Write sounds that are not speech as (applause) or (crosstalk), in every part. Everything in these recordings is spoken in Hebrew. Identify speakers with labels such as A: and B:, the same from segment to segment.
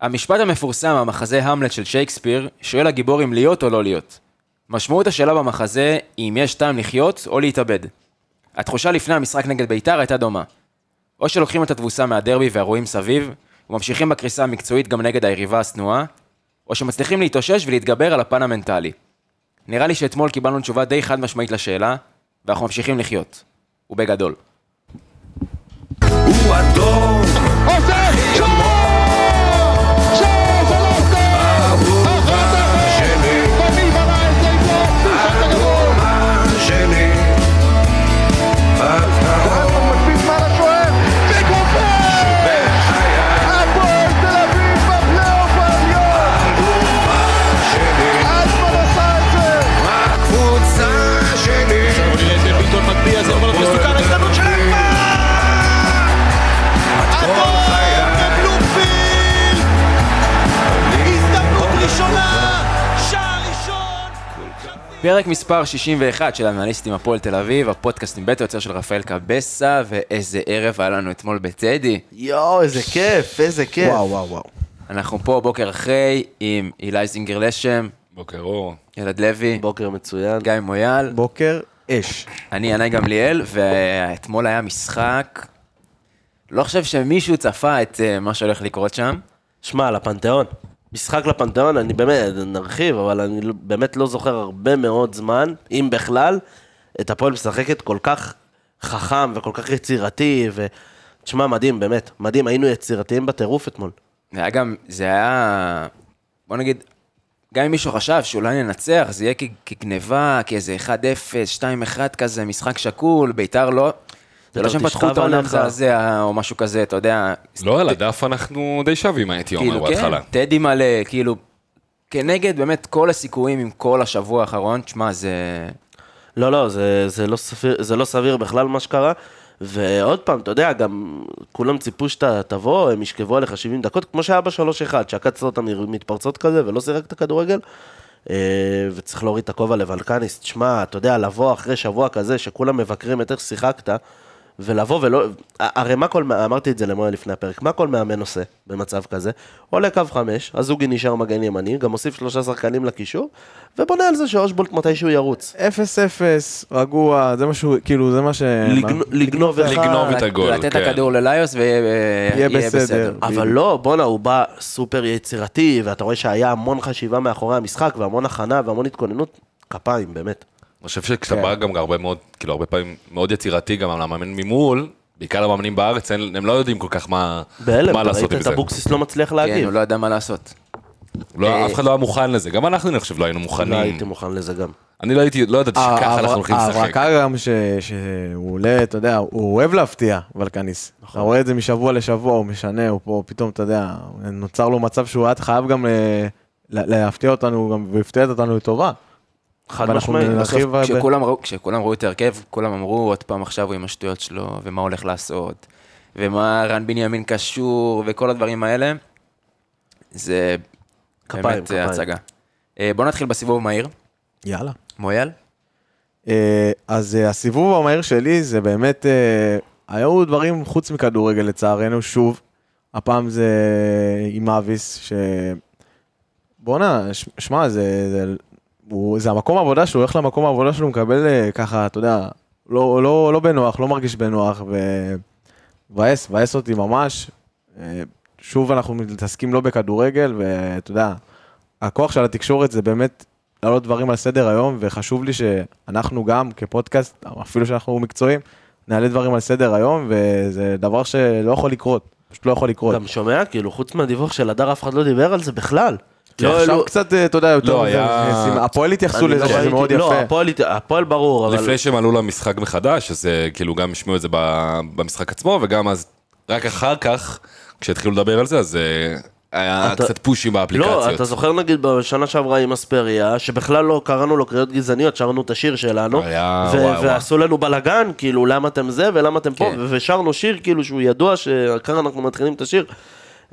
A: המשפט המפורסם מהמחזה המלט של שייקספיר, שואל הגיבור אם להיות או לא להיות. משמעות השאלה במחזה היא אם יש טעם לחיות או להתאבד. התחושה לפני המשחק נגד בית"ר הייתה דומה. או שלוקחים את התבוסה מהדרבי והרועים סביב, וממשיכים בקריסה המקצועית גם נגד היריבה השנואה, או שמצליחים להתאושש ולהתגבר על הפן המנטלי. נראה לי שאתמול קיבלנו תשובה די חד משמעית לשאלה, ואנחנו ממשיכים לחיות. ובגדול.
B: הוא אדום,
C: עושה שום! שש, שלוש, שש! אחת, אפס!
B: שלי,
C: רביעי בנה את זה פה! שש הגדול!
B: מה שלי.
C: אלטון מקפיץ מעל השוער! וגופר! הפועל תל אביב בפלייאוף העליון! אלטמן עשה את זה!
B: הקבוצה שלי,
D: ביטון מטביע, זה עובר למסוכן, ההזדמנות של אקבר! הגול בבלומפילד! הזדמנות
B: לא
D: ראשונה! שער ראשון!
A: פרק מספר 61 של אנליסטים הפועל תל אביב, הפודקאסט עם בית היוצר של רפאל קבסה, ואיזה ערב היה לנו אתמול בטדי.
E: יואו, איזה כיף, איזה כיף.
F: וואו, וואו, וואו.
A: אנחנו פה בוקר אחרי עם אילי זינגר לשם,
G: בוקר אור.
A: ילד לוי,
E: בוקר מצוין.
A: גיא מויאל,
F: בוקר אש.
A: אני ינאי גמליאל, ואתמול היה משחק. לא חושב שמישהו צפה את אה, מה שהולך לקרות שם.
E: שמע, לפנתיאון. משחק לפנתיאון, אני באמת, נרחיב, אבל אני לא- באמת לא זוכר הרבה מאוד זמן, אם בכלל, את הפועל משחקת כל כך חכם וכל כך יצירתי, ו... תשמע, מדהים, באמת. מדהים, היינו יצירתיים בטירוף אתמול.
A: זה היה גם, זה היה, בוא נגיד, גם אם מישהו חשב שאולי ננצח, זה יהיה כ- כגניבה, כאיזה 1-0, 2-1 כזה, משחק שקול, ביתר לא. זה לא שהם
E: בית"ר
A: פתחו את
E: תשכב
A: העונה
E: עליך.
A: מזעזע או משהו כזה, אתה יודע.
G: לא על הדף אנחנו די שווים, הייתי אומר,
A: כאילו, כן,
G: בהתחלה.
A: טדי מלא, כאילו, כנגד באמת כל הסיכויים עם כל השבוע האחרון, תשמע, זה...
E: לא, לא, זה, זה, לא סביר, זה לא סביר בכלל מה שקרה. ועוד פעם, אתה יודע, גם כולם ציפו שאתה תבוא, הם ישכבו עליך 70 דקות, כמו שהיה ב-3-1, שעקצת אותם מתפרצות כזה ולא סירקת כדורגל. אה, וצריך להוריד את הכובע לבלקניס. תשמע, אתה יודע, לבוא אחרי שבוע כזה, שכולם מבקרים את איך שיחקת, ולבוא ולא... הרי מה כל... מה- אמרתי את זה למויה לפני הפרק, מה כל מאמן עושה במצב כזה? עולה קו חמש, הזוגי נשאר מגן ימני, גם מוסיף שלושה שחקנים לקישור, ובונה על זה שאושבולט מתישהו ירוץ.
F: אפס אפס, רגוע, זה מה שהוא, כאילו, זה מה ש...
E: לגנוב- לגנוב את
F: לך,
G: לגנוב את
A: לת-
G: הגול,
A: לתת את
G: כן.
A: הכדור לליוס ויהיה
F: יהיה
A: בסדר.
F: בסדר.
E: אבל לא, בואנה, הוא בא סופר יצירתי, ואתה רואה שהיה המון חשיבה מאחורי המשחק, והמון הכנה, והמון התכוננות. כפיים, באמת.
G: אני חושב שכשאתה
E: כן.
G: בא גם הרבה מאוד, כאילו הרבה פעמים מאוד יצירתי גם למאמן ממול, בעיקר למאמנים בארץ, אין- הם לא יודעים כל כך מה
E: בהלם,
G: מה
E: אתה
G: לעשות
E: ראית
G: עם
E: את
G: זה.
E: אבוקסיס לא מצליח
A: כן,
E: להגיב.
A: הוא לא ידע מה לעשות.
G: לא, אף אחד לא היה מוכן לזה, גם אנחנו אני חושב לא היינו
E: אה, לא אה,
G: מוכנים.
E: הייתי מוכן לזה גם.
G: אני לא הייתי, לא ידעתי שככה אנחנו הולכים לשחק.
F: ההברקה גם ש- שהוא עולה, אתה יודע, הוא אוהב להפתיע, ולקניס. אתה
G: נכון.
F: רואה את זה משבוע לשבוע, הוא משנה, הוא פה פתאום, אתה יודע, נוצר לו מצב שהוא היה חייב גם ל- ל- להפתיע אותנו, גם- והפתיע אותנו לטובה.
E: חד
F: ואנחנו
E: משמעית.
F: נלך-
A: בסוף,
F: הכי הרבה.
A: כשכולם ראו- כשכולם ראו את ההרכב, כולם אמרו, עוד פעם עכשיו הוא עם השטויות שלו, ומה הוא הולך לעשות, ומה רן בנימין קשור, וכל הדברים האלה. זה
E: כפיים,
A: באמת
E: כפיים.
A: אה, הצגה. אה, בואו נתחיל בסיבוב מהיר.
F: יאללה.
A: מויאל?
F: אה, אז אה, הסיבוב המהיר שלי זה באמת, אה, היו דברים חוץ מכדורגל לצערנו, שוב. הפעם זה עם אביס, ש... בואנה, ש- שמע, זה, זה, הוא, זה המקום העבודה שהוא הולך למקום העבודה שלו, הוא מקבל אה, ככה, אתה יודע, לא, לא, לא בנוח, לא מרגיש בנוח, ומבאס, מבאס אותי ממש. אה, שוב אנחנו מתעסקים לא בכדורגל, ואתה יודע, הכוח של התקשורת זה באמת להעלות דברים על סדר היום, וחשוב לי שאנחנו גם כפודקאסט, אפילו שאנחנו מקצועיים, נעלה דברים על סדר היום, וזה דבר שלא יכול לקרות, פשוט לא יכול לקרות.
E: גם שומע, כאילו, חוץ מהדיווח של הדר, אף אחד לא דיבר על זה בכלל. לא,
F: עכשיו
E: אלו-
F: קצת, אה, אתה יודע, יותר...
G: לא,
F: מזה,
G: היה-
F: נכנסים. הפועל התייחסו
E: אני
F: לזה
E: לא
F: שזה
E: ראיתי-
F: מאוד
E: לא,
F: יפה.
E: הפועל הת- הפועל ברור, אבל...
G: לפני שהם עלו למשחק מחדש, אז אה, כאילו גם השמיעו את זה ב- במשחק עצמו, וגם אז, רק אחר כך, כשהתחילו לדבר על זה, אז אה, היה
E: אתה-
G: קצת פושים
E: לא, אתה
G: באפליקציות.
E: זוכר נגיד בשנה שעברה עם אספריה, שבכלל לא קראנו לו קריאות גזעניות, שרנו את השיר שלנו,
G: היה-
E: ו-
G: וואי,
E: ועשו לנו בלאגן, כאילו למה אתם זה ולמה אתם פה,
A: כן.
E: ו- ושרנו שיר כאילו שהוא ידוע שככה אנחנו מתחילים את השיר.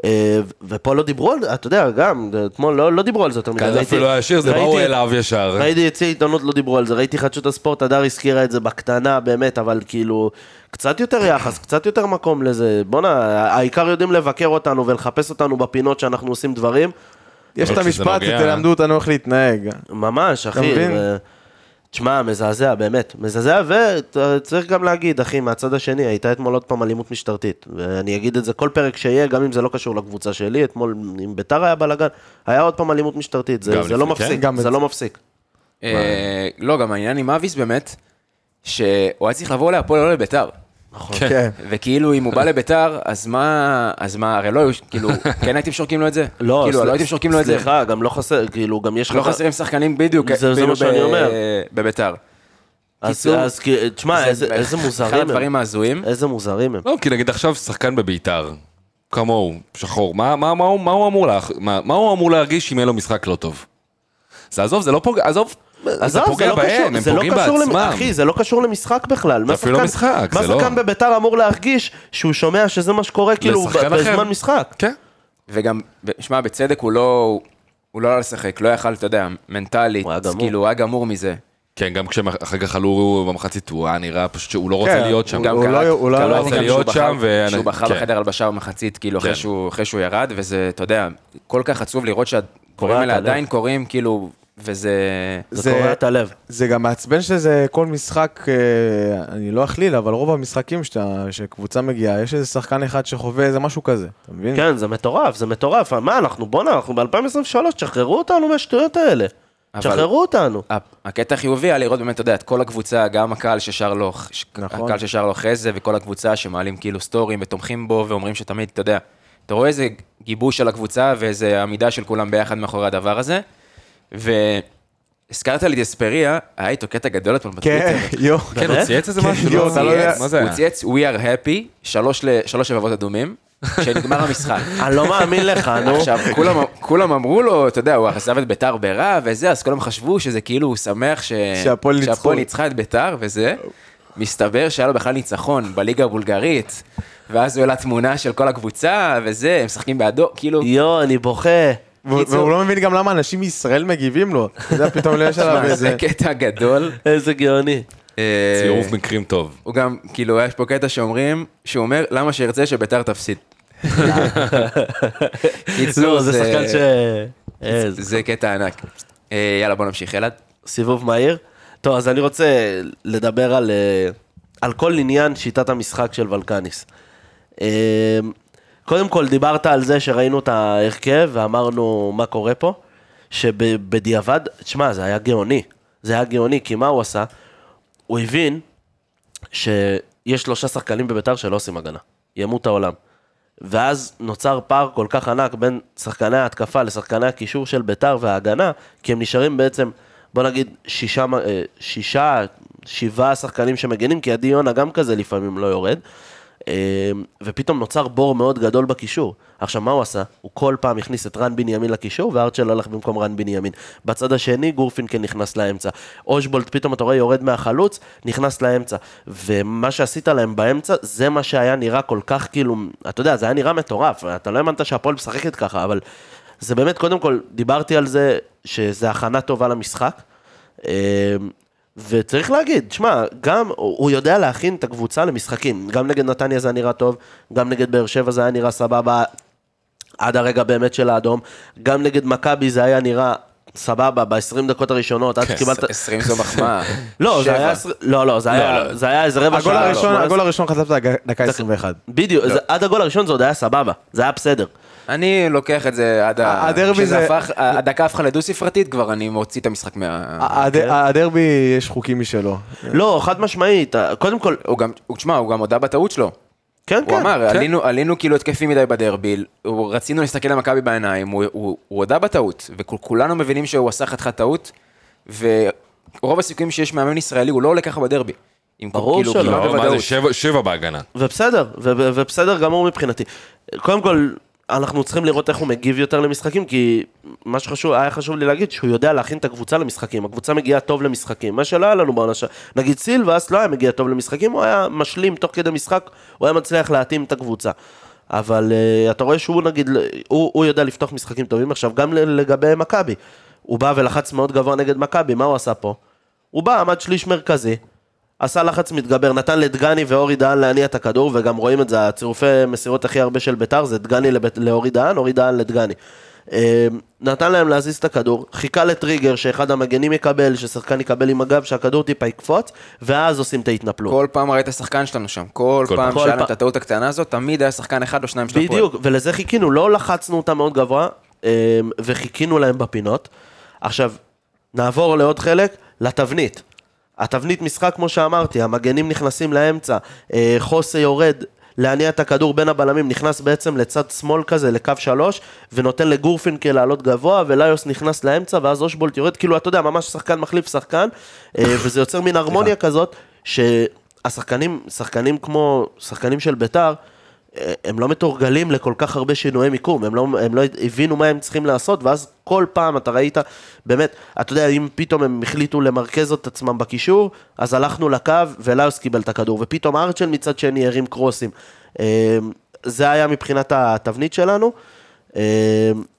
E: אה, ו- ופה לא דיברו על זה, אתה יודע, גם, זה- אתמול לא, לא דיברו על זה יותר מדי.
G: כאן זה
E: ראיתי-
G: כן, אפילו היה שיר, זה באו
E: ראיתי-
G: אליו ישר.
E: ראיתי יציא עיתונות, לא דיברו על זה, ראיתי חדשות הספורט, הדר הזכירה את זה בקטנה, באמת, אבל כאילו, קצת יותר יחס, קצת יותר מקום לזה. בואנה, העיקר יודעים לבקר אותנו ולחפש אותנו בפינות שאנחנו עושים דברים.
F: יש את
G: אבל כשזה
F: המשפט,
G: נוגע-
F: תלמדו אותנו איך להתנהג.
E: ממש, אחי.
F: מבין?
E: ו- תשמע, מזעזע, באמת. מזעזע, וצריך גם להגיד, אחי, מהצד השני, הייתה אתמול עוד פעם אלימות משטרתית. ואני אגיד את זה כל פרק שיהיה, גם אם זה לא קשור לקבוצה שלי, אתמול עם ביתר היה בלאגן, היה עוד פעם אלימות משטרתית, זה,
G: גם
E: זה
G: לפני,
E: לא
G: כן?
E: מפסיק,
F: גם
E: זה
F: את-
E: לא מפסיק.
A: אה, לא, גם העניין עם אביס באמת, שהוא היה צריך לבוא להפועל, לא לביתר.
F: כן.
A: וכאילו, אם הוא
E: (laughs)
A: בא לביתר, אז מה, אז מה, הרי לא היו, כאילו, כן הייתם שורקים לו את זה? כאילו, לא הייתם שורקים לו את זה?
E: סליחה, גם לא חסר, כאילו, גם יש
A: לא חסרים שחקנים בדיוק,
E: זה- זה
A: אפילו
E: מה שאני
A: ב-
E: אומר.
A: בביתר.
E: אז,
A: קיצור,
E: אז כאילו, תשמע, איזה,
A: זה
E: איזה
A: אחד
E: מוזרים
A: הדברים
E: הם.
A: ההזויים.
E: איזה מוזרים הם.
G: לא, כי נגיד עכשיו שחקן בביתר, כמוהו, שחור, מה, מה, מה, הוא- מה, הוא, אמור לה, מה, מה הוא אמור להרגיש אם יהיה לו משחק לא טוב? זה עזוב, זה לא פוגע, עזוב, זה
E: עזוב,
G: פוגע
E: לא קשור-
G: בהם, הם
E: זה לא
G: פוגעים
E: קשור למ-
G: בעצמם.
E: אחי, זה לא קשור למשחק בכלל. מה
G: אפילו לא
E: שחקן-
G: משחק,
E: מה
G: זה לא-
E: שחקן בביתר אמור להרגיש שהוא שומע שזה מה שקורה, כאילו, ב-
G: לשחקן אחר.
E: בזמן משחק.
G: כן.
A: וגם, ו- שמע, בצדק הוא לא, הוא לא עלה לשחק, לא יכל, אתה יודע, מנטלית,
E: הוא היה
A: אז
E: גמור.
A: כאילו, הוא היה גמור מזה.
G: כן, גם כשאחר כך עלו במחצית, הוא היה נראה פשוט שהוא לא רוצה
F: כן,
G: להיות שם.
F: הוא
A: גם
F: לא-
A: קלט-
F: הוא לא
A: קלט
F: היה
A: גם
G: רוצה
A: שהוא
G: להיות
A: בחר-
G: שם, ואני-
A: שהוא בחר
G: כן.
A: בחדר הלבשה במחצית, כאילו, אחרי
G: כן.
A: שהוא- אחרי שהוא ירד, וזה, אתה יודע, כל כך עצוב לראות שהדברים
E: קורע את
A: האלה
E: הלב.
A: עדיין קורים, כאילו, וזה...
E: זה קורע את הלב.
F: זה גם מעצבן שזה כל משחק, אה, אני לא אכליל, אבל רוב המשחקים שאתה, שקבוצה מגיעה, יש איזה שחקן אחד שחווה איזה משהו כזה, אתה מבין?
E: כן, זה מטורף, זה מטורף. מה, אנחנו, בואנה, אנחנו ב-2023, תשחררו אותנו מהשטויות האלה.
A: אבל-
E: תשחררו אותנו.
A: ה- הקטע החיובי היה לראות באמת, אתה יודע, את כל הקבוצה, גם הקהל ששר לו, ש-
F: נכון.
A: הקהל ששר לו אחרי זה, וכל הקבוצה שמעלים כאילו סטורים ותומכים בו, ואומרים שתמיד, אתה יודע, אתה רואה איזה גיבוש של הקבוצה ואיזה עמידה של כולם ביחד מאחורי הדבר הזה, והזכרת לי את אספריה, היה איתו קטע גדול אתמול בטוויטר.
F: כן, יו.
G: כן, הוא צייץ איזה משהו?
F: (laughs) יואו,
G: לא,
F: אתה לא יודע.
G: מה זה
A: הוא
G: היה?
A: צייץ We are happy, שלוש ל- שלוש לבבות אדומים, כשנגמר המשחק.
F: (laughs)
E: אני לא מאמין לך, נו.
A: עכשיו, כולם- כולם אמרו לו, אתה יודע, הוא עזב את ביתר ברע וזה, אז כולם חשבו שזה כאילו, הוא שמח ש-
F: שהפועל ניצחו.
A: שהפועל ניצחה את ביתר וזה. מסתבר שהיה לו בכלל ניצחון בליגה הבולגרית, ואז הוא העלה תמונה של כל הקבוצה וזה, הם משחקים בעדו, כאילו,
E: יואו, אני בוכה.
F: והוא
A: קיצור.
F: והוא לא מבין גם למה אנשים מישראל מגיבים לו. אתה יודע, פתאום לא יש עליו
A: תשמע,
F: איזה...
A: זה כן, קטע גדול.
E: איזה גאוני.
A: אה,
G: צירוף מקרים טוב.
A: הוא גם, כאילו, יש פה קטע שאומרים, שהוא אומר, למה שירצה שביתר תפסיד.
E: (laughs)
A: קיצור,
E: לא, זה שחקן ש... איזה
A: זה קטע ענק. אה, יאללה, בוא נמשיך, אלעד.
E: סיבוב מהיר. טוב, אז אני רוצה לדבר על, אה, על כל עניין שיטת המשחק של ולקניס. אה, קודם כל, דיברת על זה שראינו את ההרכב ואמרנו מה קורה פה, שבדיעבד, תשמע, זה היה גאוני. זה היה גאוני, כי מה הוא עשה? הוא הבין שיש שלושה שחקנים בביתר שלא עושים הגנה. ימות העולם. ואז נוצר פער כל כך ענק בין שחקני ההתקפה לשחקני הקישור של ביתר וההגנה, כי הם נשארים בעצם, בוא נגיד, שישה, מ- אה, שישה שבעה שחקנים שמגנים, כי עדי יונה גם כזה לפעמים לא יורד, אה, ופתאום נוצר בור מאוד גדול בקישור. עכשיו, מה הוא עשה? הוא כל פעם הכניס את רן בנימין לקישור, והארצ'ל הלך במקום רן בנימין. בצד השני, גורפינקל נכנס לאמצע. אושבולט, פתאום אתה רואה, יורד מהחלוץ, נכנס לאמצע. ומה שעשית להם באמצע, זה מה שהיה נראה כל כך כאילו, אתה יודע, זה היה נראה מטורף, אתה לא האמנת שהפועל משחקת ככה, אבל זה באמת, קודם כל, דיברתי על זה, שזה הכנה טובה למשחק. אמ, וצריך להגיד, שמע, גם הוא הוא יודע להכין את הקבוצה למשחקים. גם נגד נתניה זה היה נראה טוב, גם נגד באר שבע זה היה נראה סבבה, עד הרגע באמת של האדום. גם נגד מכבי זה היה נראה סבבה ב-20 דקות הראשונות, עד שקיבלת...
A: 20 זו מחמאה.
E: (laughs) לא, זה
A: שבע.
E: היה... עשר- לא, לא, זה היה- זה היה איזה רבע
F: הגול
E: שעה.
F: הראשון,
E: לא,
F: הגול הראשון חטפת דקה 21.
E: בדיוק, זה- עד הגול הראשון זה עוד היה סבבה, זה היה בסדר.
A: אני לוקח את זה עד ה...
F: הדרבי
A: כשזה
F: זה-
A: הפך, הדקה הפכה לדו-ספרתית, כבר אני מוציא את המשחק
E: אה-
A: מה...
F: הד- הדרבי יש חוקים משלו.
E: לא, חד משמעית, קודם כל,
A: הוא גם, הוא- תשמע, הוא גם הודה בטעות שלו.
E: כן, כן.
A: הוא אמר,
E: כן.
A: עלינו- עלינו כאילו התקפי מדי בדרבי, הוא- רצינו להסתכל למכבי בעיניים, הוא- הוא הוא הודה בטעות, וכולנו מבינים שהוא עשה חתיכת טעות, ורוב הסיכויים שיש מאמן ישראלי, הוא לא עולה ככה בדרבי. עם-
E: ברור
A: כאילו,
E: שלא.
A: כמעט
G: לא, מה זה,
A: בוודאות.
G: שבע- שבע בהגנה.
E: ובסדר, ו- ו- ובסדר גמור מבחינתי. קודם כל, אנחנו צריכים לראות איך הוא מגיב יותר למשחקים, כי מה שחשוב, היה חשוב לי להגיד, שהוא יודע להכין את הקבוצה למשחקים. הקבוצה מגיעה טוב למשחקים, מה שלא היה לנו בעונה ש... נגיד סילבאס לא היה מגיע טוב למשחקים, הוא היה משלים תוך כדי משחק, הוא היה מצליח להתאים את הקבוצה. אבל אה, אתה רואה שהוא נגיד, הוא, הוא יודע לפתוח משחקים טובים עכשיו, גם ל- לגבי מכבי. הוא בא ולחץ מאוד גבוה נגד מכבי, מה הוא עשה פה? הוא בא, עמד שליש מרכזי, עשה לחץ מתגבר, נתן לדגני ואורי דהן להניע את הכדור, וגם רואים את זה, הצירופי מסירות הכי הרבה של ביתר זה דגני לבית, לאורי דהן, אורי דהן לדגני. אה, נתן להם להזיז את הכדור, חיכה לטריגר שאחד המגנים יקבל, ששחקן יקבל עם הגב, שהכדור טיפה יקפוץ, ואז עושים את ההתנפלות.
A: כל פעם ראית שחקן שלנו שם, כל
G: כל
A: פעם
E: פעם.
A: שהיה
E: כל
A: להם את
E: פעם.
A: הטעות הקטנה הזאת, תמיד היה שחקן אחד או שניים של הפועל.
E: בדיוק, ולזה חיכינו, לא לחצנו אותם מאוד גבוה, אמ, וחיכינו להם בפינות. עכשיו, נעבור לעוד חלק, לתבנית. התבנית משחק, כמו שאמרתי, המגנים נכנסים לאמצע, אה, חוסה יורד. להניע את הכדור בין הבלמים, נכנס בעצם לצד שמאל כזה, לקו שלוש, ונותן לגורפינקל לעלות גבוה, וליוס נכנס לאמצע, ואז אושבולט יורד, כאילו, אתה יודע, ממש שחקן מחליף שחקן,
A: (coughs)
E: אה, וזה יוצר מין הרמוניה כזאת, שהשחקנים, שחקנים כמו, שחקנים של ביתר, הם לא מתורגלים לכל כך הרבה שינויי מיקום, הם לא, הם לא הבינו מה הם צריכים לעשות, ואז כל פעם אתה ראית, באמת, אתה יודע, אם פתאום הם החליטו למרכז את עצמם בקישור, אז הלכנו לקו וליוס קיבל את הכדור, ופתאום ארצ'ל מצד שני הרים קרוסים. אה, זה היה מבחינת התבנית שלנו, אה,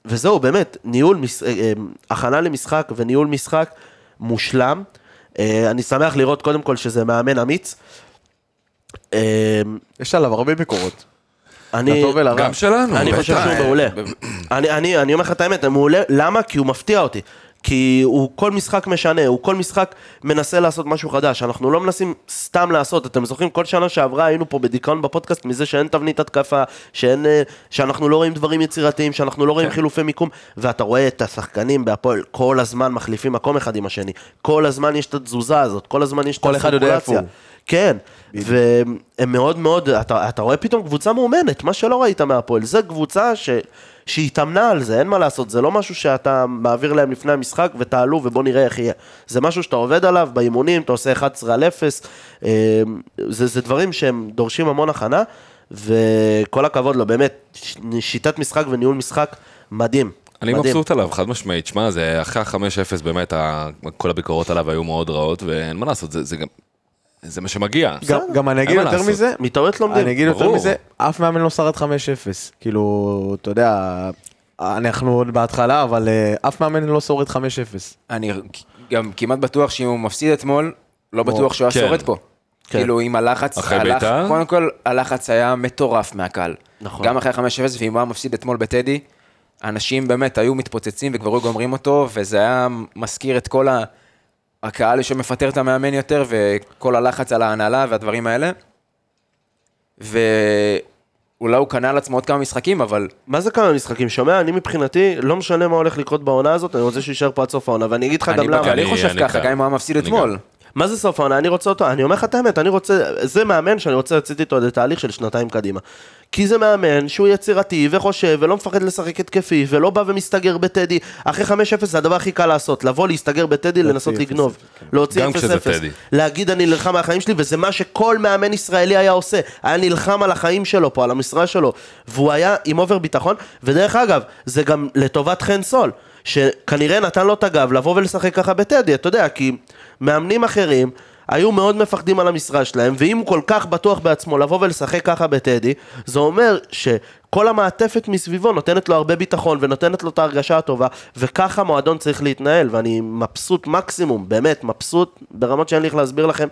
E: וזהו, באמת, ניהול, מש- אה, אה, הכנה למשחק וניהול משחק מושלם. אה, אני שמח לראות קודם כל שזה מאמן אמיץ. אה,
F: יש עליו הרבה ביקורות.
E: אני...
F: לטוב ולרע.
G: גם שלנו,
E: אני חושב
G: בטח.
E: שהוא מעולה. אני- אני אני אומר לך את האמת, הוא מעולה. למה? כי הוא מפתיע אותי. כי הוא כל משחק משנה, הוא כל משחק מנסה לעשות משהו חדש. אנחנו לא מנסים סתם לעשות. אתם זוכרים, כל שנה שעברה היינו פה בדיכאון בפודקאסט מזה שאין תבנית התקפה, שאין, אה, שאנחנו לא רואים דברים יצירתיים, שאנחנו לא רואים
F: כן.
E: חילופי מיקום, ואתה רואה את השחקנים בהפועל כל הזמן מחליפים מקום אחד עם השני. כל הזמן יש את התזוזה הזאת, כל הזמן יש את
F: כל אחד יודע איפה
E: הסרקולציה.
F: הוא.
E: כן, והם מאוד מאוד, אתה, אתה רואה פתאום קבוצה מאומנת, מה שלא ראית מהפועל, זו קבוצה ש, שהתאמנה על זה, אין מה לעשות, זה לא משהו שאתה מעביר להם לפני המשחק ותעלו ובוא נראה איך יהיה. זה משהו שאתה עובד עליו באימונים, אתה עושה 11 על 0, אה, זה, זה דברים שהם דורשים המון הכנה, וכל הכבוד לו, באמת, ש- שיטת משחק וניהול משחק מדהים.
G: אני
E: מדהים.
G: מבסוט עליו, חד משמעית. שמע, זה אחרי ה-5-0 באמת, ה- כל הביקורות עליו היו מאוד רעות, ואין מה לעשות, זה, זה גם... זה מה שמגיע.
F: גם- גם אני
G: אין
F: אגיד
G: מה
F: יותר
G: לעשות.
F: מזה,
E: מטעויות לומדים.
F: אני אגיד יותר
G: ברור.
F: מזה, אף מאמן לא שרד 5-0. כאילו, אתה יודע, אנחנו עוד בהתחלה, אבל אה, אף מאמן לא שורד 5-0.
A: אני גם כמעט בטוח שאם הוא מפסיד אתמול, לא בטוח שהוא היה
G: כן.
A: שורד פה.
E: כן.
A: כאילו, עם הלחץ,
G: אחרי
A: הלח-
G: בית"ר?
A: קודם כל, הלחץ היה מטורף מהקהל.
E: נכון.
A: גם אחרי 5-0, ואם הוא היה מפסיד אתמול בטדי, אנשים באמת היו מתפוצצים וכבר היו גומרים אותו, וזה היה מזכיר את כל ה... הקהל שמפטר את המאמן יותר, וכל הלחץ על ההנהלה והדברים האלה. ואולי הוא קנה על עצמו עוד כמה משחקים, אבל
E: מה זה כמה משחקים? שומע, אני מבחינתי, לא משנה מה הולך לקרות בעונה הזאת, אני רוצה שהוא יישאר פה עד סוף העונה, ואני אגיד לך
A: אני
E: גם למה.
A: בכללי
G: אני-
A: חושב
G: אני
A: ככה,
G: כאן.
A: גם אם הוא היה מפסיד
G: אני
A: אתמול.
E: מה זה סוף העונה? אני רוצה אותו, אני אומר לך את האמת, אני רוצה, זה מאמן שאני רוצה לצאת איתו לתהליך של שנתיים קדימה. כי זה מאמן שהוא יצירתי וחושב ולא מפחד לשחק התקפי ולא בא ומסתגר בטדי. אחרי 5-0 זה הדבר הכי קל לעשות, לבוא להסתגר בטדי, לנסות לגנוב. להוציא 0-0.
G: גם כשזה טדי.
E: להגיד אני נלחם על החיים שלי, וזה מה שכל מאמן ישראלי היה עושה. היה נלחם על החיים שלו פה, על המשרה שלו, והוא היה עם אובר ביטחון, ודרך אגב, זה גם לטובת חן סול, שכנראה נתן לו את הגב לבוא ולשחק ככה בטדי, אתה יודע, כי מאמנים אחרים... היו מאוד מפחדים על המשרה שלהם, ואם הוא כל כך בטוח בעצמו לבוא ולשחק ככה בטדי, זה אומר שכל המעטפת מסביבו נותנת לו הרבה ביטחון ונותנת לו את ההרגשה הטובה, וככה מועדון צריך להתנהל, ואני מבסוט מקסימום, באמת, מבסוט ברמות שאין לי איך להסביר לכם,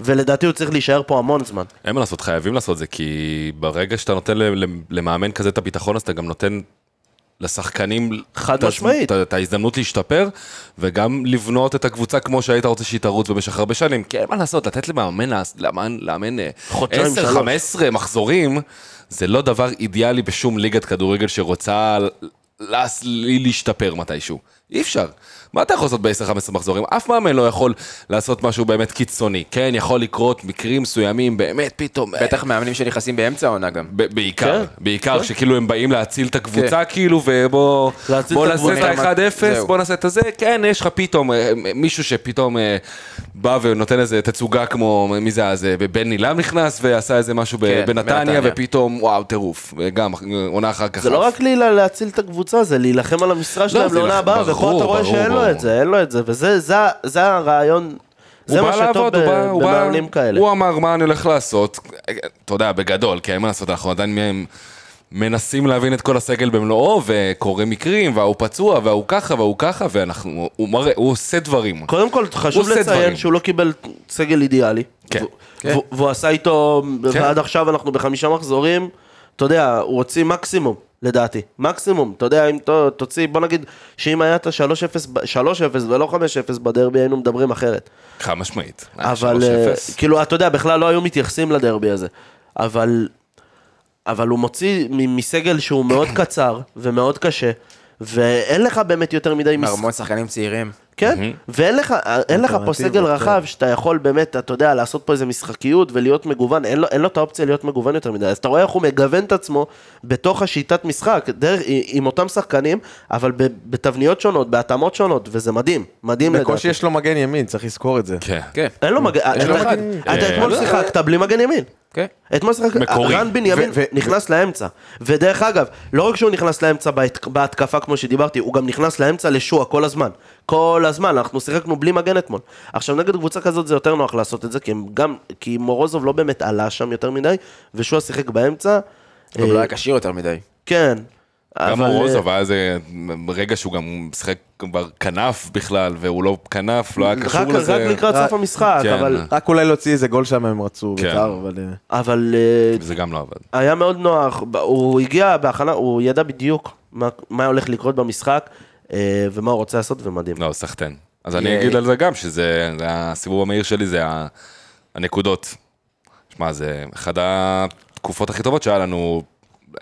E: ולדעתי הוא צריך להישאר פה המון זמן.
G: אין מה לעשות, חייבים לעשות זה, כי ברגע שאתה נותן ל- ל- למאמן כזה את הביטחון, אז אתה גם נותן לשחקנים...
E: חד
G: את הז-
E: משמעית.
G: את ה- את ההזדמנות להשתפר, וגם לבנות את הקבוצה כמו שהיית רוצה שהיא תרוץ במשך הרבה שנים. כי אין מה לעשות, לתת למאמן, לעס- למאמן, אה, לאמן
E: חודשיים, שלוש.
G: 10-15 מחזורים, זה לא דבר אידיאלי בשום ליגת כדורגל שרוצה ל- לס- ל- להשתפר מתישהו. אי אפשר. מה אתה יכול לעשות ב-10-15 מחזורים? אף מאמן לא יכול לעשות משהו באמת קיצוני. כן, יכול לקרות מקרים מסוימים, באמת, פתאום...
A: בטח מאמנים שנכנסים באמצע העונה גם.
G: ב- בעיקר,
E: כן,
G: בעיקר, שכאילו הם באים להציל את הקבוצה, כאילו, ובוא
E: להציל
G: בוא
E: את
G: נעשה
E: הקבוצה.
G: את ה-1-0,
A: זהו.
G: בוא נעשה את הזה, כן, יש לך פתאום אה, אה, מישהו שפתאום אה, בא ונותן איזה תצוגה כמו, מי זה אז, אה, בן נילם נכנס ועשה איזה משהו ב-
A: כן,
G: בנתניה,
A: בנתניה.
G: ופתאום, וואו, טירוף, וגם אה, עונה אחר כך.
E: זה לא רק לי להציל את הקבוצה, זה להילחם על המשרה שלהם
G: לא, זה
E: לעונה
G: להילחם-
E: הבאה, ופה
G: ברור,
E: אתה רואה
G: ברור,
E: שאין לו
G: ברור.
E: את זה, אין לו את זה, וזה זה- זה הרעיון, זה
G: הוא
E: מה
G: בא
E: שטוב
G: לעבוד, הוא בא-
E: ב-
G: הוא בא-
E: במאמנים כאלה.
G: הוא אמר מה אני הולך לעשות, אתה יודע, בגדול, כי אין מה לעשות, אנחנו עדיין מנסים להבין את כל הסגל במלואו, וקורה מקרים, וההוא פצוע, וההוא ככה, וההוא ככה, ואנחנו, הוא מראה, הוא עושה דברים.
E: קודם כל, חשוב
G: עושה דברים.
E: לציין שהוא לא קיבל סגל אידיאלי.
G: כן.
E: והוא- והוא- והוא עשה איתו,
G: כן.
E: ועד עכשיו אנחנו בחמישה מחזורים, אתה יודע, הוא הוציא מקסימום, לדעתי. מקסימום. אתה יודע, אם ת- תוציא, בוא נגיד, שאם היה את ה-3-0 ב- 3-0 ולא 5-0 בדרבי, היינו מדברים אחרת.
G: חד משמעית.
E: אבל,
G: 3-0.
E: אה, כאילו, אתה יודע, בכלל לא היו מתייחסים לדרבי הזה. אבל, אבל הוא מוציא מ- מסגל שהוא מאוד קצר ומאוד קשה, ואין לך באמת יותר מדי... מס-
A: מהרמות שחקנים צעירים.
E: כן, ואין לך, אין לך פה סגל רחב שאתה יכול באמת, אתה יודע, לעשות פה איזה משחקיות ולהיות מגוון, אין לו, אין לו את האופציה להיות מגוון יותר מדי, אז אתה רואה איך הוא מגוון את עצמו בתוך השיטת משחק, דרך, עם אותם שחקנים, אבל ב, בתבניות שונות, בהתאמות שונות, וזה מדהים, מדהים לדעתי.
F: בקושי יש לו מגן ימין, צריך לזכור את זה.
G: כן.
A: כן,
E: אין לו מגן, אתה,
A: לו אחד.
E: אתה, אתה אתמול שיחקת בלי מגן ימין.
A: כן.
E: אתמול שיחק,
G: מקורי.
E: רן בנימין
F: ו- ו-
E: נכנס לאמצע. ודרך אגב, לא רק שהוא נכנס לאמצע בהת- בהתקפה כמו שדיברתי, הוא גם נכנס לאמצע לשועה כל הזמן. כל הזמן, אנחנו שיחקנו בלי מגן אתמול. עכשיו, נגד קבוצה כזאת זה יותר נוח לעשות את זה, כי, הם גם, כי מורוזוב לא באמת עלה שם יותר מדי, ושועה שיחק באמצע.
A: הוא
E: אה,
A: לא היה כשיר יותר מדי.
E: כן.
G: גם
E: אבל, אה,
G: מורוזוב היה איזה רגע שהוא גם משחק כבר כנף בכלל, והוא לא כנף, לא היה
E: אה,
G: קשור
E: רק,
G: לזה.
E: רק לקראת סוף המשחק,
G: כן.
E: אבל,
F: רק אולי להוציא איזה גול שם הם רצו,
G: כן.
F: בצער, אבל... אה,
E: אבל אה,
G: זה גם לא עבד.
E: היה מאוד נוח, ב- הוא הגיע בהכנה, הוא ידע בדיוק מה, מה הולך לקרות במשחק אה, ומה הוא רוצה לעשות, ומדהים.
G: לא, סחטיין. אז אני אגיד על זה גם, שזה זה הסיבוב המהיר שלי, זה ה- הנקודות. שמע, זה אחת התקופות הכי טובות שהיה לנו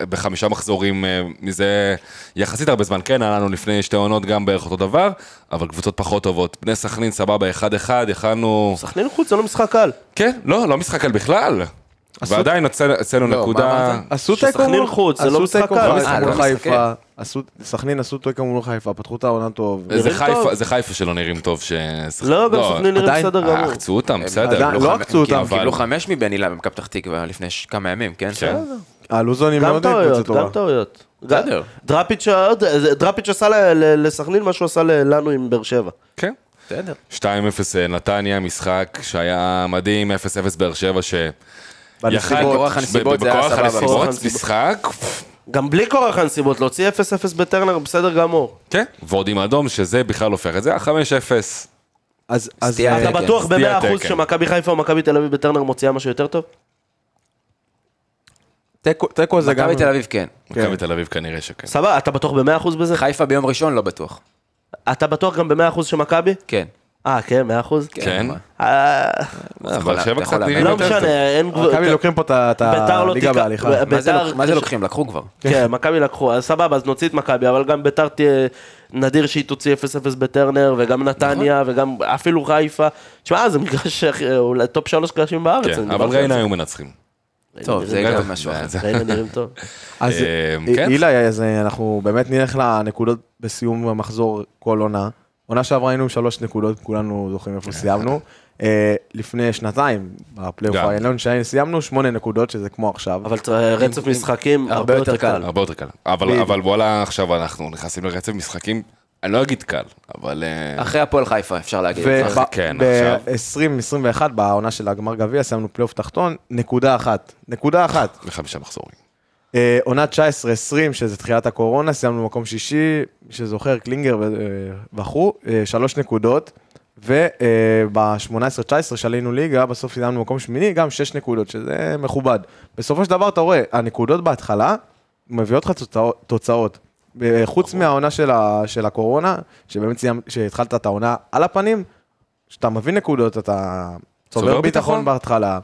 G: בחמישה מחזורים אה, מזה יחסית הרבה זמן. כן, היה לנו לפני שתי עונות גם בערך אותו דבר, אבל קבוצות פחות טובות. בני סכנין, סבבה, 1-1, יכלנו...
E: סכנין חוץ זה לא משחק קל.
G: כן, לא, לא משחק קל בכלל. ועדיין אצל- אצלנו
A: לא, מה
G: נקודה...
A: אמרת?
F: עשו
E: שסכנין
F: תיקו מול-
E: חוץ, זה לא
F: עשו
E: משחק
F: תיקו
E: קל.
F: בחיפה
A: אה,
F: מול
A: לא משחק.
F: חיפה, עשו- סכנין עשו תיקו מול חיפה, פתחו את העונה טוב.
G: זה
E: נראים
G: חיפה-
E: טוב.
G: זה חיפה שלא נראים טוב ששחק-
E: לא, גם סכנין נראה
F: עדיין.
E: בסדר גמור.
G: עקצו אותם, בסדר.
F: עדיין- לא
G: חמ-
F: עקצו אותם,
A: הם
G: אבל-
A: קיבלו חמש מבן הילה בפתח תקווה לפני ש- כמה ימים, כן?
G: כן.
F: הלוזונים
E: גם
F: מאוד היו לא קבוצה
E: טעויות, גם
F: טובה.
E: טעויות.
A: בסדר.
E: דראפיץ' אה, דראפיץ' עשה ל- ל- לסכנין מה שהוא עשה ל- לנו עם באר שבע.
G: כן.
A: בסדר.
G: 2-0 אה, נתניה, משחק שהיה מדהים, 0-0 באר שבע, ש...
F: בנסיבות.
A: בכוח הנסיבות זה היה
G: בכוח
A: סבבה.
G: הנסיבות,
E: בכוח הנסיבות.
G: משחק,
E: גם בלי כורח הנסיבות, להוציא 0-0 בטרנר בסדר גמור.
G: כן, ועוד עם אדום, שזה בכלל הופך את זה, 5-0.
F: אז- אז
A: סטייה.
F: אה,
E: אתה
A: כן,
E: בטוח
G: סטיית
E: ב-100%
G: תקן.
E: שמכבי חיפה או מכבי תל אביב בטרנר מוציאה משהו יותר טוב?
F: תיקו- תיקו זה גם...
A: מכבי תל אביב כן.
G: מכבי תל אביב כנראה שכן.
E: סבבה, אתה בטוח ב-100% בזה?
A: חיפה ביום ראשון לא בטוח.
E: אתה בטוח גם ב-100% שמכבי?
A: כן.
E: אה, כן, 100%?
G: כן,
A: אבל-
E: אה,
G: באר שבע
A: אתה
G: קצת
A: יכול
G: נראים
A: להאמין.
E: לא
G: יותר טוב.
E: משנה, אין גבול.
F: מכבי לא לוקחים פה את ה- את
E: ביתר לא
F: הליגה
E: תיקח-
F: בהליכה.
E: ב-
A: מה זה
E: ביתר-
A: לוק- מה זה לוקחים? לקחו כבר.
E: כן, מכבי לקחו, אז סבבה, אז נוציא את מכבי, אבל גם ביתר תהיה נדיר שהיא תוציא 0-0 בטרנר, וגם נתניה, וגם אפילו חיפה. תשמע, זה מגרש (laughs) הכי- אולי טופ שלוש קרשים בארץ.
G: כן,
E: אני
G: אבל
E: דיברתי על
G: ריינה
E: זה.
G: היו מנצחים.
A: טוב, זה
G: בטח,
A: גם משהו אחר.
G: זה-
E: ריינה נראים טוב.
F: אז
G: אה,
F: אה,
G: כן.
F: אילי, אז אה, אנחנו באמת נלך לנקודות בסיום המחזור כל עונה. עונה שעברה היינו עם שלוש נקודות, כולנו זוכרים איפה סיימנו. אה, לפני שנתיים, בפלייאוף
G: גם.
F: העליון שהיינו, סיימנו שמונה נקודות, שזה כמו עכשיו.
E: אבל צר- רצף משחקים הרבה יותר קל.
G: הרבה יותר קל. אבל אבל וואלה, עכשיו אנחנו נכנסים לרצף משחקים, אני לא אגיד קל, אבל... אה,
A: אחרי הפועל חיפה, אפשר להגיד.
G: ו- אחרי- כן, עכשיו.
F: ב-2021, בעונה של הגמר גביע, סיימנו פלייאוף תחתון, נקודה אחת. נקודה אחת.
G: בחמישה מחזורים.
F: אה, עונה 19-20, שזה תחילת הקורונה, סיימנו מקום שישי, מי שזוכר, קלינגר ו- אה, וכו', אה, שלוש נקודות, אה, וב-18-19 שעלינו ליגה, בסוף סיימנו מקום שמיני, גם שש נקודות, שזה מכובד. בסופו של דבר, אתה רואה, הנקודות בהתחלה מביאות לך תוצאו- תוצאות. אה, חוץ מהעונה של, ה, של הקורונה, שבאמת סיימת, שהתחלת את העונה על הפנים, כשאתה מביא נקודות, אתה
G: צובר ביטחון.
F: צובר ביטחון בהתחלה,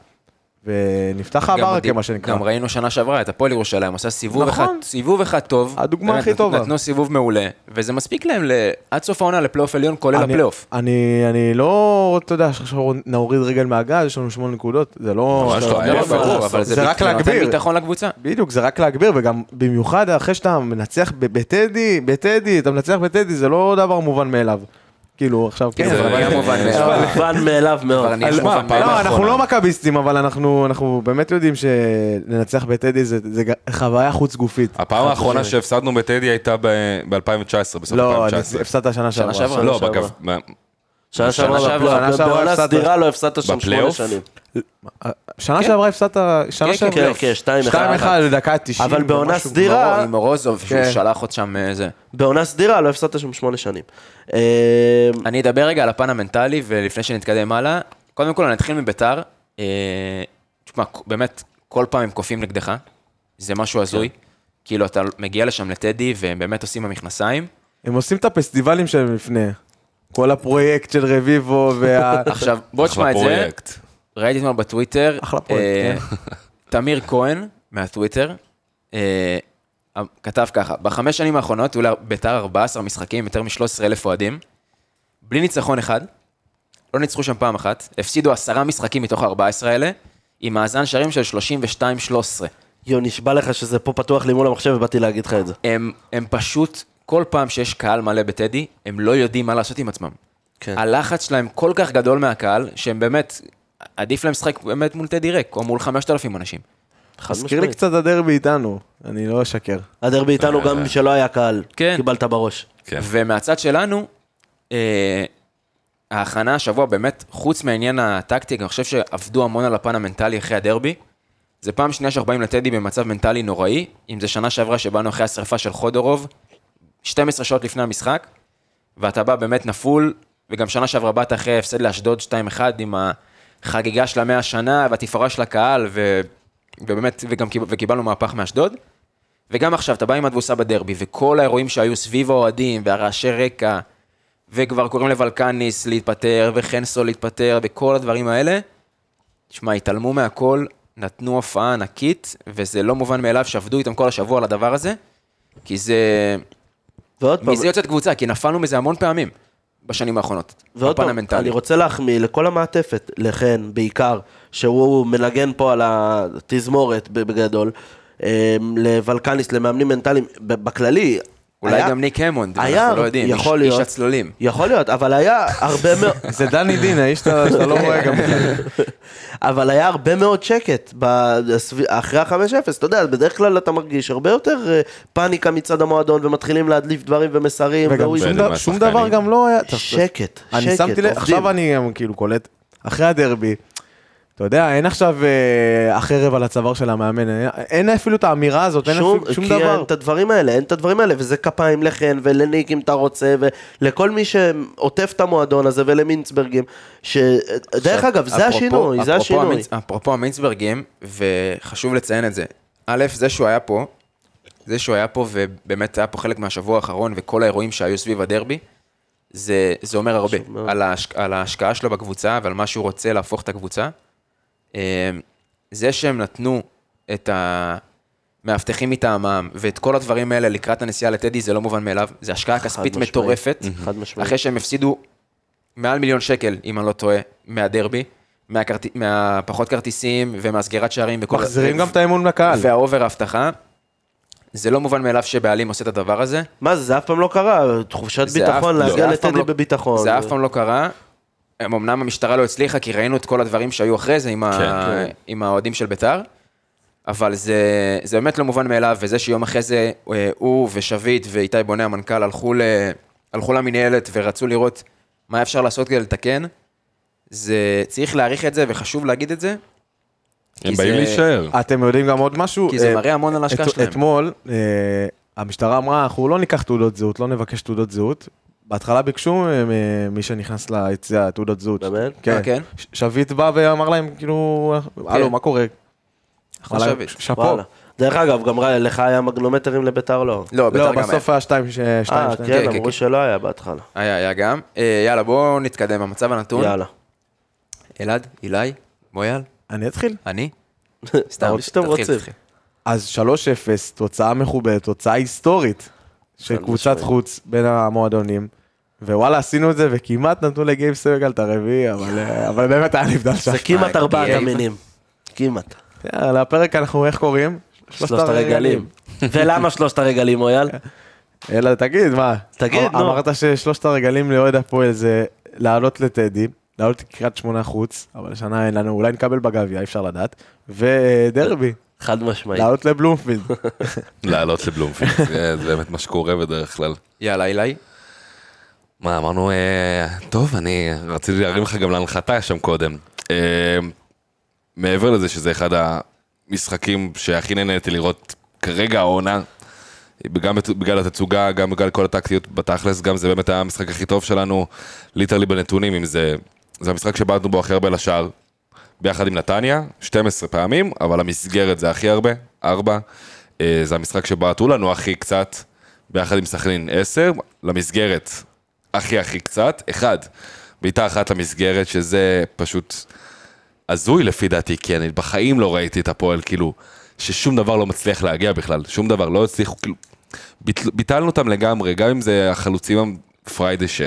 F: ונפתח
A: גם
F: הברקה,
A: מדהים.
F: מה שנקרא.
A: גם ראינו שנה שעברה את הפועל ירושלים, עושה סיבוב
F: נכון.
A: אחד, סיבוב אחד טוב.
F: הדוגמה
A: באמת,
F: הכי
A: נת-
F: טובה.
A: נתנו סיבוב מעולה, וזה מספיק להם ל- עד סוף העונה לפלייאוף עליון, כולל
F: אני-
A: הפלייאוף.
F: אני, אני לא, אתה יודע, עכשיו נוריד רגל מהגז, יש לנו שמונה נקודות, זה לא...
G: ממש
F: זה
G: לא,
F: לא-
G: היה
A: לא,
G: יפה,
A: ברור,
G: לעשות.
A: אבל
F: זה
A: ביט-
F: רק
A: נותן
F: להגביר.
A: ביטחון לקבוצה.
F: בדיוק, זה רק להגביר, וגם במיוחד אחרי שאתה מנצח ב- בטדי, בטדי, אתה מנצח בטדי, זה לא דבר מובן מאליו. כאילו, עכשיו...
A: כן,
G: זה
A: אבל
G: היה
A: היה מובן
G: אבל-
A: מאליו.
E: מובן מאליו מאוד.
A: כבר נהיה
G: שמע,
A: מובן
G: פעם
A: מאליו.
F: לא,
G: האחרונה.
F: אנחנו לא מכביסטים, אבל אנחנו, אנחנו באמת יודעים שלנצח בטדי זה, זה ג- חוויה חוץ גופית.
G: הפעם האחרונה שהפסדנו בטדי הייתה ב-2019, בסוף
F: לא, אני-
G: 2019.
F: הפסדת שנה שעברה.
A: שעברה.
G: לא,
A: שעברה.
G: בגב...
E: שנה שעברה
A: שעברה-
F: שנה
E: בפלייאוף,
F: שעברה
E: בעונה
F: הפסדת.
E: סדירה לא הפסדת שם שמונה
G: בפלייאוף?
E: שנים.
F: שנה שעברה הפסדת, שנה
E: כן,
F: שעברה,
E: כן, 2-1.
F: 2-1 לדקה 90.
E: אבל בעונה
F: ומשהו.
E: סדירה- דירה-
A: עם מורוזוב, שהוא
F: כן.
A: שלח עוד שם אה, זה.
E: בעונה סדירה לא הפסדת שם שמונה שנים. אה,
A: אני אדבר רגע על הפן המנטלי, ולפני שנתקדם הלאה, קודם כל אני אתחיל מביתר. אה, תשמע, באמת, כל פעם הם קופים נגדך, זה משהו
F: כן.
A: הזוי. כאילו, אתה מגיע לשם לטדי, והם באמת עושים
F: (laughs)
A: במכנסיים.
F: הם עושים את הפסטיבלים שלהם לפני. כל הפרויקט של רביבו וה...
A: עכשיו, בוא תשמע
G: אחלה
A: את זה.
G: פרויקט.
A: ראיתי אתמול בטוויטר.
F: אחלה פרויקט, כן.
A: אה, (laughs) תמיר כהן, מהטוויטר, אה, כתב ככה, בחמש שנים האחרונות היו לביתר 14 משחקים, יותר מ-13 אלף אוהדים, בלי ניצחון אחד, לא ניצחו שם פעם אחת, הפסידו עשרה משחקים מתוך ה-14 האלה, עם מאזן שערים של 32-13.
E: יו, נשבע לך שזה פה פתוח לי מול המחשב ובאתי להגיד לך את זה.
A: הם, הם פשוט, כל פעם שיש קהל מלא בטדי, הם לא יודעים מה לעשות עם עצמם.
E: כן.
A: הלחץ שלהם כל כך גדול מהקהל, שהם באמת, עדיף להם לשחק באמת מול טדי ריק, או מול 5,000 אנשים.
E: חד
F: מזכיר לי
E: משמעית.
F: קצת הדרבי איתנו, אני לא אשקר.
E: הדרבי איתנו גם
A: אה.
E: שלא היה קהל.
A: כן.
E: קיבלת בראש.
G: כן.
A: ומהצד שלנו, אה, ההכנה השבוע באמת, חוץ מהעניין הטקטי, אני חושב שעבדו המון על הפן המנטלי אחרי הדרבי. זה פעם שנייה שאנחנו באים לטדי במצב מנטלי נוראי, אם זה שנה שעברה שבאנו אחרי השרפה של חודורוב, 12 שעות לפני המשחק, ואתה בא באמת נפול, וגם שנה שעברה באת אחרי הפסד לאשדוד 2-1 עם החגיגה של המאה השנה והתפארה של הקהל, ו... ובאמת, וגם קיב- וקיבלנו מהפך מאשדוד. וגם עכשיו, אתה בא עם התבוסה בדרבי, וכל האירועים שהיו סביב האוהדים, והרעשי רקע, וכבר קוראים לוולקניס להתפטר, וחנסו להתפטר, וכל הדברים האלה, תשמע, התעלמו מהכל, נתנו הופעה ענקית, וזה לא מובן מאליו שעבדו איתם כל השבוע על הדבר הזה, כי זה...
E: ועוד פעם,
A: מזה יוצאת קבוצה, כי נפלנו מזה המון פעמים בשנים האחרונות.
E: ועוד
A: הפן
E: פעם,
A: המנטלי.
E: אני רוצה להחמיא לכל המעטפת, לחן בעיקר, שהוא מנגן פה על התזמורת בגדול, אמ, לוולקניס, למאמנים מנטליים, ב- בכללי.
A: אולי
E: היה-
A: גם ניק המונד,
E: היה,
A: אנחנו לא יודעים, איש-
E: יכול
A: איש
E: להיות.
A: הצלולים.
E: יכול להיות, אבל היה הרבה
A: (laughs)
E: מאוד,
F: זה דני דין, האיש שאתה שאתה לא רואה גם.
E: אבל היה הרבה מאוד שקט ב- סביב- אחרי ה-5-0, אתה יודע, בדרך כלל אתה מרגיש הרבה יותר אה, פאניקה מצד המועדון, ומתחילים להדליף דברים ומסרים,
F: וגם
E: והוא-
F: שום
G: ואלה
F: דבר- שום דבר
G: מהשחקנים.
F: גם לא היה... אתה-
E: שקט,
F: אני
E: שקט,
F: שמתי לב,
E: עובדים.
F: עכשיו אני גם כאילו קולט, אחרי הדרבי, אתה יודע, אין עכשיו אה, החרב על הצוואר של המאמן, אין- אין אפילו את האמירה הזאת, אין
E: שום,
F: אפילו שום
E: כי אין
F: דבר.
E: את הדברים האלה, אין את הדברים האלה, וזה כפיים לחן ולניק אם אתה רוצה, ולכל מי שעוטף את המועדון הזה ולמינצברגים, שדרך אגב, זה
A: אפרופו-
E: השינוי, זה
A: אפרופו
E: השינוי.
A: המינץ- אפרופו המינצברגים, וחשוב לציין את זה. א', זה שהוא היה פה, זה שהוא היה פה, ובאמת היה פה חלק מהשבוע האחרון, וכל האירועים שהיו סביב הדרבי, זה, זה אומר הרבה על, ההש, על ההשקעה שלו בקבוצה ועל מה שהוא רוצה להפוך את הקבוצה. אמ, זה שהם נתנו את המאבטחים מטעמם ואת כל הדברים האלה לקראת הנסיעה לטדי, זה לא מובן מאליו. זה השקעה כספית
E: משמעית.
A: מטורפת.
E: חד משמעית.
A: אחרי שהם הפסידו מעל מיליון שקל, אם אני לא טועה, מהדרבי, מהכרט... מהפחות כרטיסים ומהסגירת שערים. וכל-
F: מחזירים גם את האמון לקהל.
A: והאובר ההבטחה. זה לא מובן מאליו שבעלים עושה את הדבר הזה.
E: מה זה, זה אף פעם לא קרה, תחושת
A: זה אף-
E: ביטחון,
A: לא,
E: להגיע
A: זה אף פעם
E: לטדי
A: לא-
E: בביטחון.
A: זה אף פעם לא קרה. הם, אמנם המשטרה לא הצליחה, כי ראינו את כל הדברים שהיו אחרי זה עם, ה...
G: כן.
A: עם האוהדים של ביתר, אבל זה, זה באמת לא מובן מאליו, וזה שיום אחרי זה אה, הוא ושביט ואיתי בונה המנכ"ל הלכו, ל... הלכו למינהלת ורצו לראות מה אפשר לעשות כדי לתקן, זה צריך להעריך את זה וחשוב להגיד את זה,
G: הם
A: כי
G: באים
A: זה-
G: להישאר.
F: אתם יודעים גם עוד משהו?
A: כי זה
F: אה,
A: מראה המון על ההשקעה
F: את-
A: שלהם.
F: אתמול אה, המשטרה אמרה, אנחנו לא ניקח תעודות זהות, לא נבקש תעודות זהות. בהתחלה ביקשו אה, מ- מי שנכנס ליציאה תעודות זהות.
E: באמת?
A: אה, כן?
F: ש- שביט בא ואמר להם, כאילו, הלו, מה קורה?
A: נכון,
F: אמר להם,
A: שביט.
F: שאפו.
E: וואלה. דרך אגב, גם רע, לך היה מגנומטרים לביתר לא.
A: לא, ביתר
F: לא,
A: גם היה.
F: בסוף היה שתיים, ש- שתיים,
E: אה,
F: שתיים.
E: כן,
A: כן,
E: אמרו
A: כן.
E: שלא היה בהתחלה.
A: היה, היה גם. אה, יאללה, בואו נתקדם במצב הנתון.
E: יאללה.
A: אלעד, אילי, מויאל,
F: אני אתחיל.
A: אני.
E: (laughs) סתם, שאתם
A: תתחיל,
E: רוצים.
A: תתחיל.
F: אז 3-0, תוצאה מכובדת, תוצאה היסטורית של
E: חד
F: קבוצת
E: משמעית.
F: חוץ בין המועדונים. ווואלה, עשינו את זה, וכמעט נתנו לגייב סויגל את הרביעי, אבל, אה, אבל באמת היה נבדל שם.
E: זה כמעט
A: אה,
E: ארבעת
A: גאה.
E: המינים. כמעט.
F: יאללה, הפרק אנחנו, איך קוראים?
E: שלושת הרגלים. ולמה שלושת הרגלים, אויאל?
F: אלא תגיד, מה?
E: תגיד,
F: אמר-
E: נו.
F: אמרת ששלושת הרגלים לאוהד הפועל זה לעלות לטדי, לעלות לקריית שמונה חוץ, אבל השנה אין לנו, אולי נקבל בגביע, אי אפשר לדעת,
E: (laughs)
F: ודרבי,
E: חד משמעית. (laughs)
F: לעלות לבלומפילד.
G: לעלות לבלומפילד, זה זה באמת מה שקורה בדרך כלל.
A: יאללה, אילי.
G: מה, אמרנו, אה, טוב, אני רציתי להרים לך גם להנחתה שם קודם. אה, מעבר לזה שזה אחד המשחקים שהכי נהניתי לראות כרגע העונה, גם בת- בגלל התצוגה, גם בגלל כל הטקטיות בתכלס, גם זה באמת היה המשחק הכי טוב שלנו, ליטרלי בנתונים, אם זה... זה המשחק שבעטנו בו הכי הרבה לשער, ביחד עם נתניה, 12 פעמים, אבל המסגרת זה הכי הרבה, 4. אה, זה המשחק שבעטו לנו הכי קצת, ביחד עם סכנין 10, למסגרת הכי הכי קצת, 1. בעיטה אחת למסגרת, שזה פשוט הזוי לפי דעתי, כי אני בחיים לא ראיתי את הפועל, כאילו, ששום דבר לא מצליח להגיע בכלל, שום דבר, לא הצליחו, כאילו, ביטל, ביטלנו אותם לגמרי, גם אם זה החלוצים הפריידי ש...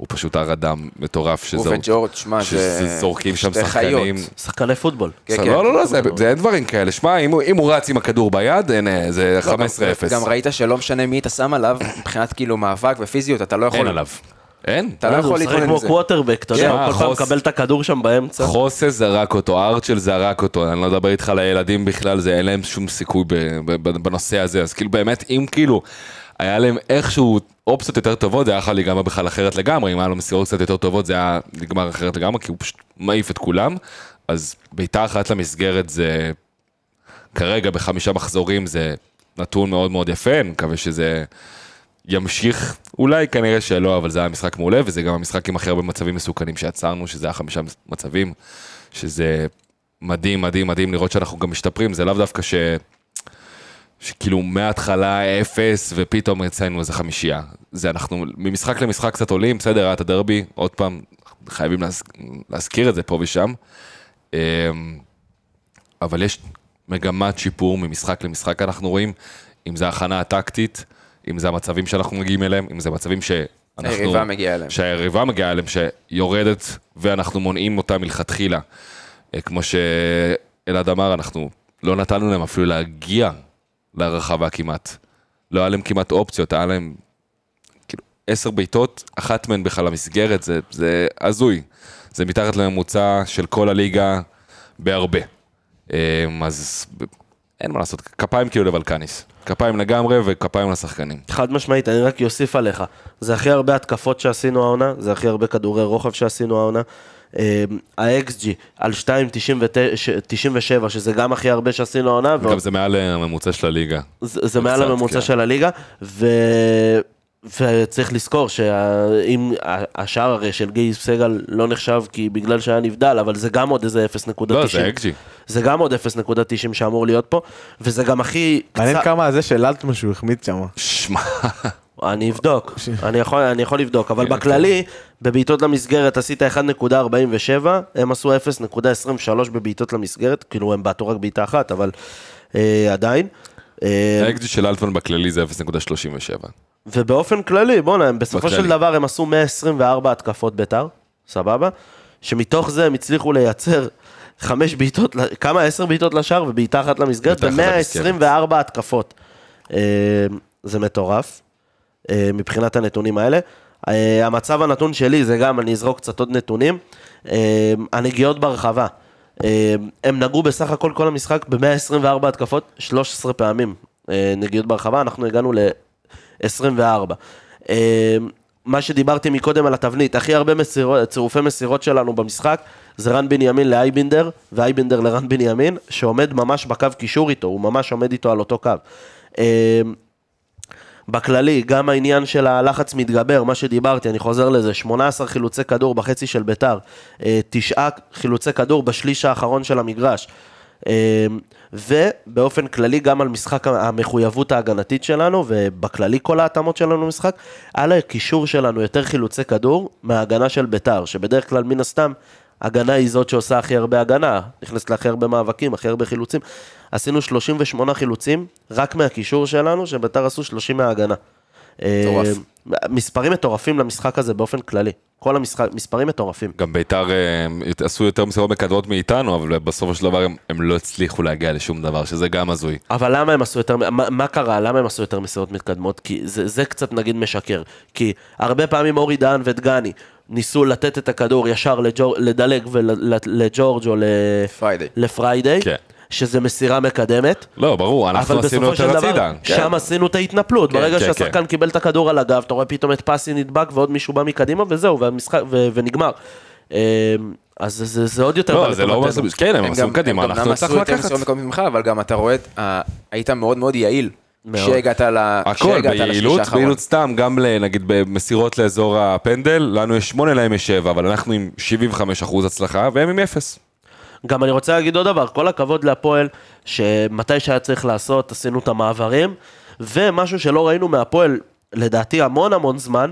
G: הוא פשוט הר אדם מטורף
A: הוא
G: שזור...
A: וג'ורג', שמע, זה...
G: שזורקים שם
A: שתי חיות.
G: שחקנים.
E: שחקני פוטבול.
A: כן, כן.
G: לא, לא, לא, זה- זה אין דברים כאלה. שמע, אם הוא- אם הוא רץ עם הכדור ביד, אין, אה, זה 15-0.
A: לא, גם ראית שלא משנה מי אתה שם עליו, מבחינת כאילו מאבק ופיזיות, אתה לא יכול...
G: אין עליו. אין?
A: אתה לא
E: אה, הוא
A: יכול
E: משחק
A: להתמודד עם
E: כמו
A: זה.
E: קווטרבק, אתה
G: כן,
E: יודע, הוא כל פעם
G: החוס.
E: מקבל את הכדור שם באמצע.
G: חוסה זרק אותו, ארצ'ל זרק אותו, אני לא אדבר איתך על הילדים בכלל, זה אין להם שום סיכוי ב- ב- ב- בנושא הזה, אז כאילו באמת, אם כאילו, היה להם איכשהו אופציות יותר טובות, זה היה יכול להיגמר בכלל אחרת לגמרי, אם היה לו מסירות קצת יותר טובות, זה היה נגמר אחרת לגמרי, כי הוא פשוט מעיף את כולם, אז בעיטה אחת למסגרת זה, כרגע בחמישה מחזורים זה נתון מאוד מאוד יפה, אני מקווה שזה... ימשיך, אולי כנראה שלא, אבל זה היה משחק מעולה, וזה גם המשחק עם הכי הרבה מצבים מסוכנים שעצרנו, שזה היה חמישה מצבים, שזה מדהים, מדהים, מדהים לראות שאנחנו גם משתפרים, זה לאו דווקא ש... שכאילו מההתחלה אפס, ופתאום אצלנו איזה חמישייה. זה אנחנו ממשחק למשחק קצת עולים, בסדר, היה את הדרבי, עוד פעם, חייבים להז... להזכיר את זה פה ושם. אמ, אבל יש מגמת שיפור ממשחק למשחק, אנחנו רואים, אם זה ההכנה הטקטית, אם זה המצבים שאנחנו מגיעים אליהם, אם זה מצבים שאנחנו...
A: היריבה מגיעה אה, אליהם.
G: שהיריבה מגיעה אליהם, שיורדת ואנחנו מונעים אותה מלכתחילה. אה, כמו שאלעד אמר, אנחנו לא נתנו להם אפילו להגיע לרחבה כמעט. לא היה להם כמעט אופציות, היה להם כאילו עשר בעיטות, אחת מהן בכלל למסגרת, זה, זה הזוי. זה מתחת לממוצע של כל הליגה בהרבה. אמ, אז ב- אין מה לעשות, כפיים כאילו לבלקניס. כפיים לגמרי וכפיים לשחקנים.
E: חד משמעית, אני רק אוסיף עליך. זה הכי הרבה התקפות שעשינו העונה, זה הכי הרבה כדורי רוחב שעשינו העונה. ה-XG על 2.97, שזה גם הכי הרבה שעשינו העונה, ועוד
G: גם זה מעל אה, הממוצע של הליגה.
E: זה זה מעל
G: קצת,
E: הממוצע
G: כן.
E: של הליגה, ו... וצריך לזכור שאם השער הרי של גיל סגל לא נחשב כי בגלל שהיה נבדל, אבל זה גם עוד איזה 0.90.
G: לא, זה אקג'י.
E: זה גם עוד 0.90 שאמור להיות פה, וזה גם הכי...
F: מעניין
E: קצר-
F: כמה זה של אלטמן שהוא החמיץ שם.
G: שמע,
E: אני אבדוק, אני יכול, אני יכול לבדוק, אבל
G: כן,
E: בכללי, בבעיטות למסגרת עשית 1.47, הם עשו 0.23 בבעיטות למסגרת, כאילו הם בעטו רק בעיטה אחת, אבל אה, עדיין. אה,
G: האקג'י של אלטמן בכללי זה 0.37.
E: ובאופן כללי, בואנה, הם בסופו
G: בכללי.
E: של דבר הם עשו 124 התקפות ביתר, סבבה? שמתוך זה הם הצליחו לייצר חמש בעיטות, ל- כמה? עשר בעיטות לשער ובעיטה אחת למסגרת,
G: בעיטה אחת
E: ב-124 התקפות. אה, זה מטורף, אה, מבחינת הנתונים האלה. אה, המצב הנתון שלי זה גם, אני אזרוק קצת עוד נתונים, אה, הנגיעות ברחבה. אה, הם נגעו בסך הכל כל המשחק ב-124 התקפות 13 פעמים אה, נגיעות ברחבה, אנחנו הגענו ל-24. אמ, מה שדיברתי מקודם על התבנית, הכי הרבה מסירות, צירופי מסירות שלנו במשחק זה רן בנימין לאייבינדר ואייבינדר לרן בנימין, שעומד ממש בקו קישור איתו, הוא ממש עומד איתו על אותו קו. אה, בכללי, גם העניין של הלחץ מתגבר, מה שדיברתי, אני חוזר לזה, 18 חילוצי כדור בחצי של ביתר, אה, תשעה חילוצי כדור בשליש האחרון של המגרש. אה, ובאופן כללי גם על משחק המחויבות ההגנתית שלנו, ובכללי כל ההתאמות שלנו למשחק, על הקישור שלנו יותר חילוצי כדור מההגנה של ביתר, שבדרך כלל מן הסתם הגנה היא זאת שעושה הכי הרבה הגנה, נכנסת להכי הרבה מאבקים, הכי הרבה חילוצים. עשינו 38 חילוצים רק מהקישור שלנו, שביתר עשו 30 מההגנה.
A: מטורף.
E: אה, מספרים מטורפים למשחק הזה באופן כללי. כל המשחק, מספרים מטורפים.
G: גם ביתר אה, הם עשו יותר מסירות מקדמות מאיתנו, אבל בסופו של דבר הם, הם לא הצליחו להגיע לשום דבר, שזה גם הזוי.
E: אבל למה הם עשו יותר, מה, מה קרה? למה הם עשו יותר מסירות מתקדמות? כי זה, זה קצת נגיד משקר. כי הרבה פעמים אורי דהן ודגני ניסו לתת את הכדור ישר לג'ור, לדלג ולג'ורג' או ל...
A: פריידי.
E: לפריידי.
G: כן.
E: שזה מסירה מקדמת.
G: לא, ברור, אנחנו
E: אבל
G: עשינו
E: בסופו של
G: יותר
E: דבר,
G: הצידה.
E: שם עשינו את ההתנפלות.
G: כן,
E: ברגע
G: כן,
E: שהשחקן קיבל את הכדור על הגב, אתה רואה פתאום את פסי נדבק ועוד מישהו בא מקדימה וזהו, והמשחק- ו- ונגמר. אמ, אז זה- זה זה עוד יותר... בא
G: לא, זה לא...
E: לטובתנו.
G: מספיק- כן, הם עשו קדימה, אנחנו
A: עשו
G: הצלחנו
A: יותר
G: לקחת.
A: ניסיון מקומי ממך, אבל גם אתה רואה, את ה- היית מאוד מאוד יעיל.
E: מאוד.
A: כשהגעת ל...
G: הכל
A: כשהגעת לשליש
G: ביעילות,
A: האחרון.
G: ביעילות סתם, גם ל- נגיד במסירות לאזור הפנדל, לנו יש 8, להם יש 7, אבל אנחנו עם 75 אחוז הצלחה, והם עם 0.
E: גם אני רוצה להגיד עוד דבר, כל הכבוד להפועל, שמתי שהיה צריך לעשות, עשינו את המעברים, ומשהו שלא ראינו מהפועל, לדעתי המון המון זמן,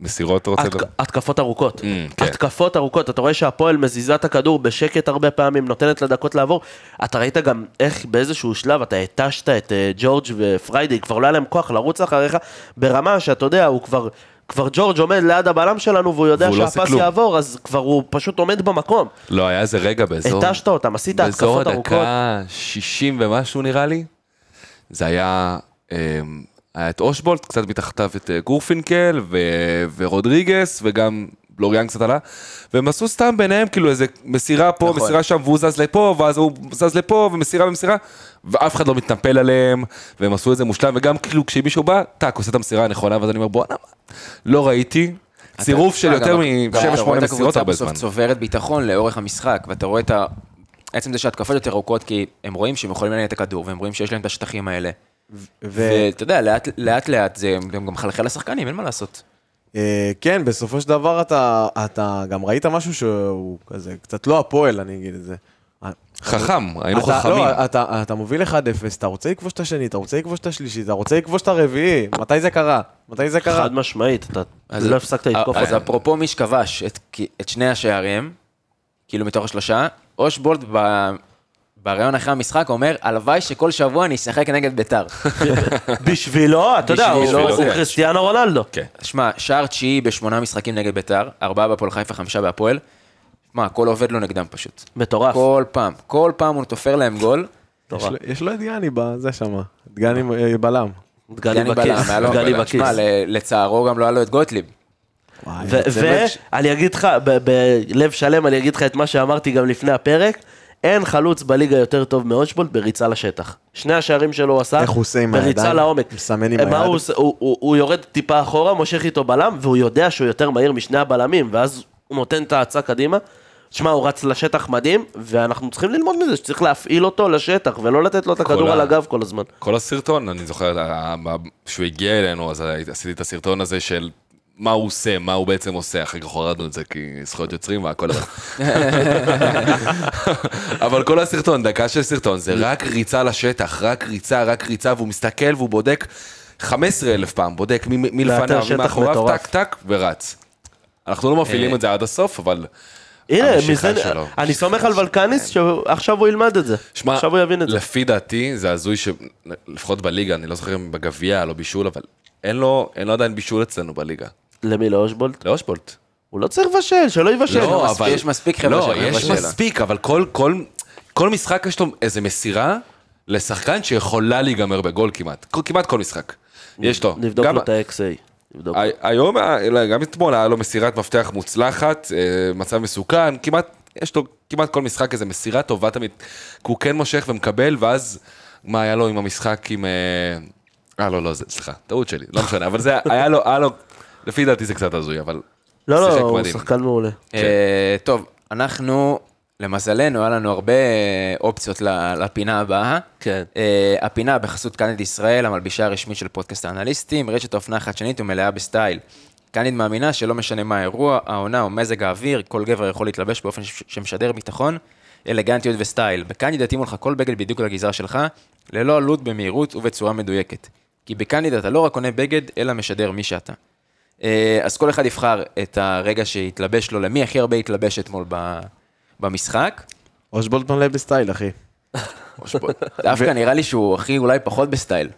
G: המסירות אתה רוצה...
E: התק-
G: לדבר?
E: התקפות ארוכות.
G: כן.
E: התקפות ארוכות, אתה רואה שהפועל מזיזה את הכדור בשקט הרבה פעמים, נותנת לדקות לעבור. אתה ראית גם איך באיזשהו שלב אתה התשת את אה, ג'ורג' ופריידי, כבר לא היה להם כוח לרוץ אחריך, ברמה שאתה יודע, הוא כבר... כבר ג'ורג' עומד ליד הבלם שלנו והוא יודע
G: והוא לא עושה
E: שהפס
G: כלום.
E: יעבור, אז כבר הוא פשוט עומד במקום.
G: לא, היה איזה רגע באזור...
E: התשת אותם, עשית התקפות ארוכות.
G: באזור הדקה 60 ומשהו נראה לי, זה היה, אמ, היה את אושבולט, קצת מתחתיו את אה, גורפינקל ו, ורודריגס, וגם בלוריאן קצת עלה, והם עשו סתם ביניהם כאילו איזה מסירה פה,
A: נכון.
G: נכון. מסירה שם, והוא זז לפה, ואז הוא זז לפה, ומסירה ומסירה, ואף אחד לא מתנפל עליהם, והם עשו את זה מושלם, וגם כאילו כשמישהו בא, טאק, עושה את המסירה הנכונה, ואז אני אומר, בואנה, מה?" לא ראיתי. צירוף של
A: אה,
G: יותר
A: גם- גם אתה רואה
G: מ-7-8
A: את
G: מסירות
A: הקבוצה
G: הרבה
A: בסוף
G: זמן.
A: צוברת ביטחון לאורך המשחק, ואתה רואה את ה... עצם זה שההתקפות יותר ארוכות, כי הם רואים שהם יכולים לנהל את הכדור, והם רואים שיש להם את השטחים האלה.
E: אה,
F: ו-
A: ואתה יודע, לאט- לאט לאט זה גם גם מחלחל לשחקנים, אין מה לעשות.
F: אה, כן, בסופו של דבר אתה, אתה גם ראית משהו שהוא כזה, קצת לא הפועל, אני אגיד את זה.
G: חכם, היינו
F: אתה-
G: חכמים.
F: לא, אתה, אתה מוביל 1-0, אתה רוצה לכבוש את השני, אתה רוצה לכבוש את השלישי, אתה רוצה לכבוש את הרביעי, מתי זה קרה? מתי זה קרה?
E: חד משמעית, אתה לא הפסקת לתקוף
A: אז אה,
E: אותם.
A: אפרופו מי שכבש את- את שני השערים, כאילו מתוך השלושה, אושבולט ב- בריאיון אחרי המשחק אומר, הלוואי שכל שבוע אני אשחק נגד ביתר. (laughs)
E: בשבילו, אתה יודע, הוא
A: אה, בשבילו,
E: הוא
A: כן.
E: קריסטיאנו רונלדו.
G: כן.
A: שמע, שער תשיעי בשמונה משחקים נגד ביתר, ארבעה בהפועל חיפה, חמישה בהפועל. מה, הכל עובד לו נגדם פשוט.
E: מטורף.
A: כל פעם, כל פעם הוא תופר להם גול.
F: יש לו- יש לו את דגני בזה שמה, דגני אה, בלם.
E: דגני
A: דני בלם,
E: בכיס,
A: היה לו-
E: דגני
A: בלם.
E: בכיס.
A: שמע, ל- לצערו גם לא היה לו את גוטליב.
F: וואי, הצמד ש-
E: ואני אגיד לך, ב- בלב שלם אני אגיד לך את מה שאמרתי גם לפני הפרק, אין חלוץ בליגה יותר טוב מאושבולט בריצה לשטח. שני השערים שלו הוא עשה,
F: איך הוא עושה עם
E: בריצה
F: הידיים?
E: לעומק.
F: מסמן עם
E: מה
F: היד?
E: הוא עושה? הוא- הוא הוא יורד טיפה אחורה, מושך איתו בלם, והוא יודע שהוא יותר מהיר משני הבלמים, ואז הוא נותן את ההאצה קדימה. תשמע, הוא רץ לשטח מדהים, ואנחנו צריכים ללמוד מזה שצריך להפעיל אותו לשטח, ולא לתת לו את הכדור
G: ה-
E: על הגב כל הזמן.
G: כל הסרטון, אני זוכר, ה- ה- כשהוא הגיע אלינו, אז עשיתי את הסרטון הזה של מה הוא עושה, מה הוא בעצם עושה, אחר כך הורדנו את זה כי זכויות יוצרים והכל אבל. (laughs) אבל כל הסרטון, דקה של סרטון, זה רק ריצה לשטח, רק ריצה, רק ריצה, והוא מסתכל והוא בודק 15 אלף פעם, בודק מי- מי
E: לאתר
G: לפניו, מי
E: שטח
G: מאחוריו,
E: מטורף. אה,
G: טק טק, ורץ. אנחנו לא מפעילים את זה עד הסוף, אבל...
E: הנה,
G: המשיכה
E: מזה,
G: שלו.
E: אני סומך על ולקניס,
F: כן.
E: שעכשיו הוא ילמד את זה.
G: שמע,
E: עכשיו הוא יבין את זה.
G: לפי דעתי, זה הזוי ש... לפחות בליגה, אני לא זוכר אם בגביע, לא בישול, אבל אין לו, אין לו עדיין בישול אצלנו בליגה.
E: למי, לאושבולט?
G: לאושבולט.
E: הוא לא צריך לבשל, שלא יבשל.
A: לא, מספיק- יש מספיק חבר'ה
G: לא,
A: שלהם,
G: יש
A: בשאלה.
G: מספיק, אבל כל, כל, כל משחק יש לו איזה מסירה לשחקן שיכולה להיגמר בגול כמעט. כל, כמעט כל משחק. יש לו.
E: נבדוק
G: גם-
E: לו את ה-XA. נבדוק.
G: הי- היום, אה, לא, גם אתמול היה לו מסירת מפתח מוצלחת, אה, מצב מסוכן, כמעט, יש לו כמעט כל משחק איזה מסירה טובה תמיד, כי הוא כן מושך ומקבל, ואז מה היה לו עם המשחק עם... אה, אה, לא, לא, זה, סליחה, טעות שלי, לא משנה, אבל זה היה לו, היה לו, לפי דעתי זה קצת הזוי, אבל...
E: לא, לא,
G: שיחק
E: הוא
G: מדהים.
E: שחקן מעולה.
A: אה, טוב, אנחנו, למזלנו, היה לנו הרבה אה, אופציות ל- לפינה הבאה.
E: כן.
A: אה, הפינה בחסות קנד ישראל, המלבישה הרשמית של פודקאסט האנליסטים, רשת האופנה החדשנית ומלאה בסטייל. קנד מאמינה שלא משנה מה האירוע, העונה או מזג האוויר, כל גבר יכול להתלבש באופן ש- שמשדר ביטחון, אלגנטיות וסטייל. בקנד יתאימו לך כל בגד בדיוק לגזרה שלך, ללא עלות, במהירות ובצורה מדויקת. כי בקנד אתה לא רק קונה בגד, אלא משדר מי שאתה. אה, אז כל אחד יבחר את הרגע שהתלבש לו, למי הכי הרבה התלבש אתמול ב- (laughs) במשחק.
F: אושבולט מלא לא בסטייל, אחי.
A: דווקא נראה לי שהוא הכי אולי פחות בסטייל.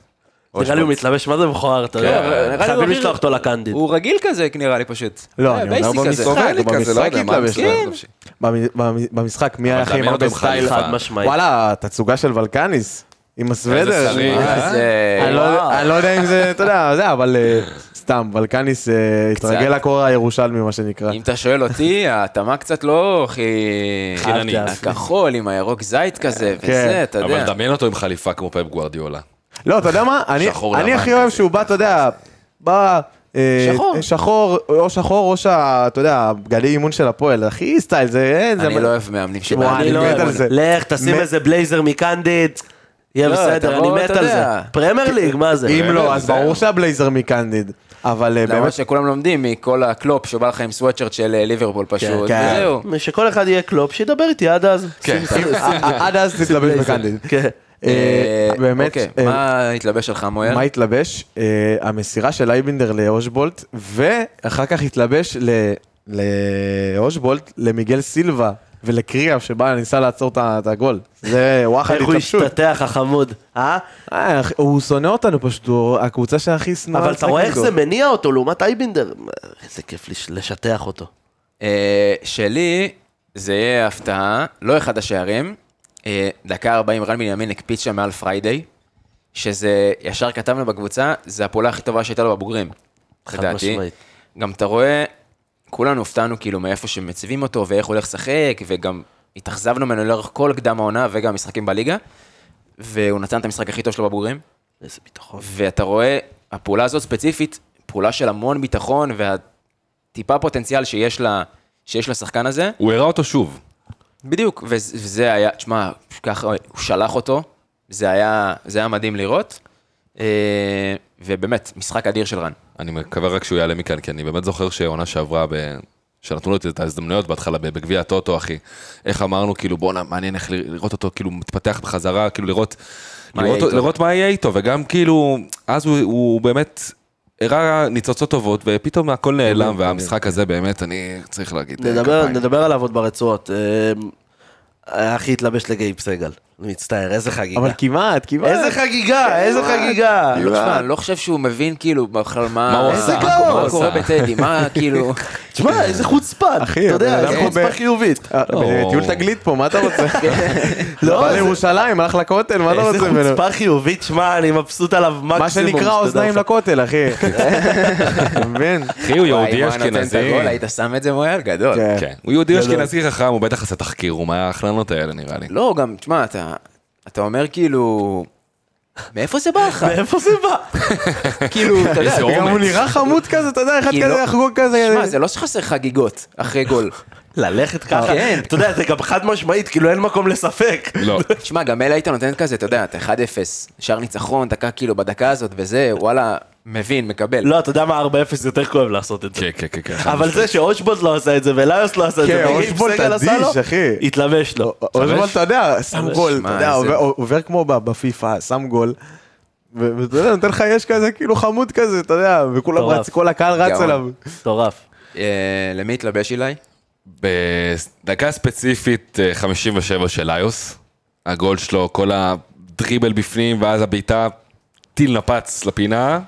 E: נראה לי הוא מתלבש מה זה מכוער, אתה יודע?
A: נראה לי הוא
E: חייבים
A: רגיל-
E: לשלוח אותו לקנדיד.
A: הוא רגיל כזה, נראה לי פשוט.
F: לא,
A: אה,
F: אני אומר
A: בייסיק כזה.
F: במשחק,
G: סטיילי כזה, לא
F: במשחק
G: יודע מה,
F: התלבש.
G: בסדר,
F: כן.
G: חופשי.
F: במ- במ- במשחק מי היה
G: אבל
F: הכי עם
G: תאמין
F: הרבה
G: אותו עם
F: סטייל?
G: חיפה.
E: חד משמעית.
F: וואלה, התצוגה של ולקניס, עם הסוודר.
G: שריג.
F: אה,
A: אז, אה,
F: אני לא-
E: וואו.
F: אני לא יודע אם זה, אתה יודע, זה, אבל אה, סתם, ולקניס אה,
A: קצת.
F: התרגל לקור הירושלמי, מה שנקרא.
A: אם אתה שואל
F: (laughs)
A: אותי, ההתאמה קצת לא הכי...
E: כן,
G: חיננית.
A: הכחול עם הירוק זית כזה,
F: כן.
A: וזה, אתה
G: אבל
A: יודע.
G: דמיין אותו עם חליפה כמו פאפ גוארדיולה.
F: לא, אתה יודע מה? אני-
G: שחור
F: אני
G: לבן
F: הכי אוהב
G: כזה.
F: שהוא בא, אתה יודע, בא... אה,
A: שחור.
F: שחור, או שחור, או שה... אתה יודע, בגלי אימון של הפועל, הכי סטייל, זה אין, זה...
A: אני לא אוהב מאמנים
F: וואי,
A: שמאמנים
F: אני לא
A: באמון.
F: מת על זה.
E: לך, תשים
F: מת-
E: איזה בלייזר מקנדיד. יהיה
A: לא,
E: בסדר,
A: תבוא,
E: אני מת
A: אתה
E: על זה.
A: יודע.
E: פרמייר ליג, מה זה?
F: אם לא, אז
A: בסדר.
F: ברור שהבלייזר מקנדיד. אבל אה,
A: למרות
F: באמת,
A: שכולם לומדים מכל הקלופ שבא לך עם סוואצ'רט של אה, ליברפול פשוט,
F: כן.
A: וזהו.
E: שכל אחד יהיה קלופ, שידבר איתי עד אז.
G: כן.
E: שים- שים-
F: אה, (laughs) עד אז תתלבש בקנדיד.
E: כן.
F: אה,
A: אה,
F: באמת,
A: אוקיי,
F: אה,
A: מה התלבש שלך, מויאל?
F: מה התלבש? אה, המסירה של אייבינדר לאושבולט, ואחר כך התלבש ל- לאושבולט, למיגל סילבה ולקריאב, שבא, ניסה לעצור את ה- את הגול. זה וואחד
E: איך הוא
F: התלבשות.
E: השתטח, החמוד. אה?
F: אה, אח- הוא שונא אותנו פשוט, הוא הקבוצה שהכי שנואה.
E: אבל אתה רואה איך
F: נגדו.
E: זה מניע אותו לעומת אייבינדר. איזה כיף לש- לשטח אותו.
A: אה, שלי, זה יהיה הפתעה, לא אחד השערים. אה, דקה 40, רן בנימין הקפיץ שם מעל פריידיי, שזה, ישר כתבנו בקבוצה, זה הפעולה הכי טובה שהייתה לו בבוגרים.
E: חד
A: לדעתי.
E: משמעית.
A: גם אתה רואה, כולנו הופתענו כאילו מאיפה שמציבים אותו, ואיך הוא הולך לשחק, וגם התאכזבנו ממנו לאורך כל קדם העונה, וגם המשחקים בליגה, והוא נתן את המשחק הכי טוב שלו בבוגרים.
E: איזה ביטחון.
A: ואתה רואה, הפעולה הזאת ספציפית, פעולה של המון ביטחון, והטיפה פוטנציאל שיש לה, שיש לשחקן הזה,
G: הוא הראה אותו שוב.
A: בדיוק, וזה וזה היה, תשמע, ככה, הוא שלח אותו, זה היה, זה היה מדהים לראות, אה, ובאמת, משחק אדיר של רן.
G: אני מקווה רק שהוא יעלה מכאן, כי אני באמת זוכר שהעונה שעברה, ב... שנתנו לו את ההזדמנויות בהתחלה ב- בגביע הטוטו, אחי. איך אמרנו, כאילו, בואנה, מעניין איך ל- לראות אותו, כאילו, מתפתח בחזרה, כאילו, לראות
A: מה
G: מה, לראות,
A: יהיה איתו.
G: לראות מה יהיה איתו, וגם כאילו, אז הוא, הוא באמת הראה ניצוצות טובות, ופתאום
A: כן,
G: הכל נעלם, והמשחק הזה באמת, אני צריך להגיד, אה,
E: נדבר,
G: כפיים.
E: נדבר עליו עוד ברצועות. אה, הכי התלבש לגייב סגל. אני מצטער, איזה חגיגה.
F: אבל כמעט, כמעט.
E: איזה חגיגה, איזה חגיגה.
A: לא, תשמע, אני לא חושב שהוא מבין, כאילו, בכלל, מה...
G: אה. מה הוא
A: איזה
G: עשה?
A: גול,
E: מה הוא
A: מה קורה בטדי,
G: (laughs)
A: מה, כאילו...
E: תשמע, איזה חוצפן. אתה
F: אחי, הבן
E: יודע,
F: אדם
E: איזה
F: פה
E: חוצפה
F: ב-
E: חיובית.
F: אה,
G: לא.
F: בטיול תגלית פה, מה אתה
E: (laughs)
F: רוצה?
E: לא,
F: בא
E: זה-
F: לירושלים, הלך לכותל, מה אתה
E: איזה
F: רוצה ממנו?
E: חוצפה חיובית, שמע, אני מבסוט עליו מקסימום. כן.
F: מה שנקרא
E: שתדע
F: אוזניים לא-
E: לך.
F: לכותל,
E: (laughs)
F: אחי. אתה מבין?
G: אחי, הוא
A: וואי, אם
G: יהודי
A: הוא היה נותן את
G: אשכנזי.
A: הגול, היית שם את זה מויאל? גדול.
F: כן.
G: כן, הוא יהודי אשכנזי חכם, הוא בטח עשה תחקיר, הוא מההכללות האלה, נראה לי.
A: לא, גם, תשמע, אתה- אתה אומר, כאילו... מאיפה זה בא
G: (laughs)
A: לך?
E: מאיפה זה בא?
A: כאילו, אתה יודע,
G: איזה
A: גם
F: גם הוא
G: אומץ.
F: נראה חמוד כזה, אתה יודע, אחד
A: כי
F: כזה
A: לא-
F: יחגוג כזה.
A: תשמע, זה לא שחסר חגיגות אחרי גול.
F: אה,
E: ללכת ככה.
A: כן.
E: אתה יודע, זה גם חד משמעית, כאילו אין מקום לספק.
A: (laughs)
G: לא.
A: תשמע, גם אלה היית נותנת כזה, אתה יודע, אתה 1-0, שער ניצחון, דקה כאילו בדקה הזאת וזה, וואלה, מבין, מקבל.
E: לא, אתה יודע מה, 4-0 יותר כואב לעשות את זה.
G: כן, כן, כן, כן.
E: אבל זה שאושבולט לא עשה את זה, וליוס לא עשה את זה,
F: כן,
E: וגייב
F: אושבולט
E: סגל עשה
F: אדיש,
E: לו,
F: אחי.
E: התלבש לו.
F: אוזמן, אתה יודע, שם גול,
A: שמע,
F: אתה יודע,
A: איזה-
F: עובר- עובר כמו ב- בפיפא, שם גול. ו- ואתה יודע, נותן לך יש כזה, כאילו חמוד כזה, אתה יודע, וכולם
E: מטורף.
F: רץ, כל הקהל רץ
A: גאון.
F: אליו.
E: מטורף.
A: אה, למי התלבש אילי?
G: בדקה ספציפית אה, 57 של איוס, הגול שלו, כל הדריבל בפנים, ואז הבעיטה, טיל נפץ לפינה,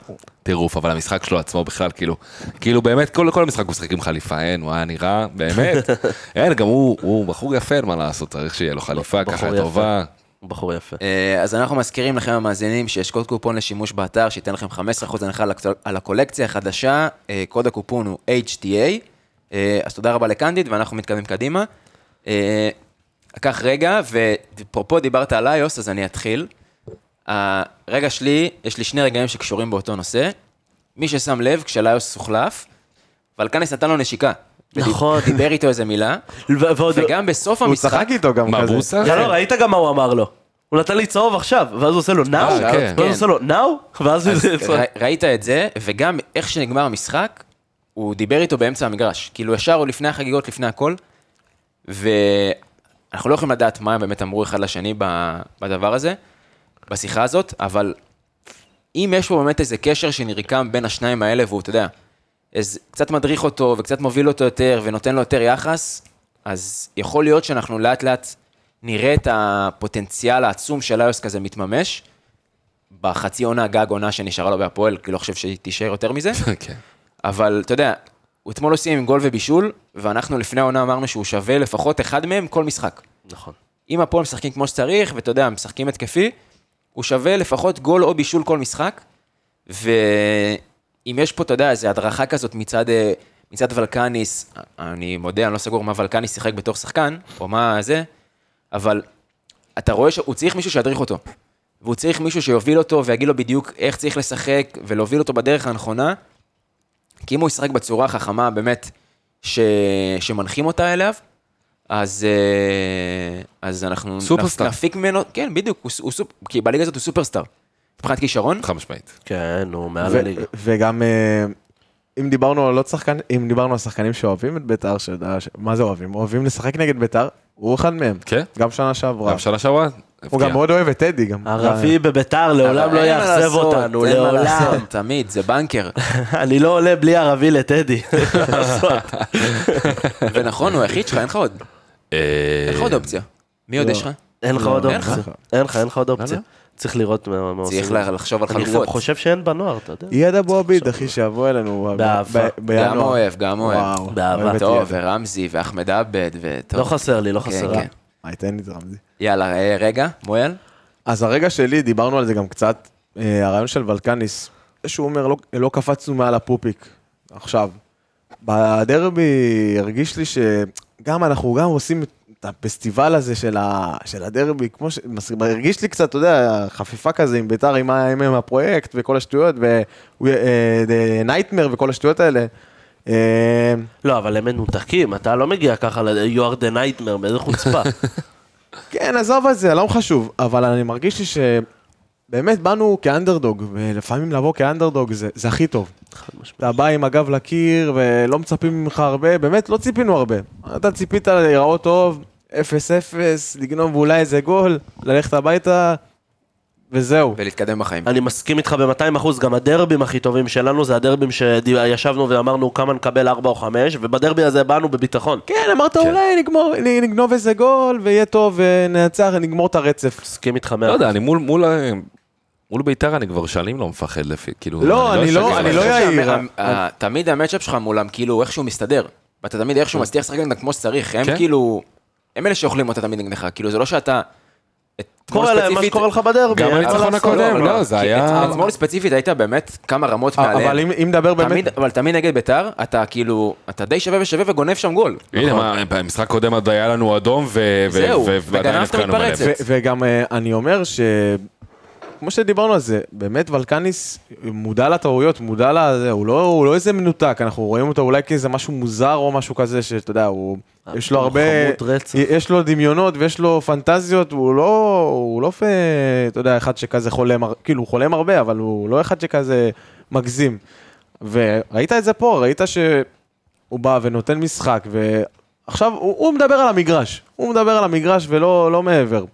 G: טירוף, אבל המשחק שלו עצמו בכלל, כאילו, כאילו באמת, כל, כל המשחק הוא משחק עם חליפה, אין, הוא היה נראה,
F: (laughs)
G: באמת, אין, גם הוא, הוא בחור יפה, אין מה לעשות, צריך שיהיה לו חליפה
E: בחור
G: ככה
E: יפה.
G: טובה.
E: הוא בחור יפה.
A: אה, אז אנחנו מזכירים לכם המאזינים שיש קוד קופון לשימוש באתר שייתן לכם 15% הנחה על הקצ- על הקולקציה החדשה, אה, קוד הקופון הוא HTA, אה, אז תודה רבה לקנדיד ואנחנו מתקדמים קדימה. אה, לקח רגע, ואפרופו דיברת על איוס, אז אני אתחיל. הרגע שלי, יש לי שני רגעים שקשורים באותו נושא. מי ששם לב, כשלאיוס הוחלף, ולקניס נתן לו נשיקה. ודיב-
E: נכון.
A: דיבר איתו איזה
F: (laughs)
A: מילה,
E: ו- ועוד...
A: וגם בסוף
F: הוא
A: המשחק...
F: צחק איתו גם
G: מה,
F: כזה.
G: בוסה?
E: לא, לא, ראית גם מה הוא אמר לו. הוא נתן לי צהוב עכשיו, ואז הוא עושה לו נאו,
G: אה, כן.
E: ואז הוא עושה לו נאו, ואז הוא...
A: אז כן.
E: זה-
A: ר- ראית את זה, וגם איך שנגמר המשחק, הוא דיבר איתו באמצע המגרש. כאילו, ישר הוא לפני החגיגות, לפני הכל, ואנחנו לא יכולים לדעת מה הם באמת אמרו אחד לשני ב- בדבר הזה, בשיחה הזאת, אבל אם יש פה באמת איזה קשר שנרקם בין השניים האלה, והוא, אתה יודע, אז קצת מדריך אותו, וקצת מוביל אותו יותר, ונותן לו יותר יחס, אז יכול להיות שאנחנו לאט-לאט נראה את הפוטנציאל העצום של איוס כזה מתממש. בחצי עונה, גג עונה שנשארה לו בהפועל, כי לא חושב שהיא תישאר יותר מזה,
G: כן.
A: אבל אתה יודע, הוא אתמול לא סיים עם גול ובישול, ואנחנו לפני העונה אמרנו שהוא שווה לפחות אחד מהם כל משחק.
E: נכון.
A: אם הפועל משחקים כמו שצריך, ואתה יודע, משחקים התקפי, הוא שווה לפחות גול או בישול כל משחק, ו... אם יש פה, אתה יודע, איזו הדרכה כזאת מצד, אה, מצד ולקניס, אני מודה, אני לא סגור מה ולקניס שיחק בתור שחקן, או מה זה, אבל אתה רואה שהוא צריך מישהו שידריך אותו. והוא צריך מישהו שיוביל אותו ויגיד לו בדיוק איך צריך לשחק ולהוביל אותו בדרך הנכונה. כי אם הוא ישחק בצורה החכמה באמת ש... שמנחים אותה אליו, אז, אה, אז אנחנו
G: סופרסטאר.
A: נפ- נפיק ממנו, כן בדיוק, הוא, ס- הוא סופ... כי בליגה הזאת הוא סופרסטאר. מבחינת כישרון,
G: חד משמעית.
E: כן, הוא מעל
F: ו-
E: הליגה.
F: וגם אה, אם דיברנו על עוד שחקן, אם דיברנו על שחקנים שאוהבים את ביתר, שאתה- ש- מה זה אוהבים? אוהבים לשחק נגד ביתר, הוא אחד מהם.
G: כן.
F: גם שנה שעברה.
G: גם שנה שעברה,
F: הוא
G: הפתיע.
F: גם מאוד אוהב את טדי גם. אה,
E: ערבי בביתר לעולם
A: אה. אבל
E: לא
A: אין מה
E: יאכזב
A: לעשות,
E: אותנו,
A: אין מה
E: לעולם.
A: לעשות, תמיד, זה בנקר.
E: (laughs) אני לא עולה בלי
A: (laughs)
E: ערבי לטדי.
A: ונכון, הוא היחיד שלך, אין לך עוד.
G: אה,
A: אין לך עוד אופציה. מי
E: לא.
A: עוד לא, יש לך?
E: אין (laughs) לך עוד
A: אין לך.
E: אופציה. אין לך, אין לך עוד אופציה. צריך לראות מה מה עושים.
A: צריך לה- לחשוב על
E: אני גם
A: חלופות.
E: חושב שאין בנוער, אתה יודע.
F: ידע בוביד, אחי, שיבוא אלינו. אה, ב-
E: באהבה.
F: ב- בינואר.
A: גם אוהב, גם אוהב.
F: וואו,
E: באהבה.
F: אוהב את
A: טוב,
F: ידע.
A: ורמזי, ואחמד עבד, וטוב.
E: לא חסר לי, לא
A: כן,
E: חסר לי.
A: כן.
F: היי, תן לי את רמזי.
A: יאללה, אה, רגע, מויאל.
F: אז הרגע שלי, דיברנו על זה גם קצת, אה, הרעיון של ולקניס, זה שהוא אומר, לא, לא קפצנו מעל הפופיק, עכשיו. בדרבי הרגיש לי שגם אנחנו גם עושים את הפסטיבל הזה של, ה, של הדרבי, כמו ש... מס- הרגיש לי קצת, אתה יודע, חפיפה כזה עם ביתר, עם, ה- עם, עם הפרויקט וכל השטויות, ונייטמר וכל השטויות האלה. אה,
E: לא, אבל הם מנותקים, אתה לא מגיע ככה ל- you are the nightmare, באיזה
A: (laughs)
E: חוצפה.
F: כן, עזוב את זה, לא חשוב, אבל אני מרגיש לי שבאמת באנו כאנדרדוג, ולפעמים לבוא כאנדרדוג זה, זה הכי טוב. אתה בא עם הגב לקיר ולא מצפים ממך הרבה, באמת לא ציפינו הרבה. אתה ציפית להיראות טוב, 0-0, לגנוב אולי איזה גול, ללכת הביתה, וזהו.
A: ולהתקדם בחיים.
E: אני מסכים איתך ב-200 אחוז, גם הדרבים הכי טובים שלנו זה הדרבים שישבנו ואמרנו כמה נקבל 4 או 5, ובדרבי הזה באנו בביטחון.
F: כן, אמרת אולי נגמור, נ- נגנוב איזה גול, ויהיה טוב, וננצח, נגמור את הרצף.
E: מסכים איתך
G: לא
E: מאה
G: יודע, אני מול- מול ה- מול ביתר אני כבר שנים לא מפחד לפי, כאילו...
F: לא, אני לא-
G: אשקר
F: אני
G: לך.
F: לא
A: חושב
F: יאיר,
A: שהמ-
F: אבל-
A: ה- תמיד המצ'אפ שלך מולם, כאילו, איכשהו מסתדר. ואתה תמיד
E: כן.
A: איכשהו מצליח לשחק נגדם כמו שצריך. הם
G: כן.
A: כאילו, הם אלה שאוכלים אותה תמיד נגדך. כאילו, זה לא שאתה...
E: קורה להם מה שקורה לך בדרבי.
G: גם
E: אין מה
F: נכון,
G: הניצחון
E: לעשות.
G: הקודם,
A: לא,
G: לא, זה היה...
A: אתמול ספציפית היית באמת כמה רמות מעליהם.
F: אה, אבל אם אם נדבר באמת...
A: תמיד, אבל תמיד נגד ביתר, אתה כאילו, אתה די שווה ושווה וגונב שם גול.
G: הנה, מה, במשחק קודם עוד היה לנו אדום, ו- ו-
A: זהו,
G: ו- ועדיין
A: וגנבת
G: הפקענו מלא.
A: מתפרצת.
F: ו- וגם אה, אני אומר ש... כמו שדיברנו על זה, באמת ולקניס מודע לטעויות, מודע לזה, הוא לא, הוא לא איזה מנותק, אנחנו רואים אותו אולי כאיזה משהו מוזר או משהו כזה, שאתה יודע, הוא... יש לו
E: הוא
F: הרבה...
E: חמוד רצח.
F: יש לו דמיונות ויש לו פנטזיות, הוא לא... הוא לא, פ- אתה יודע, אחד שכזה חולם, הר- כאילו, הוא חולם הרבה, אבל הוא לא אחד שכזה מגזים. וראית את זה פה, ראית שהוא בא ונותן משחק, ועכשיו הוא, הוא מדבר על המגרש, הוא מדבר על המגרש ולא לא מעבר.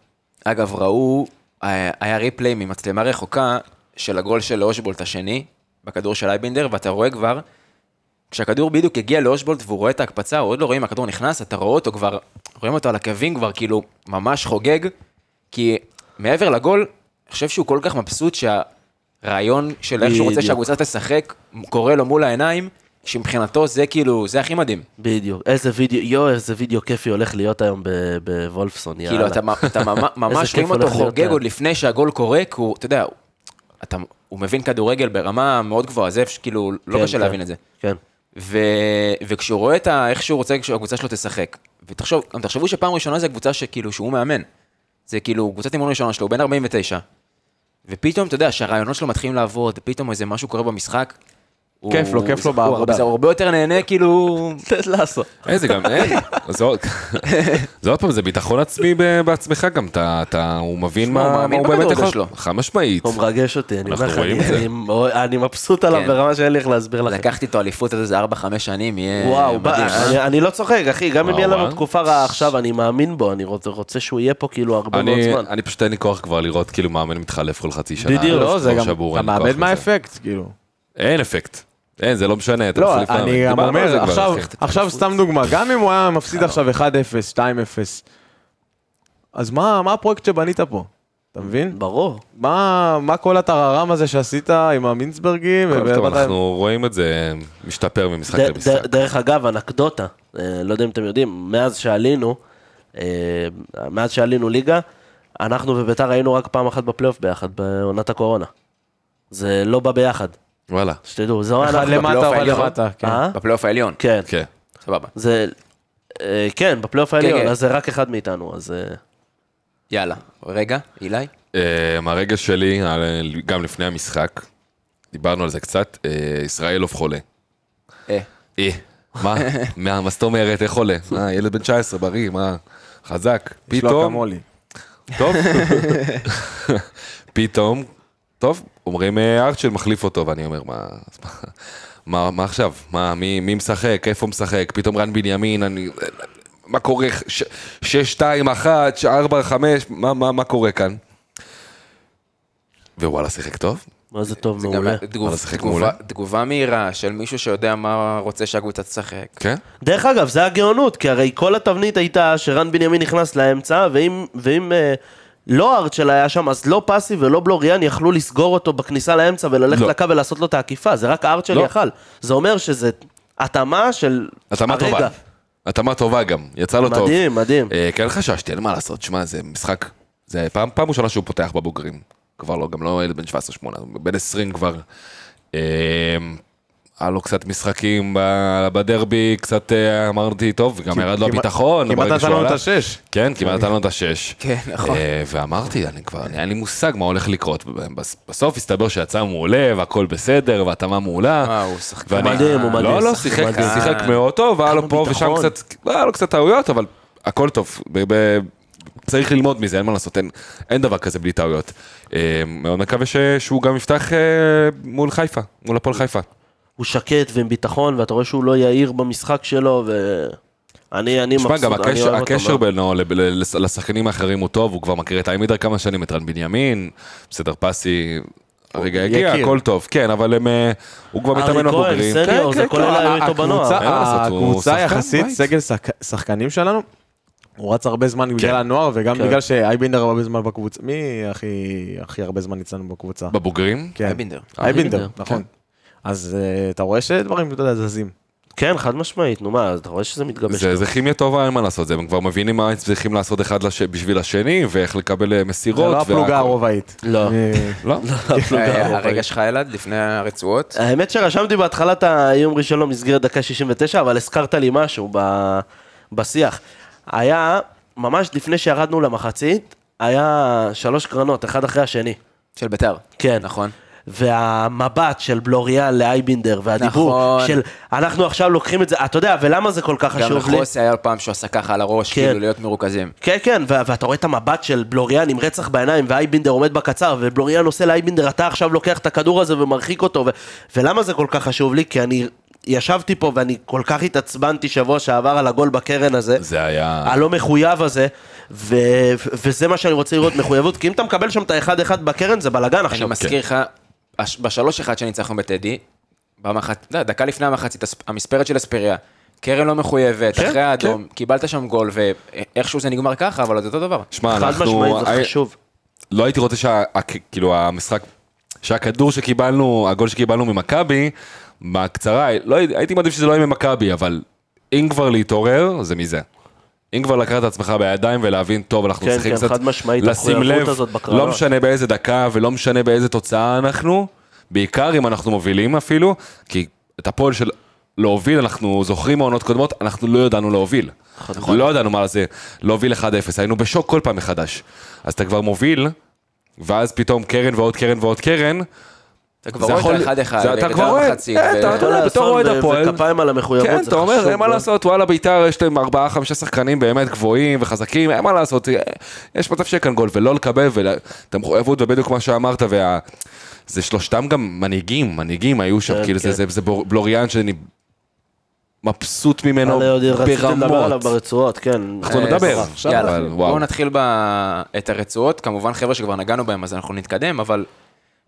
A: אגב, ראו, אה, היה ריפליי ממצלמה רחוקה של הגול של אושבולט השני, בכדור של אייבינדר, ואתה רואה כבר, כשהכדור בדיוק הגיע לאושבולט והוא רואה את ההקפצה, הוא עוד לא רואה אם הכדור נכנס, אתה רואה אותו כבר, רואים אותו על הקווים כבר, כאילו, ממש חוגג, כי מעבר לגול, אני חושב שהוא כל כך מבסוט שהרעיון של איך שהוא רוצה
E: בדיוק.
A: שהקבוצה תשחק, קורה לו מול העיניים, שמבחינתו זה כאילו, זה הכי מדהים.
E: בדיוק. איזה וידאו, יואו, איזה וידאו כיפי הולך להיות היום ב- בוולפסון, יאללה.
A: כאילו, אתה, מ- אתה
E: (laughs)
A: ממ- ממש
E: כיף
A: רואים אותו
E: הולך להיות כן.
A: חוגג
E: לה.
A: עוד לפני שהגול קורה, כי הוא, אתה יודע, הוא- אתה, הוא מבין כדורגל ברמה מאוד גבוהה, זה כאילו, לא
E: כן,
A: קשה
E: כן.
A: להבין את זה. (laughs)
E: כן.
A: ו, וכשהוא רואה את ה, איך שהוא רוצה שהקבוצה שלו תשחק, ותחשוב, גם תחשבו שפעם ראשונה זה הקבוצה שכאילו, שהוא מאמן. זה כאילו, קבוצת אימון ראשונה שלו, הוא בן 49. ופתאום, אתה יודע, שהרעיונות שלו מתחילים לעבוד, ופתאום איזה משהו קורה במשחק. הוא-
F: כיף לו, כיף לו
A: הוא-
F: בעבודה.
A: הוא הרבה יותר נהנה, כאילו...
E: לעשות.
G: אה, זה גם, אה, זה עוד- זה עוד פעם, זה ביטחון עצמי ב- בעצמך גם, אתה, אתה, הוא מבין
A: שמע,
G: מה
A: הוא
G: מה
A: מאמין
G: הוא באמת
A: בכדורגל
G: יכול.
A: שלו.
G: חד משמעית.
E: הוא מרגש אותי, אני אומר לך,
G: אנחנו רואים
E: אני-
G: את זה.
E: אני- אני מבסוט עליו
A: כן.
E: ברמה שאין לי איך להסביר לכם.
A: לקחתי איתו אליפות על איזה 4-5 שנים, יהיה
E: וואו,
A: מדהים.
E: בא-
A: אה?
E: אני- אני לא צוחק, אחי, גם אם
G: וואו,
E: יהיה
G: אה?
E: לנו תקופה רעה עכשיו, אני מאמין בו, אני רוצ- רוצה שהוא יהיה פה כאילו הרבה מאוד
G: אני,
E: זמן.
G: אני פשוט אין לי כוח כבר לראות כאילו מאמן מתחלף כל חצי שנה.
E: בדיוק.
G: כמו
F: לא, זה גם,
G: שבור,
F: אתה
G: אין לי כוח
F: מאבד
G: לזה.
F: מהאפקט, כאילו.
G: אין אפקט. אין, זה לא משנה, אתה
F: לא,
G: מחליף מאמן.
F: אני גם
G: דיברנו על זה
F: אומר,
G: כבר,
F: עכשיו,
G: אחי.
F: עכשיו סתם דוגמה, גם אם הוא היה מפסיד עכשיו 1-0, 2-0, אז מה מה הפרויקט שבנית פה? אתה מבין?
E: ברור.
F: מה מה כל הטררם הזה שעשית עם המינסברגים?
G: טוב,
F: ובאת-
G: טוב, אנחנו רואים את זה משתפר ממשחק
E: ד-
G: למשחק.
E: ד- דרך אגב, אנקדוטה, אה, לא יודע אם אתם יודעים, מאז שעלינו, אה, מאז שעלינו ליגה, אנחנו וביתר היינו רק פעם אחת בפלייאוף ביחד, בעונת הקורונה. זה לא בא ביחד.
G: וואלה.
E: שתדעו, זו
F: אחד
E: אנחנו...
A: בפלייאוף
F: למטה, אבל
A: העליון.
F: למטה, כן.
E: אה?
A: בפלייאוף העליון.
E: כן,
G: כן.
A: סבבה.
E: זה... אה, כן, בפלייאוף
A: כן.
E: העליון, אז זה רק אחד מאיתנו, אז... אה,
A: יאללה. רגע, אילי?
G: אה, מהרגע שלי, אה, גם לפני המשחק, דיברנו על זה קצת, אה, ישראלוב חולה.
A: אה.
G: אה,
F: (laughs)
G: מה? מה, מה זאת אומרת, איך חולה? מה, ילד בן 19, בריא, מה? חזק.
F: יש לו
G: פתאום,
F: אקמולי.
G: טוב. (laughs) פתאום, טוב, אומרים אה, ארצ'ל מחליף אותו, ואני אומר, מה, אז מה, מה, מה עכשיו? מה, מי, מי משחק? איפה משחק? פתאום רן בנימין, אני... מה קורה? ש- שש, שתיים, אחת, ש- ארבע, חמש, מה, מה, מה קורה כאן? ווואלה, שיחק טוב?
E: מה זה טוב,
A: גם
E: מעולה.
A: תגוב-
G: אבל שיחק
A: תגובה-
G: מעולה.
A: תגובה מהירה של מישהו שיודע מה רוצה שהקבוצה תשחק.
G: כן?
E: דרך אגב, זה הגאונות, כי הרי כל התבנית הייתה שרן בנימין נכנס לאמצע, ואם, ואם אה, לא ארצ'ל היה שם, אז לא פסי ולא בלוריאן יכלו לסגור אותו בכניסה לאמצע וללכת
G: לא.
E: לקו ולעשות לו את העקיפה, זה רק ארצ'ל
G: לא.
E: יכל. זה אומר שזה התאמה של
G: התאמה
E: הרגע.
G: טובה. התאמה טובה גם, יצא לו טוב.
E: מדהים, מדהים.
G: אה, כן חששתי, אין מה לעשות, שמע, זה משחק, זה פעם, פעם ראשונה שהוא פותח בבוגרים. כבר לא, גם לא ילד בן 17-8, בן 20 כבר. אה, היה לו קצת משחקים ב- בדרבי, קצת אה, אמרתי, טוב, גם ירד לו
F: כמעט-
G: הביטחון.
F: כמעט
G: ברגע
F: נתן
G: שהוא
F: לנו את
G: עלה.
F: השש.
G: כן, כמעט נתן לנו את השש.
A: כן, נכון.
G: אה, ואמרתי, אני כבר, אין לי מושג מה הולך לקרות. בס- בסוף הסתבר שיצא מעולה, והכל בסדר, והתאמה מעולה.
A: אה, הוא שחקן.
G: ואני-
E: מדהים, הוא מדהים,
G: לא, לא,
E: שחקן
G: שיחק,
E: מדהים.
G: שיחק מאוד טוב, היה לו פה ושם
E: ביטחון.
G: קצת, היה לו קצת טעויות, אבל הכל טוב. ב- ב- צריך ללמוד מזה, אין מה לעשות, אין- אין דבר כזה בלי טעויות. אה, מאוד מקווה ש- שהוא גם יפתח אה, מול חיפה, מול הפועל חיפה.
E: הוא שקט ועם ביטחון, ואתה רואה שהוא לא יהיר במשחק שלו, ואני אני
G: תשמע,
E: מבסוט,
G: גם
E: אני
G: הקשר,
E: אוהב אותו.
G: הקשר
E: מאוד.
G: בינו לב- ל- לס- לשחקנים האחרים הוא טוב, הוא כבר מכיר את איימידר כמה שנים, את רן בנימין, בסדר פסי, הרגע הגיע,
F: יכיר.
G: הכל טוב, כן, אבל הם, אה, הוא כבר
E: ארי
G: מתאמן
E: כהן,
G: בבוגרים.
E: סניור,
G: כן,
E: זה
G: כן,
E: כל
G: כן.
E: אלה- היה איתו בנוער.
F: אה, הקבוצה-
G: אין מה לעשות, הוא
F: הקבוצה
G: שחקן
F: יחסית,
G: בית.
F: סגל שחק- שחקנים שלנו, הוא רץ הרבה זמן בגלל הנוער, וגם
E: כן.
F: בגלל שאייבינדר הרבה זמן בקבוצה. מי הכי הכי הרבה זמן אצלנו בקבוצה?
G: בבוגרים?
F: כן.
A: אייבינדר.
F: אייבינדר,
E: אייבינדר,
F: נכון. אז אה, אתה רואה שדברים, אתה יודע, זזים.
E: כן, חד משמעית, נו מה, אז אתה רואה שזה מתגבש. (laughs)
G: זה, זה כימיה טובה, אין מה לעשות, זה, הם כבר מבינים מה הם צריכים לעשות אחד לש... בשביל השני, ואיך לקבל אה,
F: זה
G: מסירות.
F: לא הפלוגה
G: והכל.
F: הרובעית.
E: לא.
F: אני-
G: לא,
E: כן. (laughs)
A: אה,
E: אוקיי.
A: הרגע שלך אלעד, לפני הרצועות.
E: האמת שרשמתי בהתחלה את האיום ראשון לא מסגרת דקה 69, אבל הזכרת לי משהו ב... בשיח. היה, ממש לפני שירדנו למחצית, היה שלוש קרנות, אחד אחרי השני.
A: של ביתר.
E: כן.
A: נכון.
E: והמבט של בלוריאן לאייבינדר, והדיבור
A: נכון.
E: של אנחנו עכשיו לוקחים את זה, אתה יודע, ולמה זה כל כך
A: גם
E: חשוב לי?
A: לחוסי היה פעם שהוא עשה ככה על הראש,
E: כן.
A: כאילו להיות מרוכזים.
E: כן, כן, ו- ואתה רואה את המבט של בלוריאן עם רצח בעיניים, ואייבינדר עומד בקצר, ובלוריאן עושה לאייבינדר, אתה עכשיו לוקח את הכדור הזה ומרחיק אותו, ו- ולמה זה כל כך חשוב לי? כי אני ישבתי פה ואני כל כך התעצבנתי שבוע שעבר על הגול בקרן הזה,
G: זה היה...
E: הלא מחויב הזה, ו- ו- וזה מה שאני רוצה לראות, מחויבות, כי אם אתה מקבל שם את האחד אחד בקרן, זה בלאגן
A: אני
E: עכשיו.
G: כן,
A: מזכיר לך, הש- בשלוש אחד שניצחנו בטדי, במחצ- אתה יודע, דקה לפני המחצית, הס- המספרת של אספריה. קרן לא מחויבת,
E: כן,
A: אחרי האדום, קיבלת שם גול, ואיכשהו זה נגמר ככה, אבל זה אותו דבר.
G: שמע,
E: חד משמעית,
G: אנחנו... אה,
E: זה חשוב.
G: לא הייתי רוצה שה... הכ- כאילו, המשחק... שהכדור שקיבלנו, הגול שקיבלנו ממכבי, בקצרה, לא, הייתי- הייתי מעדיף שזה לא יהיה ממכבי, אבל אם כבר להתעורר, זה מזה. אם כבר לקחת את עצמך בידיים ולהבין, טוב, אנחנו
E: כן,
G: צריכים
E: כן,
G: קצת
E: חד משמעית,
G: לשים
E: המחויבות
G: לב,
E: הזאת בקרנות.
G: לא משנה באיזה דקה ולא משנה באיזה תוצאה אנחנו, בעיקר אם אנחנו מובילים אפילו, כי את הפועל של להוביל, אנחנו זוכרים מעונות קודמות, אנחנו לא ידענו להוביל.
E: נכון.
G: לא ידענו מה זה להוביל 1-0, היינו בשוק כל פעם מחדש. אז אתה כבר מוביל, ואז פתאום קרן ועוד קרן ועוד קרן,
A: אתה כבר
G: זה
A: רואה
G: יכול-
A: את האחד-אחד,
G: זה- אתה
A: וביתר
G: כבר רואה.
A: מחצית,
G: אה,
A: ו-
G: אתה- אתה יודע, בתור אוהד
E: ו-
G: הפועל-
E: וכפיים על המחויבות,
G: כן,
E: זה
G: אתה אומר,
E: חשוב לא?
G: אין מה
E: מאוד.
G: לעשות, וואלה, ביתר יש להם ארבעה, חמישה שחקנים באמת גבוהים וחזקים, אין מה לעשות, אה, יש מצב שיהיה כאן גול, ולא לקבל, ואת המחויבות, ובדיוק מה שאמרת, וה... זה שלושתם גם מנהיגים, מנהיגים היו שם,
E: כן,
G: כאילו, זה-
E: כן.
G: זה זה בור- בלוריאן שאני מבסוט ממנו
E: אני עוד רציתי לדבר עליו
G: ברמות.
E: ברצועות, כן.
G: אנחנו נדבר.
A: יאללה,
G: אבל וואו.
A: בואו נתחיל ב... את הרצועות. כמובן, חבר'ה שכבר נגענו בהם, אז אנחנו נתקדם, אבל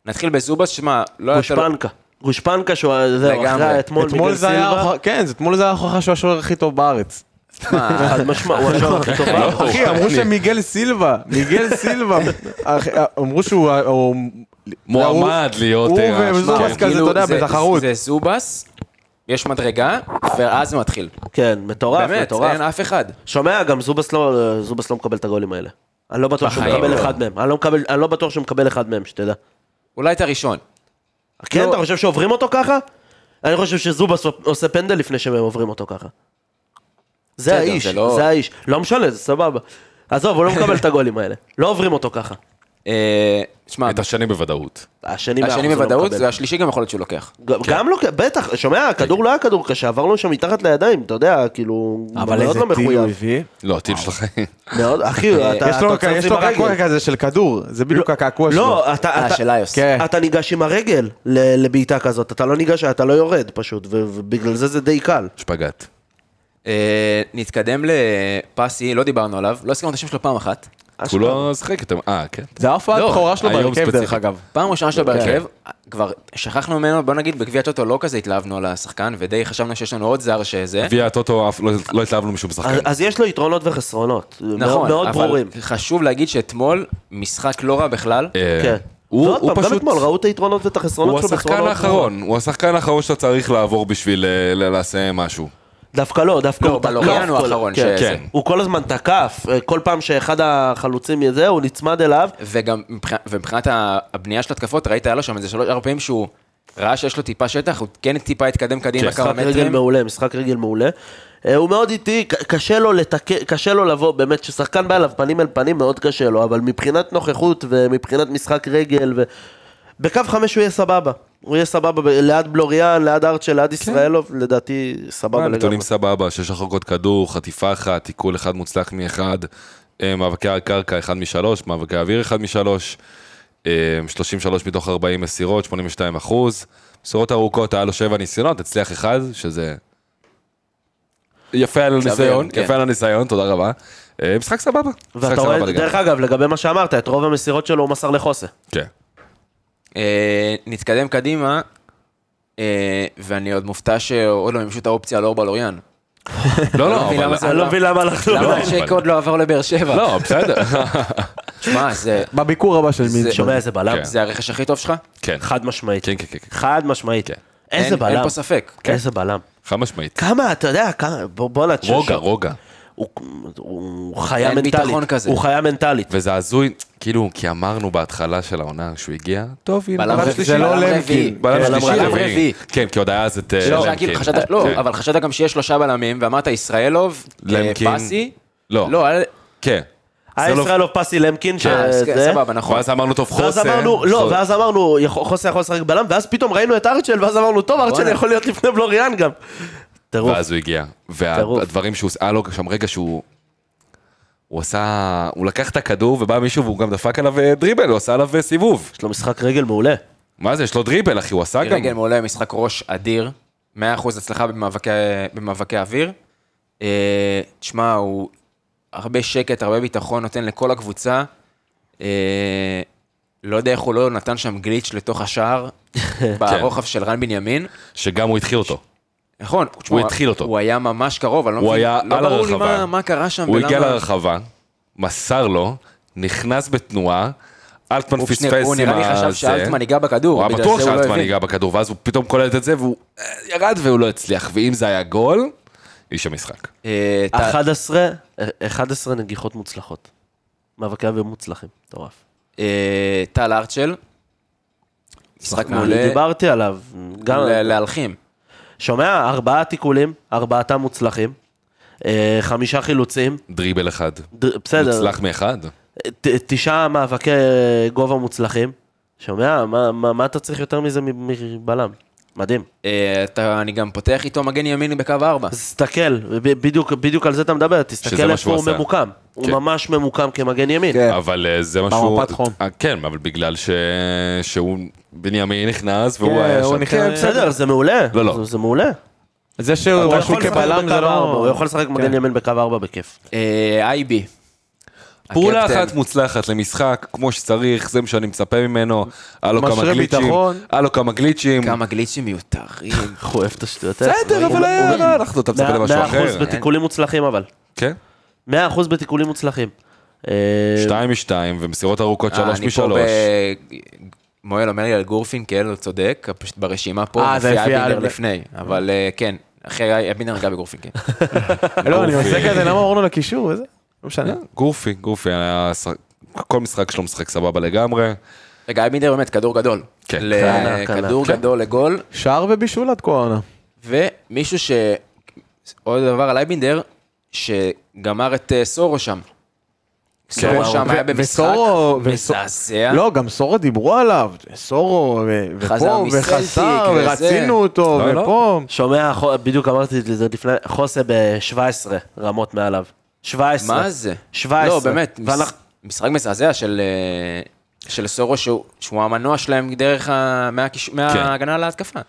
A: נתחיל בזובס, שמע, לא היה...
E: גושפנקה. גושפנקה שהוא זהו,
A: לגמרי.
E: אחרי אתמול
F: אתמול
E: מיגל
F: זה היה
E: סילבה.
F: ההוכחה- כן, זה- אתמול זה היה ההוכחה שהוא השוער הכי טוב בארץ.
E: חד משמע, הוא השוער הכי
A: (laughs)
E: טוב. בארץ.
F: אחי, אמרו שמיגל סילבה, מיגל (laughs) סילבה, אח- אה, אמרו שהוא... ה- הוא-
G: מועמד להיות...
F: הוא
G: אה,
F: וזובס
G: כן.
F: כזה, אתה יודע,
A: לא- כאילו, זה-
F: בתחרות.
A: זה זובס, יש מדרגה, ואז מתחיל.
E: כן, מטורף,
A: באמת,
E: מטורף.
A: אין אף אחד.
E: שומע, גם זובס לא, זובס לא מקבל את הגולים האלה. אני לא בטוח שהוא
A: בחיים
E: מקבל
A: לא.
E: אחד מהם. אני לא מקבל- אני לא בטוח שהוא מקבל אחד מהם, שתדע.
A: אולי את הראשון.
E: כן, אתה חושב שעוברים אותו ככה? אני חושב שזובס עושה פנדל לפני שהם עוברים אותו ככה. זה
A: בסדר,
E: האיש,
A: זה לא-
E: זה האיש. לא משנה, זה סבבה. עזוב, הוא לא מקבל את הגולים האלה. לא עוברים אותו ככה.
A: אה, שמע,
G: את השני בוודאות.
E: השני מאה
A: השני
E: אחוז הוא לא
A: בוודאות,
E: מקבל.
A: והשלישי גם יכול להיות שהוא לוקח.
E: גם- גם לא, בטח,
A: כן.
E: שומע, הכדור לא היה כדור קשה, עבר לו שם מתחת לידיים, אתה יודע, כאילו,
F: אבל
E: מאוד
F: איזה
E: לא
F: טיל הוא
E: מחויב.
F: הביא.
G: לא, טיל שלכם. (laughs)
E: מאוד, אחי,
A: (laughs)
E: אתה
F: יש לו-
E: אתה
F: יש
E: עוצר
F: לו
E: עם הרגל.
F: קעקוע כזה של כדור, זה בדיוק הקעקוע שלו.
E: לא, אתה,
A: אה,
E: אתה,
A: של איוס.
F: כן.
E: אתה ניגש עם הרגל ל- לבעיטה כזאת, אתה לא ניגש, אתה לא יורד פשוט, ו- ובגלל זה זה די קל.
G: שפגאט.
A: אה, נתקדם לפסי, לא דיברנו עליו, לא הזכרנו את השם שלו פעם אחת.
G: הוא לא שחק איתם. אה, כן.
F: זה ההופעה
A: לא,
F: הבכורה שלו
G: היום
F: בהרכב, דרך
G: ספציפית.
F: אגב.
A: פעם ראשונה
E: לא,
A: שלו
E: כן.
A: בהרכב, כבר שכחנו ממנו, בוא נגיד, בגביע הטוטו לא כזה התלהבנו על השחקן, ודי חשבנו שיש לנו עוד זר שזה.
G: גביע הטוטו, אף- לא- לא התלהבנו משום שחקן.
E: אז, אז יש לו יתרונות וחסרונות, מאוד,
A: נכון,
E: מאוד
A: אבל
E: ברורים.
A: חשוב להגיד שאתמול, משחק לא רע בכלל.
G: אה,
E: כן.
G: הוא
E: ועוד
G: הוא
E: פעם, גם
G: פשוט...
E: אתמול ראו את היתרונות ואת
G: הוא
E: החסרונות שלו בצורה לא
G: השחקן
E: מאוד ברורה.
G: האחרון, הוא השחקן האחרון שאתה צריך לעבור בשביל אה, ל- לסיים משהו.
E: דווקא לא, דווקא
A: לא,
E: הוא תקף.
A: בלוריאן הוא
E: כל-
A: האחרון שזה.
E: כן.
G: כן.
E: הוא כל הזמן תקף, אה, כל פעם שאחד החלוצים יזה, הוא נצמד אליו,
A: וגם מבח- ומבחינת ה- הבנייה של התקפות, ראית, היה לו שם איזה שלוש, ארבע פעמים שהוא ראה שיש לו טיפה שטח, הוא כן טיפה התקדם קדימה
G: כן,
A: כמה
E: משחק רגל
A: מטרים.
E: מעולה, משחק רגל מעולה. אה, הוא מאוד איטי, ק- קשה לו לתק... קשה לו לבוא, באמת, כששחקן בא אליו פנים אל פנים מאוד קשה לו, אבל מבחינת נוכחות ומבחינת משחק רגל, ו... בקו חמש הוא יהיה סבבה. הוא יהיה סבבה ב... ליד בלוריאן, ליד ארצ'ל,
A: כן.
E: ליד ישראלוב, לדעתי סבבה לגמרי.
G: אה, נתונים סבבה, שש הרחקות כדור, חטיפה אחת, תיקול אחד מוצלח מאחד, אה, מאבקי הקרקע אחד משלוש, מאבקי האוויר אחד משלוש, אה, 33 מתוך 40 מסירות, 82 אחוז. מסירות ארוכות, היה לו שבע ניסיונות, הצליח אחד, שזה... יפה על הניסיון,
A: כן.
G: יפה על הניסיון, תודה רבה. אה, משחק סבבה. משחק
E: ואתה רואה,
G: סבבה
E: דרך
G: לגמרי.
E: אגב, לגבי מה שאמרת, את רוב המסירות שלו הוא מסר לחוסה.
G: כן.
A: אה, נתקדם קדימה, אה, ואני עוד מופתע שעוד לא מימשו את האופציה על אור בלוריאן.
G: לא, לא,
A: מבין למה
G: אבל...
A: זה- אני לא מבין
E: למה אנחנו...
A: למה
G: אבל-
A: הצ'ק עוד לא עבר לבאר שבע?
G: לא, בסדר.
A: שמע, זה...
F: בביקור הבא של מינצ'ן.
E: שומע איזה בלם?
G: כן.
A: זה הרכש הכי טוב שלך?
E: (laughs)
G: כן,
E: חד משמעית.
G: כן, כן, כן, כן.
E: חד משמעית. איזה
A: אין-
E: בלם.
A: אין פה ספק. כן.
E: איזה בלם.
G: חד משמעית.
E: כמה, אתה יודע, כמה, בוא- בוא'נה, ש-
G: רוגע,
E: ש-
G: רוגע.
E: הוא, הוא חיה
A: אין
E: מנטלית.
A: ביטחון כזה.
E: הוא חיה מנטלית.
G: וזה הזוי, כאילו, כי אמרנו בהתחלה של העונה, שהוא הגיע, טוב, הנה,
A: בלם רביעי.
F: זה לא
A: בלם
F: למקין.
A: רביעי.
G: כן, בלם
E: בלם
G: שלישי,
A: רביעי.
G: רביעי. כן, כי עוד היה אז את... אה, כן.
A: לא,
G: למקין.
A: כאילו חשבת, לא, אבל חשבת גם שיש שלושה בלמים, ואמרת ישראלוב,
G: למקין.
A: אה, פסי,
G: לא.
A: לא, היה-
G: כן.
E: היה
G: זה לא-
E: ישראל אוף פסי למקין,
A: אה,
E: שזה...
A: סבבה, נכון.
G: ואז אמרנו, טוב, חוסן.
E: ואז אמרנו, לא,
G: חוסן.
E: ואז אמרנו, יכול- חוסן יכול לשחק בלם, ואז פתאום ראינו את ארצ'ל, ואז אמרנו, טוב, ארצ'ל
A: בואנה.
E: יכול להיות לפני בלוריאן גם. טירוף.
G: ואז הוא הגיע.
E: טירוף.
G: והדברים שהוא... היה לו שם רגע שהוא... הוא עשה... הוא לקח את הכדור ובא מישהו והוא גם דפק עליו אה, דריבל, הוא עשה עליו אה, סיבוב.
E: יש לו משחק רגל מעולה.
G: מה זה, יש לו דריבל, אחי, הוא עשה גם...
A: רגל כן. מעולה, משחק ראש אדיר, 100% הצלחה במאבקי- במאבקי אוויר. אה, תשמע, הוא הרבה שקט, הרבה ביטחון נותן לכל הקבוצה. אה, לא יודע איך הוא לא נתן שם גליץ' לתוך
G: (laughs)
A: השער,
G: כן.
A: ברוחב של רן בנימין.
G: שגם הוא התחיל אותו.
A: נכון, תשמע,
G: התחיל אותו.
A: הוא היה ממש קרוב, אני לא
G: הוא
A: מבין,
G: היה
A: לא
G: על
A: ברור לי
G: הרחבה.
A: מה- מה קרה שם
G: הוא הגיע
A: ולמה-
G: לרחבה, מסר לו, נכנס בתנועה, אלטמן
A: הוא
G: פספס
A: שני- הוא
G: עם
A: נראה לי חשב
G: הזה.
A: שאלטמן ייגע בכדור,
G: הוא היה
A: בגלל
G: בטוח
A: זה הוא לא
G: שאלטמן
A: הבין.
G: ייגע בכדור, ואז הוא פתאום קולט את זה, והוא אה, ירד והוא לא הצליח. ואם זה היה גול, איש המשחק.
A: אה, ת-
E: 11, 11 נגיחות מוצלחות. מאבקי אוויר מוצלחים, מטורף.
A: אה, טל ארצ'ל, משחק מעולה,
E: דיברתי עליו, גם...
A: ל- להלחים.
E: שומע? ארבעה תיקולים, ארבעתם מוצלחים. אה, חמישה חילוצים,
G: דריבל אחד.
E: ד- בסדר.
G: מוצלח מאחד.
E: ת- תשעה מאבקי גובה מוצלחים. שומע? מה, מה, מה אתה צריך יותר מזה מ- מבלם? מדהים.
A: אה, אתה- אני גם פותח איתו מגן ימיני בקו ארבע.
E: אז תסתכל, ב- בדיוק, בדיוק על זה אתה מדבר,
G: שזה
E: תסתכל
G: מה
E: איפה
G: שהוא
E: הוא
G: עשה.
E: ממוקם. הוא
G: כן.
E: ממש ממוקם כמגן ימין.
F: כן.
G: אבל אה, זה משהו...
F: במפת חום.
G: כן, אבל בגלל ש... שהוא... בנימין נכנס והוא
F: כן,
G: היה
F: הוא
G: שם.
F: נכנס.
E: כן, בסדר, זה מעולה.
G: לא, לא.
E: זה, זה מעולה.
F: זה
E: הוא
F: שהוא
E: יכול
F: רשום
E: לשחק
F: כבלם
E: בקו
F: זה
E: ארבע, הוא
F: לא...
E: יכול לשחק מגן ימין בקו ארבע בכיף.
A: אה, אייבי.
G: פעולה
A: הקפטן.
G: אחת מוצלחת למשחק, כמו שצריך, זה מה שאני מצפה ממנו. היה לו כמה
F: משרה
G: גליצ'ים,
F: ביטחון.
G: היה לו כמה גליצ'ים.
A: כמה גליצ'ים מיותרים.
E: איך הוא אוהב את השטויות האלה.
G: בסדר, אבל היה, לא, אנחנו, אתה מצפה למשהו אחר.
E: 100% אה, בתיקולים מוצלחים אבל.
G: כן,
E: 100% בתיקולים מוצלחים. אה,
G: שתיים משתיים, ומסירות ארוכות שלוש משלוש.
A: אני פה אה, ב... מואל אומר לי על גורפינקל, הוא צודק, פשוט ברשימה פה
F: אה, זה
A: מופיע
F: לפי
A: אבינר
F: ה-
A: לפני, אבל אה, כן, אחרי אבינר נגע
F: (laughs)
A: בגורפינקל.
F: לא, אני עושה כזה, למה אורנו לקישור? וזה? לא משנה.
G: גורפי, גורפי היה... שח- כל משחק שלו משחק סבבה לגמרי.
A: רגע, אבינר באמת כדור גדול.
G: כן.
E: קנה, קנה,
A: לכדור
E: כן.
A: גדול לגול,
F: שער ובישול עד כה העונה.
A: ומישהו ש... עוד דבר על אייבינדר, שגמר את אה, סורו שם.
G: כן.
A: סורו שם היה
F: ו-
A: במשחק
F: וסורו- וסו-
A: מזעזע.
F: לא, גם סורו דיברו עליו, סורו, ו-
A: חזר
F: ופה,
A: מסלטיק,
F: וחסר,
A: וזה.
F: ורצינו אותו,
G: לא, לא.
F: ופה.
E: שומע, חו- בדיוק אמרתי את זה לפני, חוסה ב-17 רמות מעליו. 17.
A: מה זה?
E: 17.
A: לא, באמת, מש-
E: ואנחנו-
A: משחק מזעזע של... אה, של סורו שהוא, שהוא המנוע שלהם דרך ה... מהכיש...
G: כן.
A: מההגנה להתקפה.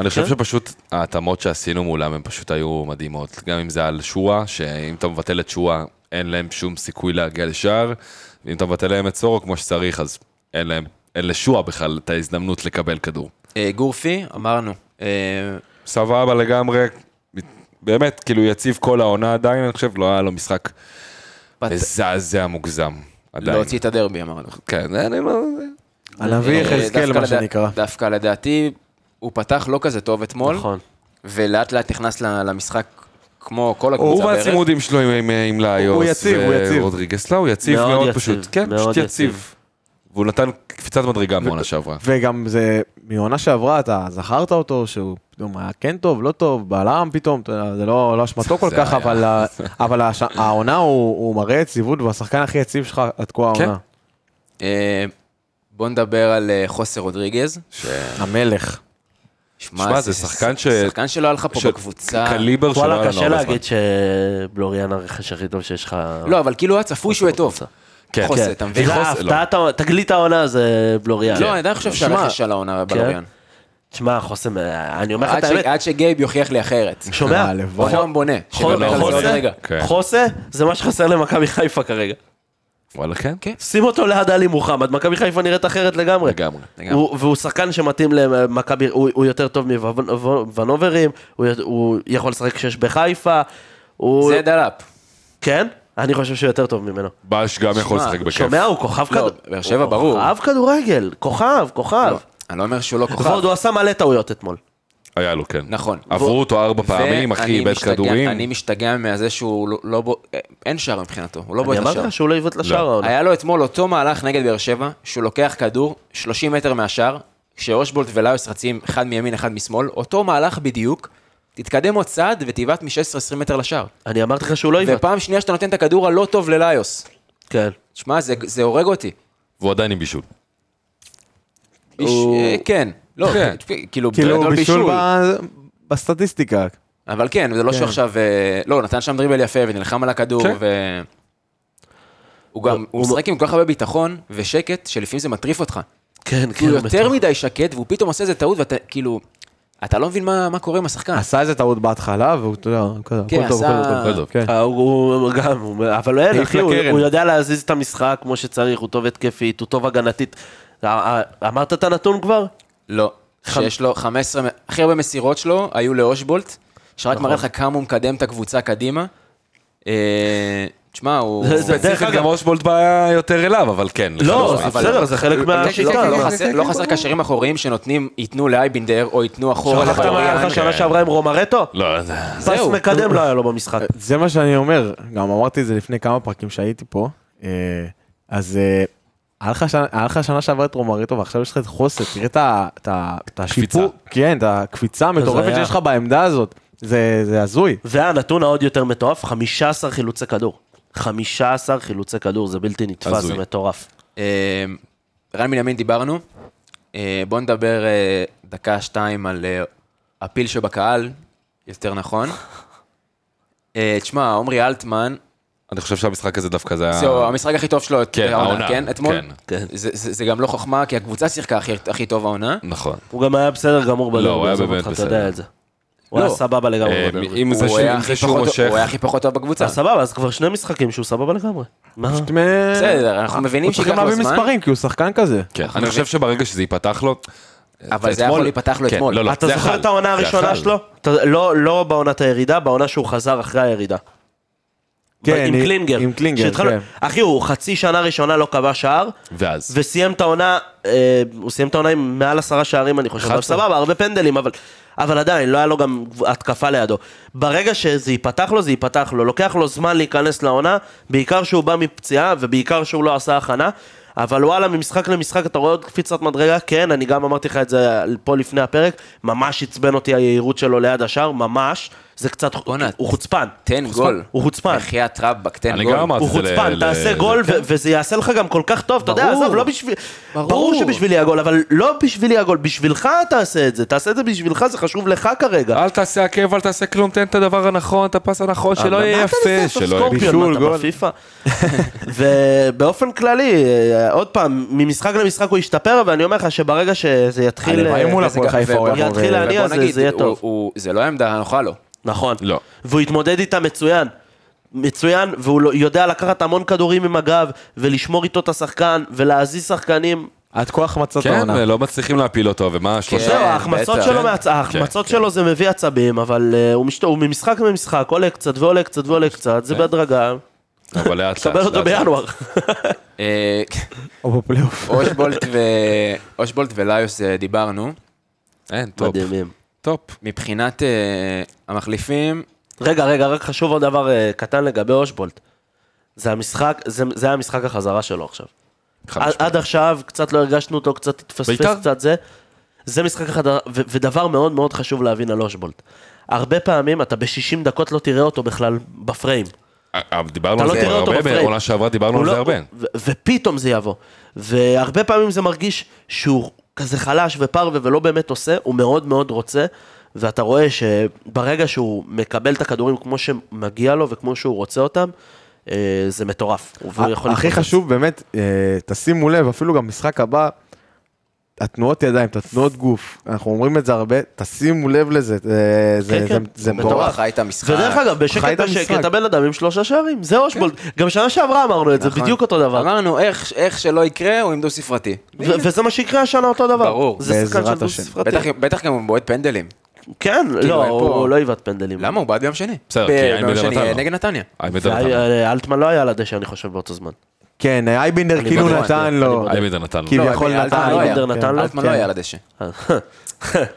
G: אני חושב שפשוט ההתאמות שעשינו מולם הן פשוט היו מדהימות. גם אם זה על שואה, שאם אתה מבטל את שואה, אין להם שום סיכוי להגיע לשער, ואם אתה מבטל להם את סורו כמו שצריך, אז אין להם, אין לשואה בכלל את ההזדמנות לקבל כדור.
A: אה, גורפי, אמרנו, אה,
G: סבבה לגמרי, באמת, כאילו יציב כל העונה עדיין, אני חושב, לא היה לו משחק
A: בת-
G: מזעזע מוגזם. עדיין.
A: להוציא את הדרבי, אמרנו.
G: כן, אני לא...
F: הנביא
A: אה,
F: יחזקאל,
A: דווקא
F: מה
A: לדע-
F: שנקרא.
A: דווקא לדעתי, הוא פתח לא כזה טוב אתמול,
E: נכון.
A: ולאט לאט נכנס ל- למשחק כמו כל הקבוצה
G: הוא
A: בערך.
G: והצימודים שלו עם- עם- עם לאיוס.
F: הוא יציב, הוא יציב.
G: ורודריגס, לא, הוא יציב
E: מאוד
G: מאוד
E: יציב,
G: פשוט. כן,
E: מאוד
G: פשוט יציב.
E: יציב.
G: והוא נתן קפיצת מדרגה מעונה שעברה.
F: וגם זה, מעונה שעברה, אתה זכרת אותו, שהוא פתאום היה כן טוב, לא טוב, בלם פתאום, אתה יודע, זה לא לא אשמתו כל
G: זה
F: כך,
G: היה.
F: אבל ה- אבל הש- העונה הוא הוא מראה יציבות, והוא השחקן הכי יציב שלך עד כה
G: כן.
F: העונה.
A: אה, בוא נדבר על אה, חוסר רודריגז.
F: המלך.
G: שמע, זה שחקן ש-
A: שחקן שלא היה לך פה
G: של-
A: בקבוצה.
G: קליבר
A: לא
G: שלא היה
E: וואלה,
G: לנו
E: קשה
G: הרבה זמן.
E: להגיד שבלוריאן הרכש הכי טוב שיש לך.
A: לא, אבל כאילו היה צפוי שהוא יהיה טוב.
G: כן,
A: חוסר,
G: כן.
A: אתה מבין?
E: זה
G: חוס-
E: ההפתעת, העונה- תגלית העונה זה בלוריאן.
A: לא, אני עדיין חושב שהרכש של העונה בלוריאן.
E: תשמע, חוסם, אני אומר כן. לך את
A: עד ש-
E: האמת,
A: עד שגייב יוכיח לי אחרת.
E: שומע?
F: הלוואי.
A: חום בונה. שנדבר על זה עוד
E: חוסה,
A: רגע.
G: כן.
E: חוסה, זה מה שחסר למכבי חיפה כרגע.
G: וואלה, כן?
A: כן.
E: שים אותו ליד עלי מוחמד, מכבי חיפה נראית אחרת לגמרי.
G: לגמרי.
E: הוא- והוא שחקן שמתאים למכבי, הוא הוא יותר טוב מוונוברים, הוא י- הוא יכול לשחק שש בחיפה, הוא...
A: זה דלאפ.
E: כן? אני חושב שהוא יותר טוב ממנו.
G: בש גם יכול
A: שמע,
G: לשחק בכיף.
E: שומע, הוא כוכב
A: לא,
E: כדורגל.
A: באר שבע ברור.
E: כוכב כדורגל, כוכב, כוכב.
A: לא, אני לא אומר שהוא לא
E: ועוד
A: כוכב.
E: הוא עשה מלא טעויות אתמול.
G: היה לו, כן.
A: נכון.
G: עברו אותו ארבע פעמים,
A: ואני
G: אחי, איבד
A: משתגע- אני
G: כדורים.
A: משתגע מזה שהוא לא- לא בו... אין שער מבחינתו, הוא לא
E: אני
A: בועט
E: אמרתי
A: לשער.
E: לך שהוא לא עיוות לשער
G: לא.
E: העונה.
A: היה לו אתמול אותו מהלך נגד באר שבע, שהוא לוקח כדור 30 מטר מהשער, כשאושבולט ולאוס רצים אחד מימין, אחד משמאל, אותו מהלך בדיוק, תתקדם עוד צעד ותבעט מ-16-20 מטר לשער.
E: אני אמרתי לך שהוא לא עיוות.
A: ופעם שנייה שאתה נותן את הכדור הלא טוב ללאיוס.
E: כן.
A: שמע, זה, זה הורג אותי.
G: והוא עדיין עם בישול.
A: איש,
E: הוא-
A: אה, כן. לא,
G: כן.
A: (laughs) כאילו,
F: כאילו
A: גדול
F: בישול ב- בסטטיסטיקה.
A: אבל כן, זה לא שהוא עכשיו... אה, לא, הוא נתן שם דריבל יפה ונלחם על הכדור,
G: כן.
A: ו... הוא גם, הוא משחק עם כל כך הרבה ביטחון ושקט, שלפעמים זה מטריף אותך.
E: כן,
A: כי
E: כן.
A: הוא יותר
E: בטוח.
A: מדי שקט, והוא פתאום עושה איזה טעות, ואתה כאילו... אתה לא מבין מה מה קורה עם השחקן.
F: עשה איזה טעות בהתחלה, והוא, אתה יודע, כזה,
A: כן,
F: הכל טוב,
A: עשה-
F: הכל טוב, הכל טוב. כן.
E: אה, הוא הוא גם, הוא- אבל אין,
F: העיף
E: אחי, הוא-
F: לקרן.
E: הוא יודע להזיז את המשחק כמו שצריך, הוא טוב התקפית, הוא טוב הגנתית. אה, אה, אמרת את הנתון כבר?
A: לא. שיש לו 15... מ- הכי הרבה מסירות שלו היו לאושבולט, שרק
F: נכון.
A: מראה לך כמה הוא מקדם את הקבוצה קדימה. אה, תשמע,
F: (laughs)
A: הוא...
E: זה- זה-
G: ספציפית
E: אגב-
G: גם אושבולט בא יותר אליו, אבל כן.
E: לא,
G: לחלוטין.
E: זה
A: אבל-
E: בסדר, זה חלק מה...
A: תקשיב,
E: לא,
A: לא
E: לא.
A: חסר- לא חסר קשרים אחוריים שנותנים, ייתנו לאייבינדר, או ייתנו אחורה
E: שכחת מה היה
A: לבלוריאן.
G: כן.
E: לך שנה שעברה עם רומרטו?
G: לא, זה...
E: פס מקדם לא היה לו במשחק.
F: זה מה שאני אומר, גם אמרתי את זה לפני כמה פרקים שהייתי פה, אה, אז אה, היה לך שנה- היה לך שנה שעברה את רומריטו, ועכשיו יש לך את חוסר, תראה את ה- את ה- את השיפור, כן, את הקפיצה המטורפת
E: הזיה.
F: שיש לך בעמדה הזאת, זה זה הזוי.
E: והנתון העוד יותר מטורף, 15 חילוצי כדור. 15 חילוצי כדור, זה בלתי נתפס,
G: הזוי.
E: זה מטורף.
A: אה, רן בנימין דיברנו, אה, בואו נדבר אה, דקה, שתיים על אה, הפיל שבקהל, יותר נכון. אה, תשמע, עמרי אלטמן,
G: אני חושב שהמשחק הזה דווקא זה היה...
A: זהו המשחק הכי טוב שלו, את-
G: אה. כן, העונה,
A: כן, אתמול.
G: כן.
E: כן.
A: זה- זה זה גם לא חוכמה, כי הקבוצה שיחקה הכי- הכי טוב העונה.
G: נכון.
E: הוא גם היה בסדר גמור בדרבי,
G: לא, הוא היה
E: עזוב
G: באמת
E: אותך, אתה
G: בסדר.
E: יודע את זה. הוא היה
A: לא.
E: סבבה לגמרי
G: אה,
E: בדרבי.
G: אם זה
A: הוא
G: שהוא-
A: היה
G: אם
A: הכי
G: זה שהוא
A: פחות-
G: מושך...
A: הוא היה הכי פחות טוב בקבוצה.
E: אז סבבה, אז כבר שני משחקים שהוא סבבה לגמרי. מה?
A: בסדר, אנחנו מבינים
F: הוא צריך גם
A: שייקח לו
F: להביא
A: זמן,
F: מספרים, כי הוא שחקן כזה.
G: כן, אני חושב שברגע שזה ייפתח לו...
A: אבל זה
G: אתמול-
A: יכול להיפתח לו
G: כן,
A: אתמול.
G: לא, לא,
E: אתה
G: זה
E: זוכר
G: יכל,
E: את העונה
G: זה
E: הראשונה
G: יכל.
E: שלו? אתה- לא- לא בעונת הירידה, בעונה שהוא חזר אחרי הירידה.
F: כן,
E: עם קלינגר.
F: עם קלינגר,
E: שהתחלנו-
F: כן.
E: אחי, הוא חצי שנה ראשונה לא כבש שער,
G: ואז.
E: וסיים את העונה, אה, הוא סיים את העונה עם מעל עשרה שערים, אני חושב. אבל
G: 11.
E: סבבה, הרבה פנדלים, אבל, אבל עדיין, לא היה לו גם התקפה לידו. ברגע שזה ייפתח לו, זה ייפתח לו. לוקח לו זמן להיכנס לעונה, בעיקר שהוא בא מפציעה, ובעיקר שהוא לא עשה הכנה. אבל וואלה, ממשחק למשחק אתה רואה עוד קפיצת מדרגה, כן, אני גם אמרתי לך את זה פה לפני הפרק, ממש עצבן אותי היהירות שלו ליד השער, ממש, זה קצת,
A: בואנה,
E: הוא חוצפן.
A: תן
E: הוא חוצפן,
A: גול.
E: הוא חוצפן.
A: בחייאת רבאק, תן גול.
G: אני גם אמרתי
E: הוא
G: את זה ל-
E: חוצפן,
G: ל-
E: תעשה
G: ל- כן.
E: גול, ו- וזה יעשה לך גם כל כך טוב, אתה יודע,
A: ברור.
E: עזוב, לא בשביל...
A: ברור.
E: ברור שבשבילי הגול, אבל לא בשבילי הגול, בשבילך תעשה את זה, תעשה את זה בשבילך, זה חשוב לך כרגע.
G: אל תעשה עקב, אל תעשה כלום, תן את הדבר הנכון, את הפס הנכון, שלא
E: אבל
G: לא יהיה
E: מה אתה
G: יפה.
E: מנסה לעשות
G: שלא יהיה...
E: סקורפיון,
F: בישול,
E: מה,
F: גול.
E: אתה בפיפא? (laughs) ובאופן כללי, אה, עוד פעם, ממשחק למשחק הוא ישתפר, ואני אומר לך שברגע שזה יתחיל...
F: הלוואי
E: אה,
F: מול
A: וזה
F: הפועל
A: כן, גם-
F: חיפה הוא
A: ובוא
F: יבוא
E: נתחיל
F: ו-
E: להניע.
A: ובוא
E: זה-
A: נגיד,
E: זה יהיה
A: הוא-
E: טוב.
A: הוא- זה לא העמדה הנוחה לו.
E: נכון.
G: לא.
E: והוא התמודד איתה מצוין. מצוין, והוא לא- יודע לקחת המון כדורים עם הגב, ולשמור איתו את השחקן, ולהזיז שחקנים.
F: עד כה החמצת
G: כן,
F: העונה.
G: לא מצליחים להפיל אותו,
E: כן.
G: ומה, שלושה?
E: זהו, ההחמצות
A: כן, בטח.
E: שלו,
A: כן,
E: מהצ- ההחמצות שלו זה מביא עצבים, אבל אה, הוא משת- הוא ממשחק למשחק, עולה קצת ועולה קצת
A: כן.
E: ועולה קצת, זה בהדרגה,
G: אבל לאט לאט.
E: קבל אותו
G: לאט לאט.
A: (laughs)
E: בינואר.
A: אה,
F: או בפלייאוף.
A: אושבולט ו- אושבולט וליוס אה, דיברנו.
G: אין, טופ.
E: מדהימים.
G: טופ.
A: מבחינת אה, המחליפים,
E: רגע, רגע, רק חשוב עוד דבר אה, קטן לגבי אושבולט. זה המשחק, זה זה היה משחק החזרה שלו עכשיו.
G: חד
E: עד,
G: משמעית.
E: עד עכשיו קצת לא הרגשנו אותו, קצת התפספס
G: בית"ר?
E: קצת זה. זה משחק אחד, ו- ודבר מאוד מאוד חשוב להבין על אושבולט. הרבה פעמים אתה ב-60 דקות לא תראה אותו בכלל בפריים.
G: אה, אה, דיברנו
E: אתה
G: על
E: לא
G: זה
E: תראה אותו
G: הרבה,
E: בפריים.
G: בעונה שעברה דיברנו
E: הוא
G: על
E: לא-
G: זה הרבה.
E: ו- ופתאום זה יבוא. והרבה פעמים זה מרגיש שהוא כזה חלש ופרווה ולא באמת עושה, הוא מאוד מאוד רוצה, ואתה רואה שברגע שהוא מקבל את הכדורים כמו שמגיע לו וכמו שהוא רוצה אותם, אה, זה מטורף. והוא יכול
F: הכי
E: להתפוצץ.
F: חשוב באמת, אה, תשימו לב, אפילו גם משחק הבא, התנועות ידיים, את התנועות גוף, אנחנו אומרים את זה הרבה, תשימו לב לזה, זה- זה-
E: כן,
F: זה-
E: כן.
F: זה
A: בורח
F: מטורף.
A: חי את המשחק.
E: ודרך אגב,
F: חי
E: בשקט
F: את המשחק. כן.
E: בשקט, הבן אדם עם שלושה שערים, זה אושבולד. גם שנה שעברה אמרנו את זה,
A: נכון.
E: בדיוק אותו דבר.
A: אמרנו, איך איך שלא יקרה, הוא עם דו ספרתי.
E: ו- וזה מה שיקרה השנה אותו דבר.
A: ברור.
E: זה שחקן של
F: בעזרת
E: דו
F: השם. כאילו,
E: ספרתי.
A: בטח- בטח גם הוא בועט פנדלים.
E: כן, לא,
A: אין פה-
E: הוא לא עיוות פנדלים.
A: למה? הוא בעט ביום שני.
G: בסדר,
A: ב-
G: כי אין
A: ביום
G: בידי
A: שני,
G: נתניה.
A: אה, נגד נתניה.
G: אייבנדר
E: זה
G: נתן לו.
E: היה- אלטמן לא היה על הדשא, אני חושב, באותו זמן.
F: כן, אייבינדר כאילו
A: בטוח,
F: נתן
E: אני
F: לו,
E: בטוח.
G: אייבנדר נתן לו.
F: כביכול
A: לא,
F: נתן לו.
E: אייבינדר
F: כן.
E: נתן לו?
A: אלטמן לא היה על הדשא.
E: (laughs)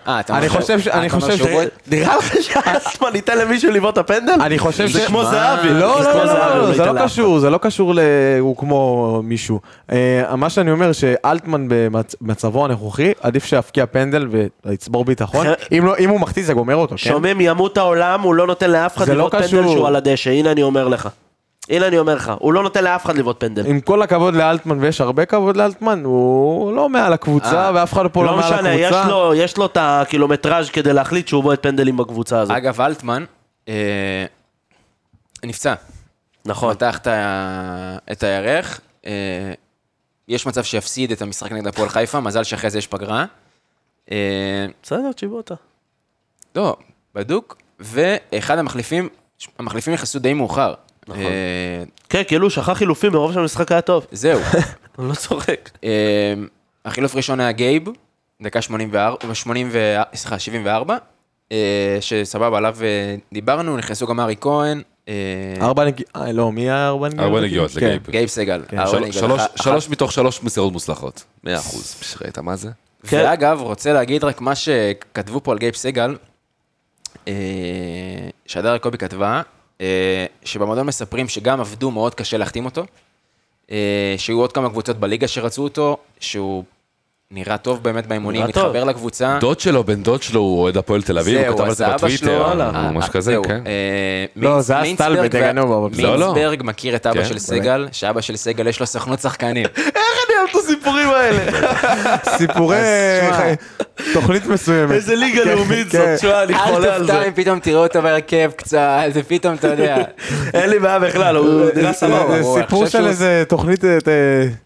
A: אה, אתה
F: אני
A: אומר
F: חושב ש-
A: שהוא-
F: אני
A: אתה אומר
F: חושב
A: שהוא
F: ש-
A: בועט-
E: נראה לך (laughs) שאלטמן ייתן למישהו לבעוט את הפנדל?
F: אה, אני חושב ש...
E: זה כמו זהבי.
F: לא,
E: זה
F: לא,
E: כמו
F: לא,
E: זהבי, כן?
F: לא,
E: הוא
F: לא, זה
E: ייתן
F: לא
E: לאף
F: קשור, זה לא קשור ל... הוא כמו מישהו. אה, מה שאני אומר, שאלטמן במצבו הנוכחי, עדיף שיפקיע פנדל ויצבור ביטחון.
E: אחרי-
F: אם לא- אם הוא מחטיא זה גומר אותו,
E: אחד.
F: כן?
E: שומעים, ימות העולם, הוא לא נותן לאף אחד
F: זה לא
E: לבעוט פנדל
F: קשור.
E: שהוא על הדשא, הנה אני אומר לך. הנה אני אומר לך, הוא לא נותן לאף אחד לבעוט פנדל.
F: עם כל הכבוד לאלטמן, ויש הרבה כבוד לאלטמן, הוא לא מעל הקבוצה,
A: אה,
F: ואף אחד פה לא
E: לא
F: מעל
E: משנה, יש
F: הקבוצה.
E: לו- יש לו את הקילומטראז' כדי להחליט שהוא בועט פנדלים בקבוצה הזאת.
A: אגב, אלטמן אה, נפצע.
E: נכון.
A: פתח את ה- את הירך. אה, יש מצב שיפסיד את המשחק נגד הפועל חיפה, מזל שאחרי זה יש פגרה. אה,
E: בסדר, תשיבו אותה.
A: לא, בדוק. ואחד המחליפים, המחליפים נכנסו די מאוחר. אה,
E: כן, כאילו, שכח חילופים מרוב שהמשחק היה טוב.
A: זהו.
E: הוא לא (laughs) צוחק.
A: אה, החילוף הראשון היה גייב, דקה 84, 80 ו- סליחה, 74, אה, שסבבה, עליו אה, דיברנו, נכנסו גם ארי כהן, אה,
F: ארבע נגיעות, לא, מי היה ארבע נגיעות?
G: ארבע נגיעות
F: כן.
G: לגייב.
A: גייב סגל.
F: כן,
A: אה,
G: של-
E: אוקיי,
A: אורן יגאל,
G: שלוש-
A: אחת-
G: שלוש מתוך שלוש מסירות מוצלחות. מאה אחוז. פש, ראית מה זה?
E: כן.
A: ואגב, רוצה להגיד רק מה שכתבו פה על גייב סגל, אה, שהדר קובי כתבה, אה, שבמועדון מספרים שגם עבדו מאוד קשה להחתים אותו, אה, שהיו עוד כמה קבוצות בליגה שרצו אותו, שהוא נראה טוב באמת באימונים,
E: נראה טוב.
A: מתחבר
E: אה.
A: לקבוצה.
G: דוד שלו, בן דוד שלו, הוא אוהד הפועל תל אביב, הוא
A: זהו,
G: כתב על
A: אז
G: זה
A: אבא שלו,
G: בטוויטר,
E: לא,
A: אה,
G: או משהו
A: אה,
G: כזה,
A: זהו,
G: כן.
A: אה,
F: לא,
A: מינץ-
F: זה היה סטלבט,
A: מינצברג וה-
F: דגנוב, אבל
G: לא, לא.
A: מינצברג מכיר את אבא
G: כן,
A: של
G: באמת.
A: סגל, שאבא של סגל יש לו סוכנות שחקנים.
F: (laughs) סיפורי... תוכנית מסוימת.
E: איזה ליגה לאומית
F: כן.
E: זאת, תשמע, אני
A: אל
E: חולה על
A: תופתע
E: זה.
A: אם פתאום תראו אותו בהרכב קצת, זה פתאום, אתה
E: (laughs)
A: יודע.
E: אין לי בעיה בכלל, הוא נראה סבבה.
F: זה
A: הוא-
F: אה, סיפור
A: אני חושב
F: של
A: שהוא-
F: איזה תוכנית אה, ט-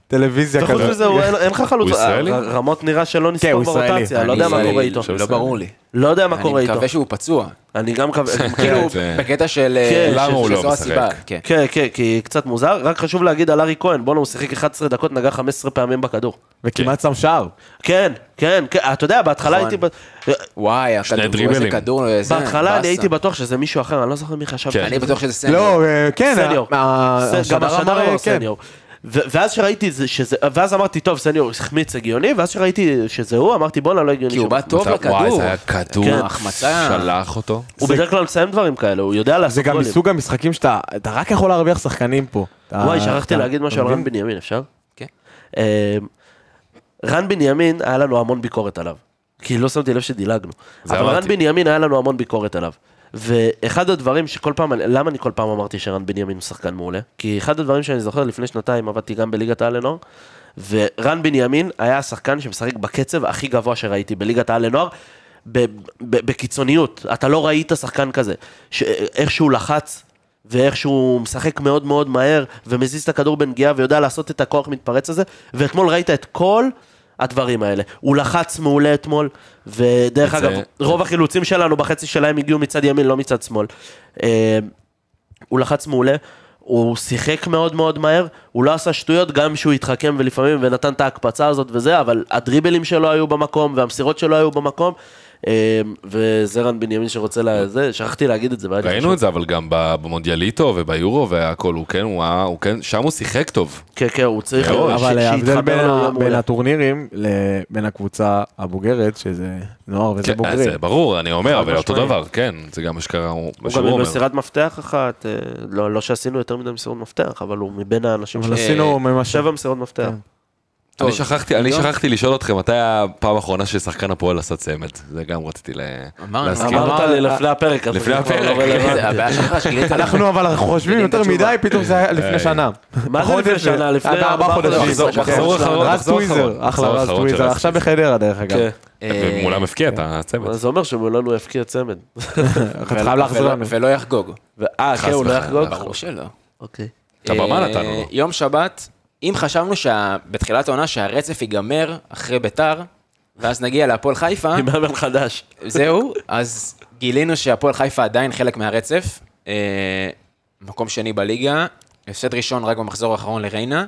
F: טלוויזיה
E: וחוץ
F: כזאת.
E: מזה, הוא- אין אין לך חלוץ. אה,
G: הוא ישראלי?
E: ר- רמות נראה שלא
F: כן,
E: נספור
F: הוא ישראלי.
E: ברוטציה, לא יודע מה
A: אני-
E: קורה איתו.
A: לא ברור לי.
E: לא יודע מה קורה
A: אני
E: איתו.
A: מקווה שהוא פצוע.
E: אני גם
A: (laughs)
E: מקווה.
A: כאילו,
E: כאילו,
G: זה-
A: בקטע של... אה,
E: כן,
A: של-
G: למה הוא
A: שזו
G: לא
A: הסיבה,
G: משחק?
A: כן.
E: כן, כן, כי קצת מוזר. רק חשוב להגיד על ארי כהן, בואנה, הוא שיחק 11 דקות, נגע 15 פעמים בכדור.
F: וכמעט שם שער.
E: כן, כן, כן, אתה יודע, בהתחלה
A: נכון.
E: הייתי... ב-
A: וואי, הכדור, איזה
G: דריבלים.
A: כדור, איזה...
E: בהתחלה אני
A: באסה.
E: הייתי בטוח שזה מישהו אחר, אני לא זוכר מי חשב.
G: כן.
A: אני בטוח שזה אה, סנדל.
F: לא, אה, כן,
E: סניור.
F: ה- ה-
E: ס- גם השדר
F: אמר,
E: אמר
F: כן.
E: סניור. ו- ואז שראיתי זה- שזה, ואז אמרתי, טוב, סניור החמיץ הגיוני, ואז שראיתי שזה הוא, אמרתי, בואנה, לא הגיוני.
A: כי הוא
E: שהוא-
A: בא טוב
G: מצב- וואי,
A: לכדור.
G: זה היה כדור,
E: כן.
A: החמצה.
G: שלח אותו.
E: הוא בדרך כלל מסיים דברים כאלה, הוא יודע
F: זה
E: לעשות
F: גם
E: גולים.
F: מסוג המשחקים שאתה אתה רק יכול להרוויח שחקנים פה. אתה-
E: וואי, שכחתי
F: אה, אתה-
E: להגיד משהו
F: אתה
E: על רן
F: מבין?
E: בנימין, אפשר?
A: כן.
E: אה, רן בנימין, היה לנו המון ביקורת עליו. כי לא שמתי לב שדילגנו. אבל
G: אמרתי.
E: רן בנימין, היה לנו המון ביקורת עליו. ואחד הדברים שכל פעם, למה אני כל פעם אמרתי שרן בנימין הוא שחקן מעולה? כי אחד הדברים שאני זוכר, לפני שנתיים עבדתי גם בליגת האלנור, ורן בנימין היה השחקן שמשחק בקצב הכי גבוה שראיתי בליגת העל לנוער, ב- ב- בקיצוניות. אתה לא ראית שחקן כזה. ש- איך שהוא לחץ, ואיך שהוא משחק מאוד מאוד מהר, ומזיז את הכדור בנגיעה, ויודע לעשות את הכוח מתפרץ הזה, ואתמול ראית את כל... הדברים האלה. הוא לחץ מעולה אתמול, ודרך
G: זה-
E: אגב, רוב החילוצים שלנו בחצי שלהם הגיעו מצד ימין, לא מצד שמאל. אה, הוא לחץ מעולה, הוא שיחק מאוד מאוד מהר, הוא לא עשה שטויות גם שהוא התחכם ולפעמים ונתן את ההקפצה הזאת וזה, אבל הדריבלים שלו היו במקום והמסירות שלו היו במקום. אה, וזה רן בנימין שרוצה לזה, שכחתי להגיד את זה. והיה לי חשוב.
G: לא. ראינו את זה אבל גם ב- במונדיאליטו וביורו והכל, הוא כן, הוא היה, הוא כן, שם הוא שיחק טוב.
E: כן, כן, הוא צריך...
G: מאוד.
E: ש-
F: אבל ההבדל
E: שיתחבר
F: בין
E: לו
F: ה-
E: יהיה
F: בין
E: מעולה.
F: הטורנירים לבין הקבוצה הבוגרת, שזה נוער וזה
G: כן, אז
F: בוגרים.
G: זה ברור, אני אומר,
E: חד
G: אבל אותו
E: משמעית.
G: דבר, כן, זה גם מה שקרה, הוא- מה
E: הוא גם
G: שהוא
E: עם
G: אומר.
E: מסירת מפתח אחת, אה, לא לא שעשינו יותר מדי מסירות מפתח, אבל כן. הוא מבין האנשים
F: אבל
E: ש... אה,
F: עשינו ממש...
E: שבע מסירות מפתח.
G: אני שכחתי, אני שכחתי לשאול אתכם, מתי הפעם האחרונה ששחקן הפועל עשה צמד? זה גם רציתי ל-
A: אמרנו,
G: להזכיר.
A: אמרנו.
E: אמרת לי לפני הפרק, אז
G: אה, לפני
E: זה כבר לא
G: הפרק.
E: רלוונטי.
A: אה, זה הבעיה שלך אה, שגילית לנו.
F: אנחנו אבל חושבים יותר מדי, פתאום זה היה לפני שנה.
G: כן.
E: מה זה
F: פחות
E: לפני
F: או יותר.
E: שנה? לפני
F: עד
E: ארבעה
F: ארבעה חודשים.
G: מחזור-
F: כן.
G: מחזור אחרון,
F: רז
G: מחזור אחרון.
F: טוויזר, אחלה
G: מחזור
F: רז
G: אחרון של
F: טוויזר,
G: רז
F: עכשיו
G: טוויזר.
F: בחדרה דרך אגב.
E: כן.
A: אה,
G: ומולם הפקיע את הצמד.
E: אבל זה אומר שמולנו יפקיע צמד.
F: אתה חייב להחזיר
A: אה, ולא-
F: לנו.
A: ולא יחגוג.
E: אה, כן, הוא לא
G: וחלילה,
E: יחגוג?
G: נכון.
A: ברור שלא.
E: אוקיי.
G: את הבמה
A: אה,
G: נתנו לו.
A: יום שבת, אם חשבנו שה- בתחילת העונה שהרצף ייגמר אחרי ביתר, ואז נגיע להפועל חיפה,
E: עם מאמן חדש.
A: זהו, אז גילינו שהפועל חיפה עדיין חלק מהרצף. אה, מקום שני בליגה, הפסד ראשון רק במחזור האחרון לריינה.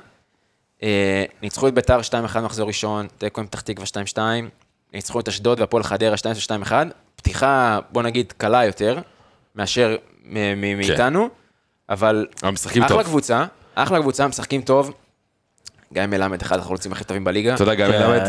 A: אה, ניצחו את ביתר 2-1 מחזור ראשון, תיקו עם פתח תקווה 2-2, ניצחו את אשדוד והפועל חדרה 2-2-1. פתיחה, בוא נגיד, קלה יותר מאשר מ- מ- מאיתנו, אבל
G: הם כן. משחקים
A: אחלה
G: טוב.
A: קבוצה, אחלה קבוצה, משחקים טוב. גיא מלמד, אחד החלוצים הכי טובים בליגה.
G: אתה יודע, גם מלמד.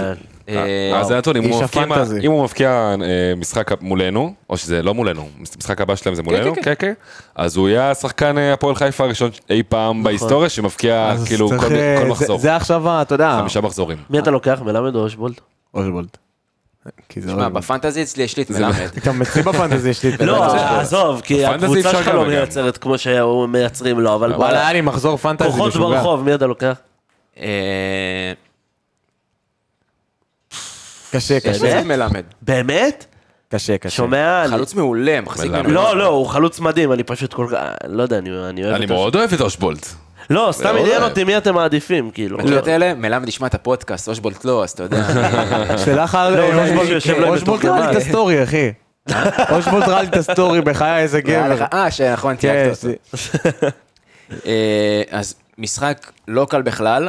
A: אה,
G: אז זה נתון, אם
F: איש
G: הוא מבקיע-
F: הפנטזי.
G: אם הוא מבקיע אה, משחק מולנו, או שזה לא מולנו, משחק הבא שלהם זה מולנו,
A: כן,
G: כן, כן, אז הוא יהיה השחקן אה, הפועל חיפה הראשון אי פעם בהיסטוריה שמבקיע
F: אז
G: כאילו
F: צריך,
G: כל-
F: אה,
G: כל
F: זה-
G: מחזור,
F: זה עכשיו, ה- אתה יודע,
G: חמישה מחזורים.
E: מי אתה לוקח? מלמד או אושבולד?
F: אושבולד. כי זה
A: מה,
F: אושבולד.
A: בפנטזי אצלי יש לי את מלמד.
F: גם אצלי בפנטזי יש לי את
E: לא,
F: אושבולד.
E: עזוב, כי
G: בפנטזי
E: הקבוצה
G: אפשר
E: שלך
G: גם
E: לא
G: וגם.
E: מייצרת כמו שהיו מייצרים לו, אבל
F: וואלה,
E: וואלה,
F: היה לי מחזור פנטזי
E: כוחות
F: משוגע.
E: ברחוב, מי אתה לוקח?
A: אה,
F: קשה,
A: יש
F: קשה,
A: לי את מלמד.
E: באמת?
G: כן.
F: קשה, קשה.
E: שומע? אני-
A: חלוץ מעולה, מחזיק
G: מלמד.
A: ממנו.
E: לא, לא, הוא חלוץ מדהים, אני פשוט כל כך... לא יודע, אני אני אוהב
G: אני
E: אותו.
G: מאוד אוהב את אושבולט.
E: לא, סתם
G: מאוד
E: עניין
G: אוהב.
E: אותי מי אתם מעדיפים, כאילו.
A: בקריאות האלה, מלמד ישמע את הפודקאסט, אושבולט לא, אז אתה
E: (laughs)
A: יודע.
F: שלח על...
E: לא, אושבולט
F: אה,
E: יושב להם
F: אושבולט
E: בתוך
F: ראה לי את
E: הבית.
F: הסטורי, אחי. אושבולט ראה לי את הסטורי, בחיי איזה
A: היה
F: גבר.
A: לך- אה, שנכון,
F: כן,
A: תייגת אותו. אה, אז משחק לא קל בכלל,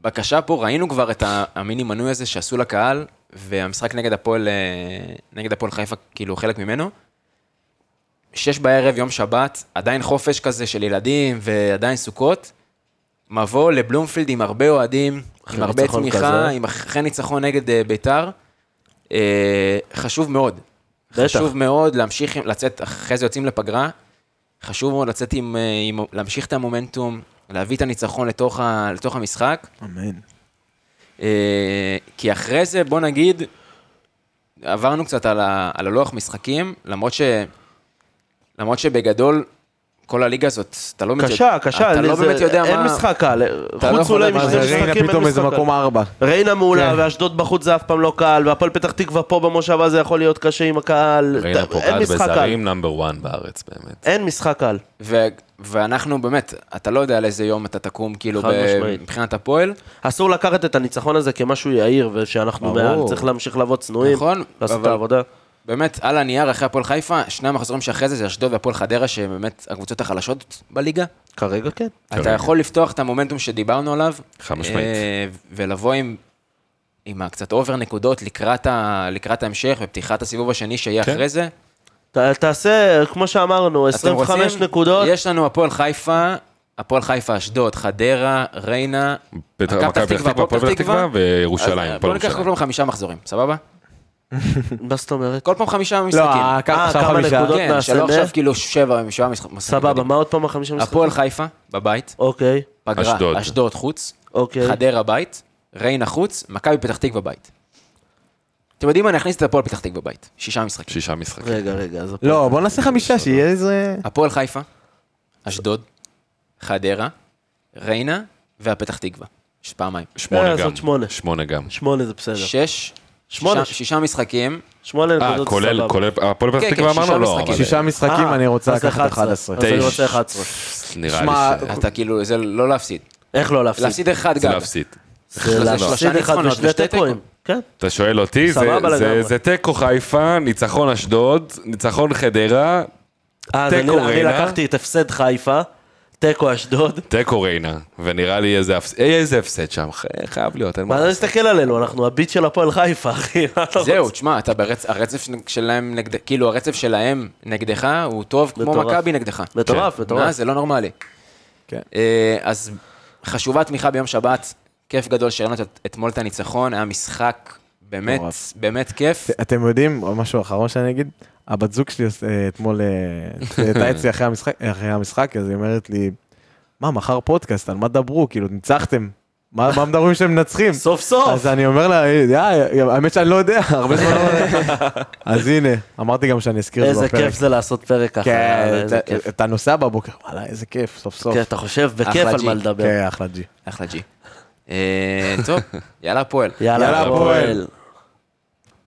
A: ובקשה פה, ראינו כבר את ה- המיני מנוי הזה שעשו לקהל, והמשחק נגד הפועל, אה, נגד הפועל חיפה, כאילו חלק ממנו. שש בערב, יום שבת, עדיין חופש כזה של ילדים ועדיין סוכות. מבוא לבלומפילד עם הרבה אוהדים, עם הרבה
E: ניצחון
A: תמיכה,
E: כזה.
A: עם אחרי ניצחון נגד אה, ביתר. אה, חשוב מאוד.
E: בטח.
A: חשוב מאוד להמשיך, עם- לצאת, אחרי זה יוצאים לפגרה. חשוב מאוד לצאת עם, אה, עם, להמשיך את המומנטום, להביא את הניצחון לתוך, ה, לתוך המשחק.
F: אמן.
A: אה, כי אחרי זה, בוא נגיד, עברנו קצת על, ה, על הלוח משחקים, למרות, ש, למרות שבגדול, כל הליגה הזאת, אתה לא, באמת-
E: קשה, קשה.
A: אתה
E: אני-
A: לא
E: זה-
A: באמת יודע
E: אין
A: מה...
E: משחק קל.
A: לא
E: חוץ
A: יכול
E: אולי
A: לדעת
F: מה
E: משני
F: זה, ריינה
E: משחקים, אין
F: פתאום איזה
E: משחק
F: מקום
E: קל.
F: ארבע.
E: ריינה מעולה,
F: כן.
E: ואשדוד בחוץ זה אף פעם לא קל, והפועל פתח תקווה פה במושב הזה יכול להיות קשה עם הקהל.
G: ראינה
E: אתה-
G: פוגעת
E: אין משחק קל.
G: בזרים נאמבר 1 בארץ, באמת.
E: אין משחק קל.
A: ו, ואנחנו באמת, אתה לא יודע על איזה יום אתה תקום, כאילו,
E: חד
A: ב-
E: משמעית.
A: מבחינת הפועל.
E: אסור לקחת את הניצחון הזה כמשהו יהיר, ושאנחנו
F: ברור.
E: מעל, צריך להמשיך לבוא צנועים.
A: נכון,
E: לעשות את
A: אבל-
E: העבודה.
A: באמת, על הנייר אחרי הפועל חיפה, שני המחזורים שאחרי זה זה אשדוד והפועל חדרה, שהם באמת הקבוצות החלשות בליגה.
E: כרגע כן.
A: אתה יכול לפתוח את המומנטום שדיברנו עליו.
G: חד משמעית.
A: אה, ולבוא עם, עם הקצת אובר נקודות לקראת, ה, לקראת ההמשך ופתיחת הסיבוב השני שיהיה
G: כן.
A: אחרי זה.
E: ת- תעשה, כמו שאמרנו,
A: אתם
E: 25
A: רוצים?
E: נקודות.
A: יש לנו הפועל חיפה, הפועל חיפה, אשדוד, חדרה, ריינה,
G: פתח-
A: מכבי
G: מכבי פתח תקווה, הפועל פתח תקווה
A: אז
G: וירושלים.
A: אה,
G: הפועל
A: בוא ניקח כל
G: ירושלים.
A: פעם חמישה מחזורים, סבבה?
E: מה זאת אומרת?
A: כל פעם חמישה
F: לא,
A: משחקים.
F: הקרקע שלך
E: אה, כמה
F: חמישה.
E: נקודות?
A: כן,
E: נעשה
A: שלא
E: מאה?
A: עכשיו כאילו שבע, שבעה משחקים.
E: סבבה, מה עוד פעם החמישה משחקים?
A: הפועל חיפה, בבית,
E: אוקיי,
A: פגרה,
G: אשדוד.
A: אשדוד חוץ,
E: אוקיי.
A: חדרה בית, ריינה חוץ, מכבי פתח תקווה בית. אתם יודעים מה, נכניס את הפועל פתח תקווה בית. שישה משחקים.
G: שישה משחקים.
E: רגע, רגע, אז הפועל.
F: לא, בוא נעשה חמישה, שיהיה איזה...
A: הפועל חיפה, אשדוד, חדרה, ריינה והפתח תקווה. יש פעמיים.
G: שמונה
E: אז
G: גם.
E: עוד שמונה.
G: שמונה גם.
E: שמונה זה בסדר.
A: שש,
E: לא. שמונה.
A: שישה- שישה משחקים,
E: שמונה
G: אה,
E: נקודות זה
G: כולל,
E: סבבה.
G: כולל, הפועל פתח
A: כן,
G: תקווה
A: כן,
G: אמרנו?
A: שישה
G: לא,
A: משחקים.
G: אבל
F: שישה משחקים,
E: אה,
F: אני רוצה
E: אז
F: לקחת 11.
E: אז אני
G: תשע.
E: רוצה 11.
G: נראה
F: שמע,
G: לי
A: אתה כאילו, זה לא להפסיד.
E: איך לא להפסיד?
A: להפסיד אחד
G: שזה
A: גם.
G: להפסיד.
E: זה
A: שלושה
E: להפסיד אחד
A: ניצחונות
E: ושני
A: ושתי
E: תיקואים.
A: תיקו.
E: כן.
G: אתה שואל אותי, זה-
E: סבבה
G: זה-
E: לגמרי.
G: זה תיקו חיפה, ניצחון אשדוד, ניצחון חדרה,
E: אה, אז אני-
G: תיקו
E: אני
G: ריינה.
E: לקחתי את הפסד חיפה, תיקו אשדוד.
G: תיקו ריינה, ונראה לי איזה הפס- אה, איזה הפסד שם, ח- חייב להיות, אין מה
E: מה אתה
G: לעשות.
E: מסתכל עלינו? אנחנו הביט של הפועל חיפה, אחי. מה אתה
A: זהו,
E: רוצה?
A: תשמע, אתה ברצף, הרצף שלהם נגד, כאילו הרצף שלהם נגדך הוא טוב כמו
E: מטורף.
A: מכבי נגדך.
E: מטורף,
A: מה,
E: מטורף.
A: זה לא נורמלי.
F: כאילו, כן.
A: אה, אז חשובה תמיכה ביום שבת, כיף גדול שראינו את- אתמול את הניצחון, היה משחק באמת,
F: מטורף.
A: באמת כיף.
F: ת- אתם יודעים, עוד משהו אחרון שאני אגיד, הבת זוג שלי אה, אתמול אה,
E: (laughs)
F: הייתה אצלי אחרי המשחק- אחרי המשחק, אז היא אומרת לי, מה, מחר פודקאסט, על מה דברו? כאילו, ניצחתם. מה מה מדברים שאתם מנצחים?
E: סוף סוף.
F: אז אני אומר לה, "אה, האמת שאני לא יודע, (laughs) הרבה זמן לא
E: (laughs)
F: יודע. אז הנה, אמרתי גם שאני אזכיר את זה
E: איזה
F: בפרק.
E: כיף זה לעשות פרק ככה.
F: כן,
E: איזה
F: אתה-
E: כיף.
F: אתה נוסע בבוקר, וואלה, איזה כיף, סוף סוף.
E: כן, אתה חושב בכיף
A: אחלה
E: על
A: ג'י.
E: מה לדבר.
F: כן, אחלה ג'י.
A: אחלה ג'י. אה, טוב, יאללה הפועל.
E: יאללה,
F: (laughs) יאללה, הפועל.
E: הפועל.